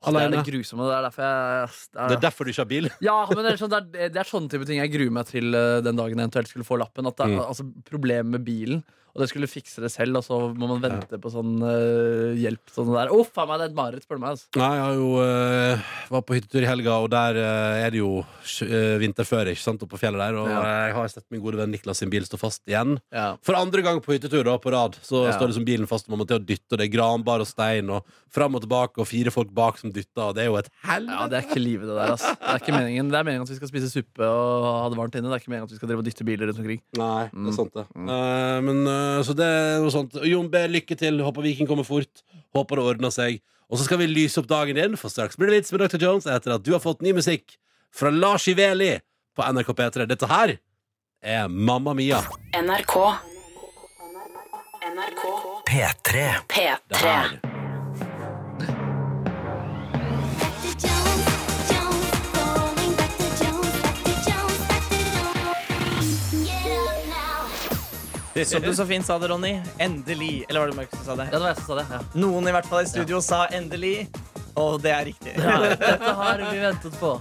[SPEAKER 3] Det er det
[SPEAKER 2] Alene.
[SPEAKER 3] grusomme. Det er derfor jeg
[SPEAKER 2] Det er derfor du ikke har bil.
[SPEAKER 3] Ja, men det er, sånn, det, er, det er sånne type ting jeg gruer meg til eh, den dagen jeg eventuelt skulle få lappen. At det, er-
[SPEAKER 2] Mm.
[SPEAKER 3] altså, Problemet med bilen, og det skulle fikse det selv, og så må man vente på sånn eh, hjelp. Sånn der. Å, faen meg, det er et mareritt, spør du meg. Altså.
[SPEAKER 2] Nei, jeg har jo, eh, var på hyttetur i helga, og der eh, er det jo uh, vinterføre ikke sant, oppe på fjellet der. Og
[SPEAKER 3] Ja.
[SPEAKER 2] jeg har sett min gode venn Niklas sin bil stå fast igjen. For andre gang på hyttetur da, på rad Så
[SPEAKER 3] Ja.
[SPEAKER 2] står liksom bilen fast, og man må til å dytte, og det er granbar og stein, og fram og tilbake, og fire folk bak som dytter, og det er jo et helvete.
[SPEAKER 3] Ja, det er ikke livet, det der. Altså. Det, er ikke meningen. det er meningen at vi skal spise suppe og ha det varmt inne. Det er ikke meningen at vi skal drive og dytte biler rundt omkring.
[SPEAKER 2] Nei, det er sant det. Eh, men, eh, så det er noe sånt. Jon B, lykke til. Håper Viking kommer fort. Håper det ordner seg. Og så skal vi lyse opp dagen din, for straks blir det vits med Dr. Jones etter at du har fått ny musikk fra Lars Iveli på NRK P3. Dette her er Mamma Mia.
[SPEAKER 4] NRK. NRK.
[SPEAKER 2] P3. Det
[SPEAKER 4] P3.
[SPEAKER 2] her.
[SPEAKER 5] Som du så fint sa det, Ronny. Endelig. Eller var det Markus som sa det?
[SPEAKER 3] Ja, det var jeg som sa det. Ja.
[SPEAKER 5] Noen i hvert fall i studio sa endelig, og det er riktig.
[SPEAKER 3] Dette har vi ventet på.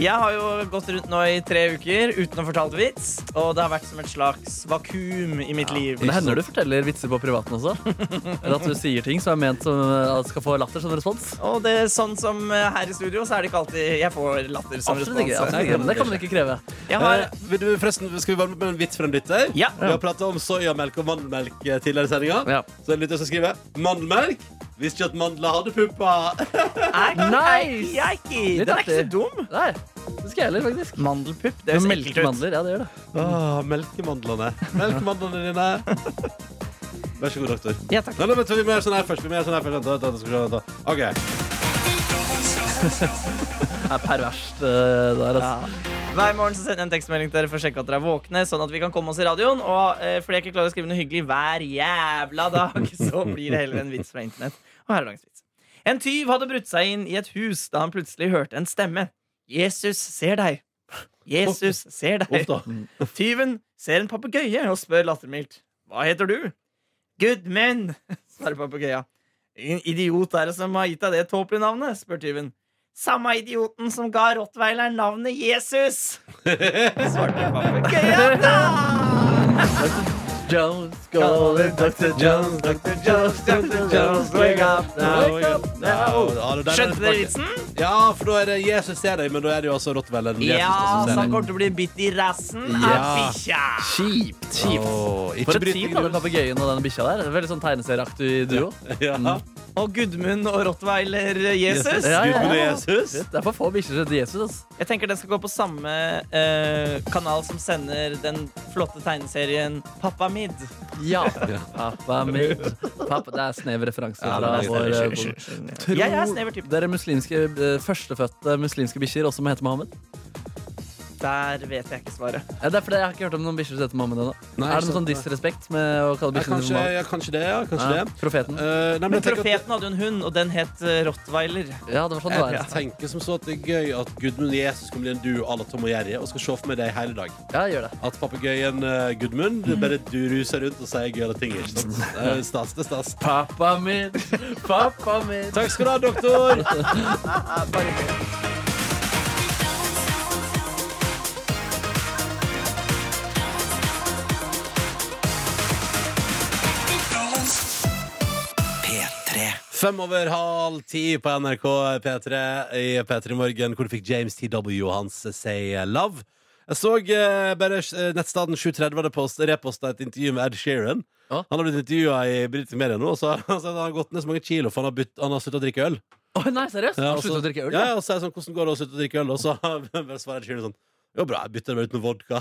[SPEAKER 5] Jeg har jo gått rundt nå i tre uker uten å fortelle vits, og det har vært som et slags vakuum i mitt liv.
[SPEAKER 3] Men det hender du forteller vitser på privaten også. Eller at du sier ting som er ment som eh, at skal få latter som respons.
[SPEAKER 5] Og det er sånn som eh, her i studio, så er det ikke alltid jeg får latter som
[SPEAKER 3] Absolutt ikke,
[SPEAKER 5] respons.
[SPEAKER 3] absolutt ikke. Men det kan man ikke kreve.
[SPEAKER 5] Jeg har
[SPEAKER 2] Eh, vil du, forresten, skal vi varme opp med en vits fra en lytter?
[SPEAKER 5] Ja.
[SPEAKER 2] Vi har prata om soyamelk og mandelmelk eh, tidligere i sendinga. Så en lytter som skriver mandelmelk. Visste ikke at mandler hadde pupper.
[SPEAKER 5] Nice! Jeg er ikke,
[SPEAKER 3] Litt
[SPEAKER 5] den er ikke
[SPEAKER 3] artig.
[SPEAKER 5] så dum.
[SPEAKER 3] Nei, det skal jeg heller, faktisk.
[SPEAKER 5] Mandelpupp, det høres ekkelt ut.
[SPEAKER 3] Melkemandler, ja, det gjør det.
[SPEAKER 2] Ah, melkemandlene. Melkemandlene dine. Vær så god, doktor.
[SPEAKER 5] Ja, takk.
[SPEAKER 2] Nei, nei, vent, vi må gjøre sånn her først. Vi må gjøre sånn her først. Vent, vent, vent, skal vi se, vent, vent. Ok.
[SPEAKER 3] Det er perverst eh, der, altså.
[SPEAKER 5] Hver morgen så sender jeg en tekstmelding til dere for å sjekke at dere er våkne. Sånn at vi kan komme oss i radioen Og eh, fordi jeg ikke klarer å skrive noe hyggelig hver jævla dag, så blir det heller en vits fra internett. Og her er dagens vits. En tyv hadde brutt seg inn i et hus da han plutselig hørte en stemme. Jesus ser deg. Jesus ser
[SPEAKER 2] Uff
[SPEAKER 5] deg.
[SPEAKER 2] da.
[SPEAKER 5] Tyven ser en papegøye og spør lattermildt. Hva heter du? Goodman, svarer papegøya. Ingen idiot er det som har gitt deg det tåpelige navnet, spør tyven. Samme idioten som ga rottweileren navnet Jesus! Svarte papegøya.
[SPEAKER 3] Jones, calling Dr. Jones, Dr. Jones, Dr. Jones, wake up now.
[SPEAKER 2] Wake up now. Ja, det der er
[SPEAKER 5] Skjønte dere
[SPEAKER 2] tilbake.
[SPEAKER 5] vitsen?
[SPEAKER 2] Ja, for da er det Jesus ser deg, men da er det jo altså rottweileren Jesus
[SPEAKER 5] Ja,
[SPEAKER 2] som
[SPEAKER 5] så
[SPEAKER 2] ser
[SPEAKER 5] han
[SPEAKER 2] deg.
[SPEAKER 5] kommer til å bli bitt i rassen av
[SPEAKER 2] Ja.
[SPEAKER 5] bikkja.
[SPEAKER 3] Kjipt.
[SPEAKER 2] Åh,
[SPEAKER 3] kjipt. For
[SPEAKER 2] ikke
[SPEAKER 3] et
[SPEAKER 2] bryt
[SPEAKER 3] team da, med papegøyen og den bikkja der. Veldig sånn tegneserieaktig duo.
[SPEAKER 2] Ja.
[SPEAKER 5] Og Gudmund og rottweiler eh, Jesus.
[SPEAKER 3] Ja, ja,
[SPEAKER 2] Gudmund og
[SPEAKER 3] ja.
[SPEAKER 2] Jesus.
[SPEAKER 3] Det er for få bikkjer til Jesus. ass.
[SPEAKER 5] Jeg tenker den skal gå på samme eh, kanal som sender den flotte tegneserien Pappa Mid.
[SPEAKER 3] Ja. Pappa min. Pappa, det er snev referanse.
[SPEAKER 2] Ja,
[SPEAKER 3] fra
[SPEAKER 2] det er
[SPEAKER 3] vår,
[SPEAKER 2] snev,
[SPEAKER 3] eh,
[SPEAKER 5] snev,
[SPEAKER 3] vår-
[SPEAKER 5] snev.
[SPEAKER 3] Tror
[SPEAKER 5] Jeg er snever type.
[SPEAKER 3] Dere muslimske, eh, førstefødte muslimske bikkjer også må hete Mohammed.
[SPEAKER 5] Der vet jeg ikke svaret.
[SPEAKER 3] Ja, det er fordi Jeg har ikke hørt om noen bikkjer som heter Mohammed ennå.
[SPEAKER 2] Nei,
[SPEAKER 3] Er det
[SPEAKER 2] sant,
[SPEAKER 3] noen sånn
[SPEAKER 2] nei.
[SPEAKER 3] disrespekt med å kalle
[SPEAKER 2] Ja,
[SPEAKER 3] bikkjen
[SPEAKER 2] kanskje,
[SPEAKER 3] sin Mohammed?
[SPEAKER 2] ja, kanskje det. Ja, kanskje
[SPEAKER 3] Ja,
[SPEAKER 2] det.
[SPEAKER 3] Profeten.
[SPEAKER 2] Eh, nei, men
[SPEAKER 5] Men
[SPEAKER 2] jeg tenker at-
[SPEAKER 5] profeten hadde jo en hund, og den het eh, rottweiler.
[SPEAKER 3] Ja, det var sånn det var.
[SPEAKER 2] Jeg tenker som så at det er gøy at Gudmund Jesus kommer bli en duo à la Tom og Jerry, og skal se for meg det i hele dag.
[SPEAKER 3] Ja, gjør det.
[SPEAKER 2] At papegøyen eh, Gudmund bare du ruser rundt og sier gøyale ting. Ikke sant? Det er stas, det er stas.
[SPEAKER 3] Pappa min, pappa min.
[SPEAKER 2] Takk skal du ha, doktor!
[SPEAKER 1] P3.
[SPEAKER 2] Fem over halv ti på NRK P3 i P3 Morgen, hvor du fikk James TW og hans Say Love. Jeg så eh, bare eh, nettstaden 730 hadde post- repostet et intervju med Ed Sheeran.
[SPEAKER 3] Ja.
[SPEAKER 2] Han har blitt intervjua i britiske medier nå, og så har han sagt at han har gått ned så mange kilo, for han har, bytt- han har slutta å drikke øl.
[SPEAKER 3] Oi, nei, seriøst?
[SPEAKER 2] Ja, og
[SPEAKER 3] Har du sluttet
[SPEAKER 2] så-
[SPEAKER 3] å drikke øl?
[SPEAKER 2] Ja, ja, og så er det sånn, hvordan går det å slutte å drikke øl? Og så bare svarer Ed Sheeran sånn Jo, bra, jeg bytter det bare ut med vodka.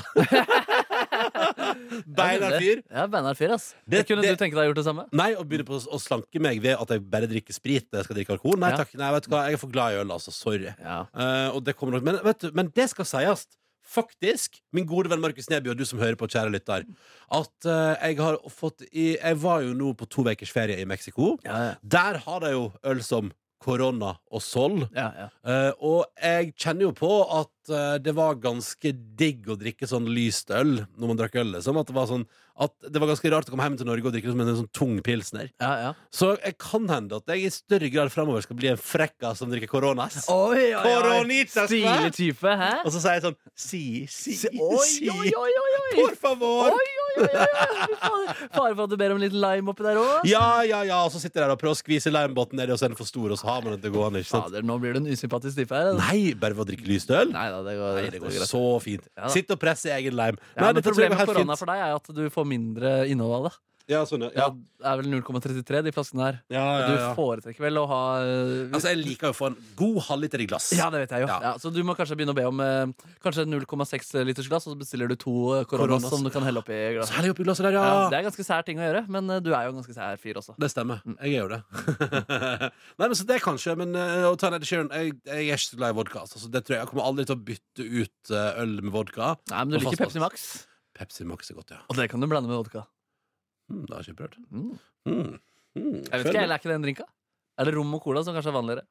[SPEAKER 2] Beinar fyr.
[SPEAKER 3] Ja, Beinar fyr, ass.
[SPEAKER 2] Det-
[SPEAKER 3] kunne
[SPEAKER 2] det-
[SPEAKER 3] du tenke deg gjort det samme?
[SPEAKER 2] Nei, og begynner på å slanke meg ved at jeg bare drikker sprit når jeg skal drikke alkohol. Nei
[SPEAKER 3] Ja.
[SPEAKER 2] takk, nei, vet du hva, jeg er for glad i øl, altså. Sorry.
[SPEAKER 3] Ja.
[SPEAKER 2] Eh, og det kommer nok Men, vet du, men det skal sies, faktisk, min gode venn Markus Neby og du som hører på, kjære lytter, at eh, jeg har fått i Jeg var jo nå på to ukers ferie i Mexico.
[SPEAKER 3] Ja, ja.
[SPEAKER 2] Der har de jo øl som korona og sol.
[SPEAKER 3] ja, ja.
[SPEAKER 2] Eh, og jeg kjenner jo på at eh, det var ganske digg å drikke sånn lyst øl når man drakk øl. Liksom. At det, var sånn, at det var ganske rart å komme hjem til Norge og drikke liksom en sånn tung pilsner.
[SPEAKER 3] ja, ja.
[SPEAKER 2] Så jeg kan hende at jeg i større grad fremover skal bli en frekka som drikker koronas.
[SPEAKER 3] Oi, oi,
[SPEAKER 2] Koronitas, hva?
[SPEAKER 3] Stilig type, hæ?
[SPEAKER 2] Og så sier jeg sånn si, si, si.
[SPEAKER 3] Oi, oi, oi, oi, oi.
[SPEAKER 2] Por favor!
[SPEAKER 3] Oi, oi, oi, oi, oi. Faen, Fare for at du ber om litt lime oppi der òg.
[SPEAKER 2] Ja, ja, ja, og så sitter jeg der og prøver å skvise limebåten nedi, og så er den for stor, og så har man den til gående. Ikke sant?
[SPEAKER 3] Fader, nå blir du en usympatisk type her. altså.
[SPEAKER 2] Nei, bare ved å drikke lyst øl?
[SPEAKER 3] Nei da, det går,
[SPEAKER 2] Nei, det går
[SPEAKER 3] greit.
[SPEAKER 2] så fint.
[SPEAKER 3] Ja da.
[SPEAKER 2] Sitt og press i egen leim.
[SPEAKER 3] Ja, men
[SPEAKER 2] dette tror jeg går
[SPEAKER 3] problemet med
[SPEAKER 2] helt
[SPEAKER 3] korona
[SPEAKER 2] fint.
[SPEAKER 3] for deg er jo at du får mindre innhold av det.
[SPEAKER 2] Ja, sånn, ja.
[SPEAKER 3] Ja. Det er vel 0,33 de flaskene her.
[SPEAKER 2] Ja, ja,
[SPEAKER 3] Du
[SPEAKER 2] ja.
[SPEAKER 3] foretrekker vel å ha øh,
[SPEAKER 2] Altså, jeg liker jo å få en god halvliter i glass.
[SPEAKER 3] Ja, det vet jeg jo.
[SPEAKER 2] Ja.
[SPEAKER 3] Ja. så du må kanskje begynne å be om eh, Kanskje 0,6 liters glass, og så bestiller du to eh, koronas
[SPEAKER 2] Koronas.
[SPEAKER 3] som du kan helle oppi
[SPEAKER 2] Så
[SPEAKER 3] glasset.
[SPEAKER 2] heller jeg oppi glasset der, ja.
[SPEAKER 3] Ja, det
[SPEAKER 2] det,
[SPEAKER 3] er ganske sær ting å gjøre, men eh, du er jo en ganske sær fyr også.
[SPEAKER 2] stemmer.
[SPEAKER 3] Mm.
[SPEAKER 2] Jeg gjør det. Nei, men så det kanskje, men eh, å ta en Ed Sheeran jeg, jeg er ikke så glad i vodka. Altså, så det tror jeg, jeg kommer aldri til å bytte ut eh, øl med vodka.
[SPEAKER 3] Nei, men du
[SPEAKER 2] Og
[SPEAKER 3] liker
[SPEAKER 2] fastpakke.
[SPEAKER 3] Pepsi Max,
[SPEAKER 2] Pepsi Max er godt, ja.
[SPEAKER 3] og det kan du blande med vodka.
[SPEAKER 2] Mm, det har jeg ikke prøvd.
[SPEAKER 3] Mm.
[SPEAKER 2] Mm. Mm,
[SPEAKER 3] Jeg vet ikke,
[SPEAKER 2] skjønner.
[SPEAKER 3] eller Er ikke det en drinka? Er det rom og cola som kanskje er vanligere?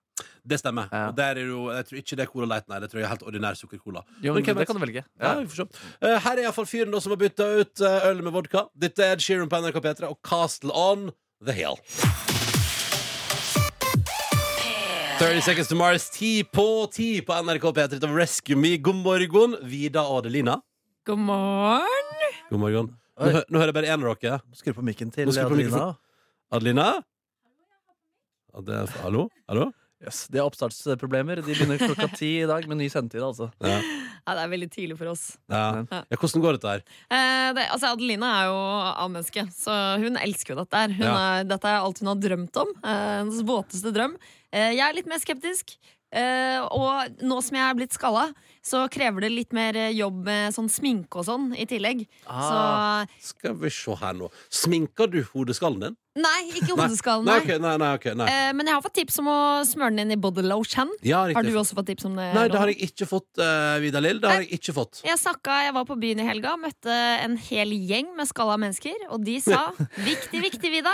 [SPEAKER 2] Det stemmer.
[SPEAKER 3] Ja.
[SPEAKER 2] Og Der er jo, jeg tror ikke det er Cola Light, nei. Det tror jeg er helt ordinær sukkercola.
[SPEAKER 3] Jo,
[SPEAKER 2] Men
[SPEAKER 3] men
[SPEAKER 2] hvem
[SPEAKER 3] det
[SPEAKER 2] vet?
[SPEAKER 3] kan du velge.
[SPEAKER 2] Ja, vi får se. Eh, her er iallfall fyren da som har bytta ut eh, øl med vodka. Dette er Ed Sheeran på NRK P3 og Castle on The Hill. 30 Seconds to Mars, ti på ti på NRK P3 til Rescue Me. God morgen, Vida og Adelina.
[SPEAKER 12] God morgen!
[SPEAKER 2] God morgen. Nå, hø- nå hører jeg bare én av dere.
[SPEAKER 3] Skru på mikken til
[SPEAKER 2] Nå skal jeg på Adelina. mikrofon. Adelina? Ade, hallo? Hallo?
[SPEAKER 3] Yes, de har oppstartsproblemer. De begynner klokka ti i dag med ny sendetid, altså.
[SPEAKER 2] Ja.
[SPEAKER 12] Ja, det er veldig tidlig for oss.
[SPEAKER 2] Ja. ja, hvordan går dette her?
[SPEAKER 12] Eh, det, altså Adelina er jo A-menneske, så hun elsker jo dette her. Hun
[SPEAKER 2] Ja.
[SPEAKER 12] er, dette er alt hun har drømt om. eh, Hennes våteste drøm. Eh, jeg er litt mer skeptisk. eh, og nå som jeg er blitt skalla, så krever det litt mer eh, jobb med sånn sminke og sånn i tillegg.
[SPEAKER 2] Ah.
[SPEAKER 12] Så
[SPEAKER 2] Skal vi se her nå. Sminker du hodeskallen din?
[SPEAKER 12] nei, ikke hodeskallen,
[SPEAKER 2] Nei,
[SPEAKER 12] nei.
[SPEAKER 2] ok, nei, nei, ok, nei.
[SPEAKER 12] Eh, men jeg har fått tips om å smøre den inn i body lotion.
[SPEAKER 2] Ja,
[SPEAKER 12] Har
[SPEAKER 2] riktig.
[SPEAKER 12] du også fått tips om det?
[SPEAKER 2] Nei, det
[SPEAKER 12] Ronny?
[SPEAKER 2] har jeg ikke fått, uh, Vidar Lill. Det har jeg ikke fått.
[SPEAKER 12] Jeg snakka, jeg var på byen i helga, møtte en hel gjeng med skalla mennesker, og de sa Viktig, viktig, Vida.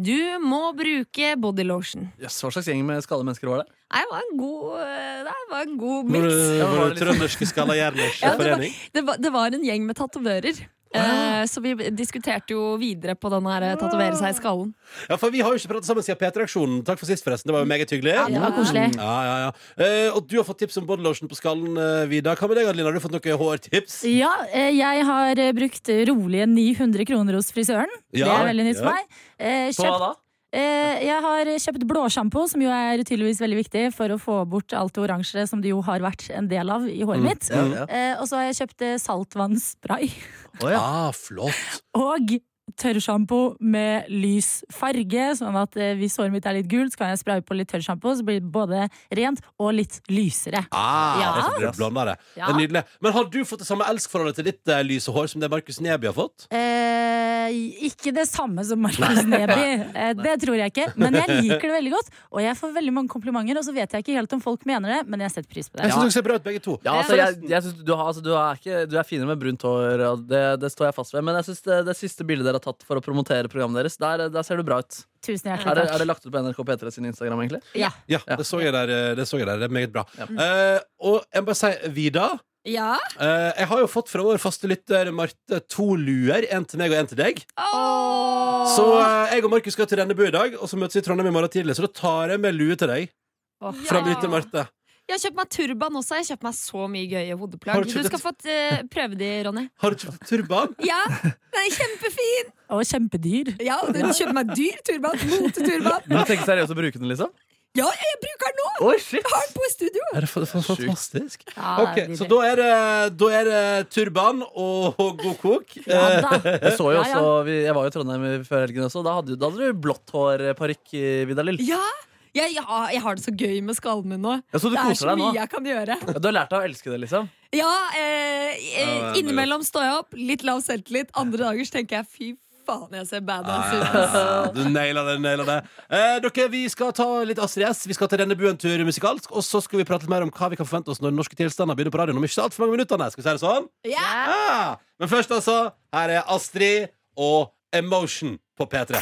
[SPEAKER 12] Du må bruke body lotion.
[SPEAKER 3] Yes, hva slags gjeng med skadde mennesker var det?
[SPEAKER 12] Nei, Det var en god, eh, det var en god
[SPEAKER 2] Når
[SPEAKER 12] mix.
[SPEAKER 2] du-
[SPEAKER 3] Ja,
[SPEAKER 2] når
[SPEAKER 3] var
[SPEAKER 2] du
[SPEAKER 3] det liksom-
[SPEAKER 2] Trønderske Skalla Jerners
[SPEAKER 12] Ja, det var-
[SPEAKER 2] forening.
[SPEAKER 12] Det var, det var en gjeng med tatoverer. Eh, så vi diskuterte jo videre på den her eh, tatovere seg i skallen.
[SPEAKER 2] Ja, for vi har jo ikke pratet sammen siden P3-aksjonen. Takk for sist, forresten. Det var jo meget hyggelig. Mm.
[SPEAKER 12] Ja, det var koselig.
[SPEAKER 2] Ja, ja, ja. Eh, og du har fått tips om bodylotion på skallen, eh, Vidar. Hva med deg, Adelina? Har du fått noen hårtips?
[SPEAKER 13] Ja, eh, jeg har eh, brukt rolige 900 kroner hos frisøren. det
[SPEAKER 2] Ja,
[SPEAKER 13] er veldig nytt
[SPEAKER 2] ja.
[SPEAKER 13] for meg. Eh,
[SPEAKER 3] På hva da?
[SPEAKER 13] eh, jeg har kjøpt blåsjampo, som jo er tydeligvis veldig viktig for å få bort alt det oransje som det jo har vært en del av i håret
[SPEAKER 2] Mm,
[SPEAKER 13] mitt.
[SPEAKER 3] ja, ja.
[SPEAKER 13] Eh, og så har jeg kjøpt eh, saltvannsspray
[SPEAKER 3] Mm. Å ja.
[SPEAKER 2] Ah, flott.
[SPEAKER 13] og tørrsjampo med lys farge, sånn at eh, hvis håret mitt er litt gult, så kan jeg spraye på litt tørrsjampo, så blir det både rent og litt lysere.
[SPEAKER 2] Ah,
[SPEAKER 13] Ja.
[SPEAKER 2] det er så bra du blander det. Det
[SPEAKER 13] Ja.
[SPEAKER 2] er nydelig. Men har du fått det samme elskforholdet til ditt eh, lyse hår som det Markus Neby har fått?
[SPEAKER 13] Eh, Eh, ikke det samme som Markus
[SPEAKER 14] Nei.
[SPEAKER 13] Neby,
[SPEAKER 14] Nei.
[SPEAKER 13] eh, det tror jeg ikke. Men jeg liker det veldig godt, og jeg får veldig mange komplimenter. Og så vet jeg ikke helt om folk mener det, men jeg setter pris på det.
[SPEAKER 2] Jeg syns dere ser bra ut, begge to.
[SPEAKER 3] Ja, altså, jeg, jeg synes du, har, altså, du, er ikke, du er finere med brunt hår, og det, det står jeg fast ved. Men jeg synes det, det siste bildet dere har tatt for å promotere programmet deres, der, der ser du bra ut.
[SPEAKER 13] Tusen hjertelig
[SPEAKER 3] Er det,
[SPEAKER 13] takk.
[SPEAKER 3] er det lagt ut på NRK P3 sin Instagram, egentlig?
[SPEAKER 12] Ja.
[SPEAKER 2] Ja, det så jeg der. eh, Det, så jeg der. det er meget bra. Eh, og jeg må bare si, Vida
[SPEAKER 12] Ja.
[SPEAKER 2] eh, Jeg har jo fått fra vår faste lytter Marte to luer. En til meg og en til deg. Så eh, jeg og Markus skal til Rennebu i dag, og så møtes vi i Trondheim i morgen tidlig. Så da tar jeg med lue til deg.
[SPEAKER 12] Åh.
[SPEAKER 2] Fra
[SPEAKER 12] Ja.
[SPEAKER 2] min til Marte.
[SPEAKER 12] Jeg har kjøpt meg turban også. Jeg har kjøpt meg så mye gøye
[SPEAKER 2] Har
[SPEAKER 12] hodeplagg.
[SPEAKER 2] du kjøpt
[SPEAKER 12] Du
[SPEAKER 2] et-
[SPEAKER 12] skal få eh, prøve de, Ronny.
[SPEAKER 2] Har du kjøpt turban?
[SPEAKER 12] Ja, den er kjempefin!
[SPEAKER 13] Og kjempedyr.
[SPEAKER 12] Ja, og du kjøper meg dyr turban. Moteturban.
[SPEAKER 3] Men du tenker seriøst å bruke den, liksom?
[SPEAKER 12] Ja, jeg bruker den nå!
[SPEAKER 3] Oi, shit.
[SPEAKER 12] Har den på i studio.
[SPEAKER 2] Er det fa- fa- fantastisk?
[SPEAKER 12] Ja,
[SPEAKER 2] Ok,
[SPEAKER 12] det blir
[SPEAKER 2] så
[SPEAKER 12] det.
[SPEAKER 2] da er det, da er det turban og, og god kok.
[SPEAKER 3] Ja, da.
[SPEAKER 2] Eh,
[SPEAKER 3] Jeg, så jo
[SPEAKER 2] Ja, ja.
[SPEAKER 3] også, vi, jeg var jo i Trondheim i- før helgen også. Da hadde, da hadde du blått hår, eh, parykk, eh, Vidar Lill.
[SPEAKER 12] Ja, jeg, ja, jeg har det så gøy med skallen min nå.
[SPEAKER 3] Ja, så du
[SPEAKER 12] det er
[SPEAKER 3] koser
[SPEAKER 12] så
[SPEAKER 3] deg nå?
[SPEAKER 12] mye jeg kan gjøre.
[SPEAKER 3] Ja, Du har lært deg å elske det, liksom?
[SPEAKER 12] Ja,
[SPEAKER 3] Ja,
[SPEAKER 12] eh, eh,
[SPEAKER 3] det er
[SPEAKER 12] innimellom står jeg opp, litt lav selvtillit. Andre dager så tenker jeg fy faen, jeg ser badass ut.
[SPEAKER 2] Ah, Du naila det. naila det eh, Dere, Vi skal ta litt Astrid S. Vi skal til Rennebu en tur musikalsk. Og så skal vi prate litt mer om hva vi kan forvente oss når norske tilstander begynner på radioen om ikke så altfor mange minutter. Nei, skal vi si det sånn? Ja. Men først, altså. Her er Astrid og Emotion på P3.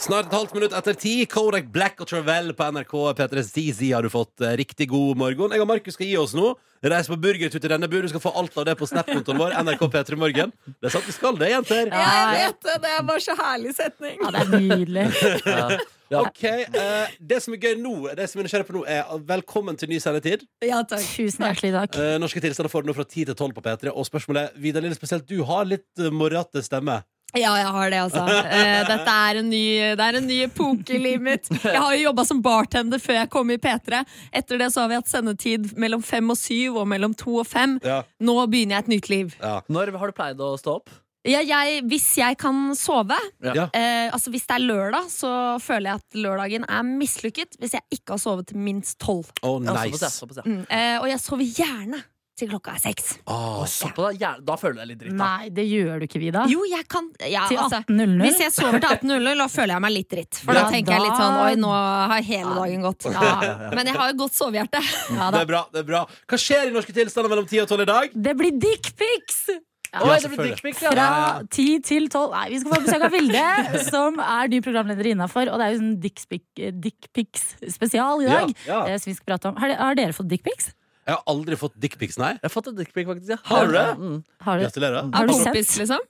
[SPEAKER 2] Snart et halvt minutt etter ti. Kodak Black og Travel på NRK P3 Sisi har du fått. eh, Riktig god morgen. Jeg og Markus skal gi oss nå. Reis på burgertur til Rennebu. Du skal få alt av det på Snap-kontoen vår. NRK P3 Morgen. Det er sant vi skal det, jenter.
[SPEAKER 12] Ja, jeg vet det! Det er bare så herlig setning. Ja,
[SPEAKER 13] det er nydelig.
[SPEAKER 2] Ok, eh, Det som er gøy nå, det som jeg er nysgjerrig på nå, er velkommen til ny sendetid.
[SPEAKER 12] Ja, takk.
[SPEAKER 13] Tusen hjertelig takk.
[SPEAKER 2] Eh, norske tilstander får du nå fra 10 til 12 på P3. Og spørsmålet er, Vidar Lille spesielt, du har litt uh, morrete stemme.
[SPEAKER 12] Ja, jeg har det, altså. Eh, dette er en ny, det er en ny epoke i livet mitt. Jeg har jo jobba som bartender før jeg kom i P3. Etter det så har vi hatt sendetid mellom fem og syv, og mellom to og fem.
[SPEAKER 2] Ja.
[SPEAKER 12] Nå begynner jeg et nytt liv.
[SPEAKER 3] Når har du pleid å stå opp?
[SPEAKER 12] Ja, jeg, hvis jeg kan sove
[SPEAKER 3] Ja.
[SPEAKER 12] eh, Altså Hvis det er lørdag, så føler jeg at lørdagen er mislykket hvis jeg ikke har sovet til minst tolv.
[SPEAKER 2] Å,
[SPEAKER 3] Ja, såpass,
[SPEAKER 2] nice.
[SPEAKER 3] ja, såpass, ja.
[SPEAKER 12] Mm, eh, og jeg sover gjerne til klokka er seks.
[SPEAKER 2] Å,
[SPEAKER 3] såpass, ja. Da føler jeg litt dritt, da.
[SPEAKER 13] Nei, det gjør du ikke, Vida.
[SPEAKER 12] Jo, jeg kan ja,
[SPEAKER 13] Til
[SPEAKER 12] altså,
[SPEAKER 13] 18.00?
[SPEAKER 12] Hvis jeg sover til 18.00, da føler jeg meg litt dritt. For
[SPEAKER 13] Ja,
[SPEAKER 12] da tenker jeg litt sånn
[SPEAKER 13] da-
[SPEAKER 12] Oi, nå har hele dagen gått. Ja. Men jeg har jo godt sovehjerte.
[SPEAKER 2] det er bra. det er bra Hva skjer i norske tilstander mellom 10 og 12 i dag?
[SPEAKER 13] Det blir dickpics!
[SPEAKER 2] Ja, Oi, det blir selvfølgelig. dickpics, ja. Ja, ja,
[SPEAKER 13] Fra
[SPEAKER 2] ja.
[SPEAKER 13] ti til tolv. Nei, vi skal få besøk av Vilde, som er ny programleder innafor. Og det er jo sånn dickpic- dickpics-spesial i
[SPEAKER 2] Ja,
[SPEAKER 13] dag,
[SPEAKER 2] ja.
[SPEAKER 13] eh, som vi skal prate om. Har, de- har dere fått dickpics?
[SPEAKER 2] Jeg har aldri fått dickpics, nei.
[SPEAKER 3] Jeg har fått et dickpic, faktisk. Ja.
[SPEAKER 2] Har du det?
[SPEAKER 3] Mm.
[SPEAKER 13] Har du-
[SPEAKER 2] Gratulerer.
[SPEAKER 13] Har du sett?
[SPEAKER 12] liksom?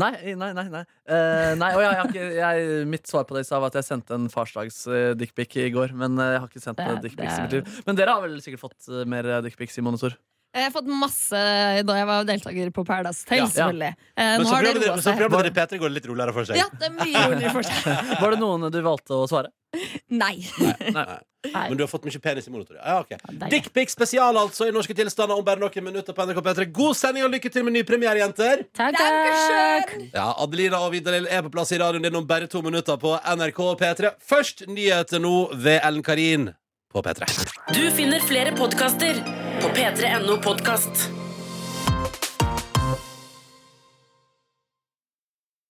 [SPEAKER 3] Nei, nei, nei. nei. Eh, nei og jeg, har ikke, jeg, mitt svar på det i stad var at jeg sendte en farsdags-dickpic i går. Men eh, jeg har ikke sendt
[SPEAKER 12] Det-
[SPEAKER 3] eh, dickpics i mitt
[SPEAKER 12] det-
[SPEAKER 3] liv. Men dere har vel sikkert fått eh, mer eh, dickpics i monitor?
[SPEAKER 12] Jeg har fått masse da jeg var deltaker på Paradise Hotel,
[SPEAKER 3] Ja.
[SPEAKER 12] selvfølgelig. Eh,
[SPEAKER 2] Men
[SPEAKER 12] nå
[SPEAKER 2] så
[SPEAKER 12] har det
[SPEAKER 2] programleder-
[SPEAKER 12] roa
[SPEAKER 2] men så
[SPEAKER 12] seg.
[SPEAKER 2] programleder i P3 går det litt roligere for seg.
[SPEAKER 12] Ja, det er mye roligere for seg.
[SPEAKER 3] Var det noen du valgte å svare?
[SPEAKER 12] Nei.
[SPEAKER 2] Men du har fått mye penis i monitor. Ja, ok. Dickpic spesial altså i norske tilstander om bare noen minutter på NRK P3. God sending og lykke til med ny premiere, jenter!
[SPEAKER 13] Takk,
[SPEAKER 2] Ja, Adelina og Vidar Lill er på plass i radioen din om bare to minutter på NRK P3. Først nyheter nå ved Ellen Karin på P3.
[SPEAKER 4] Du finner flere podkaster på p3.no podkast.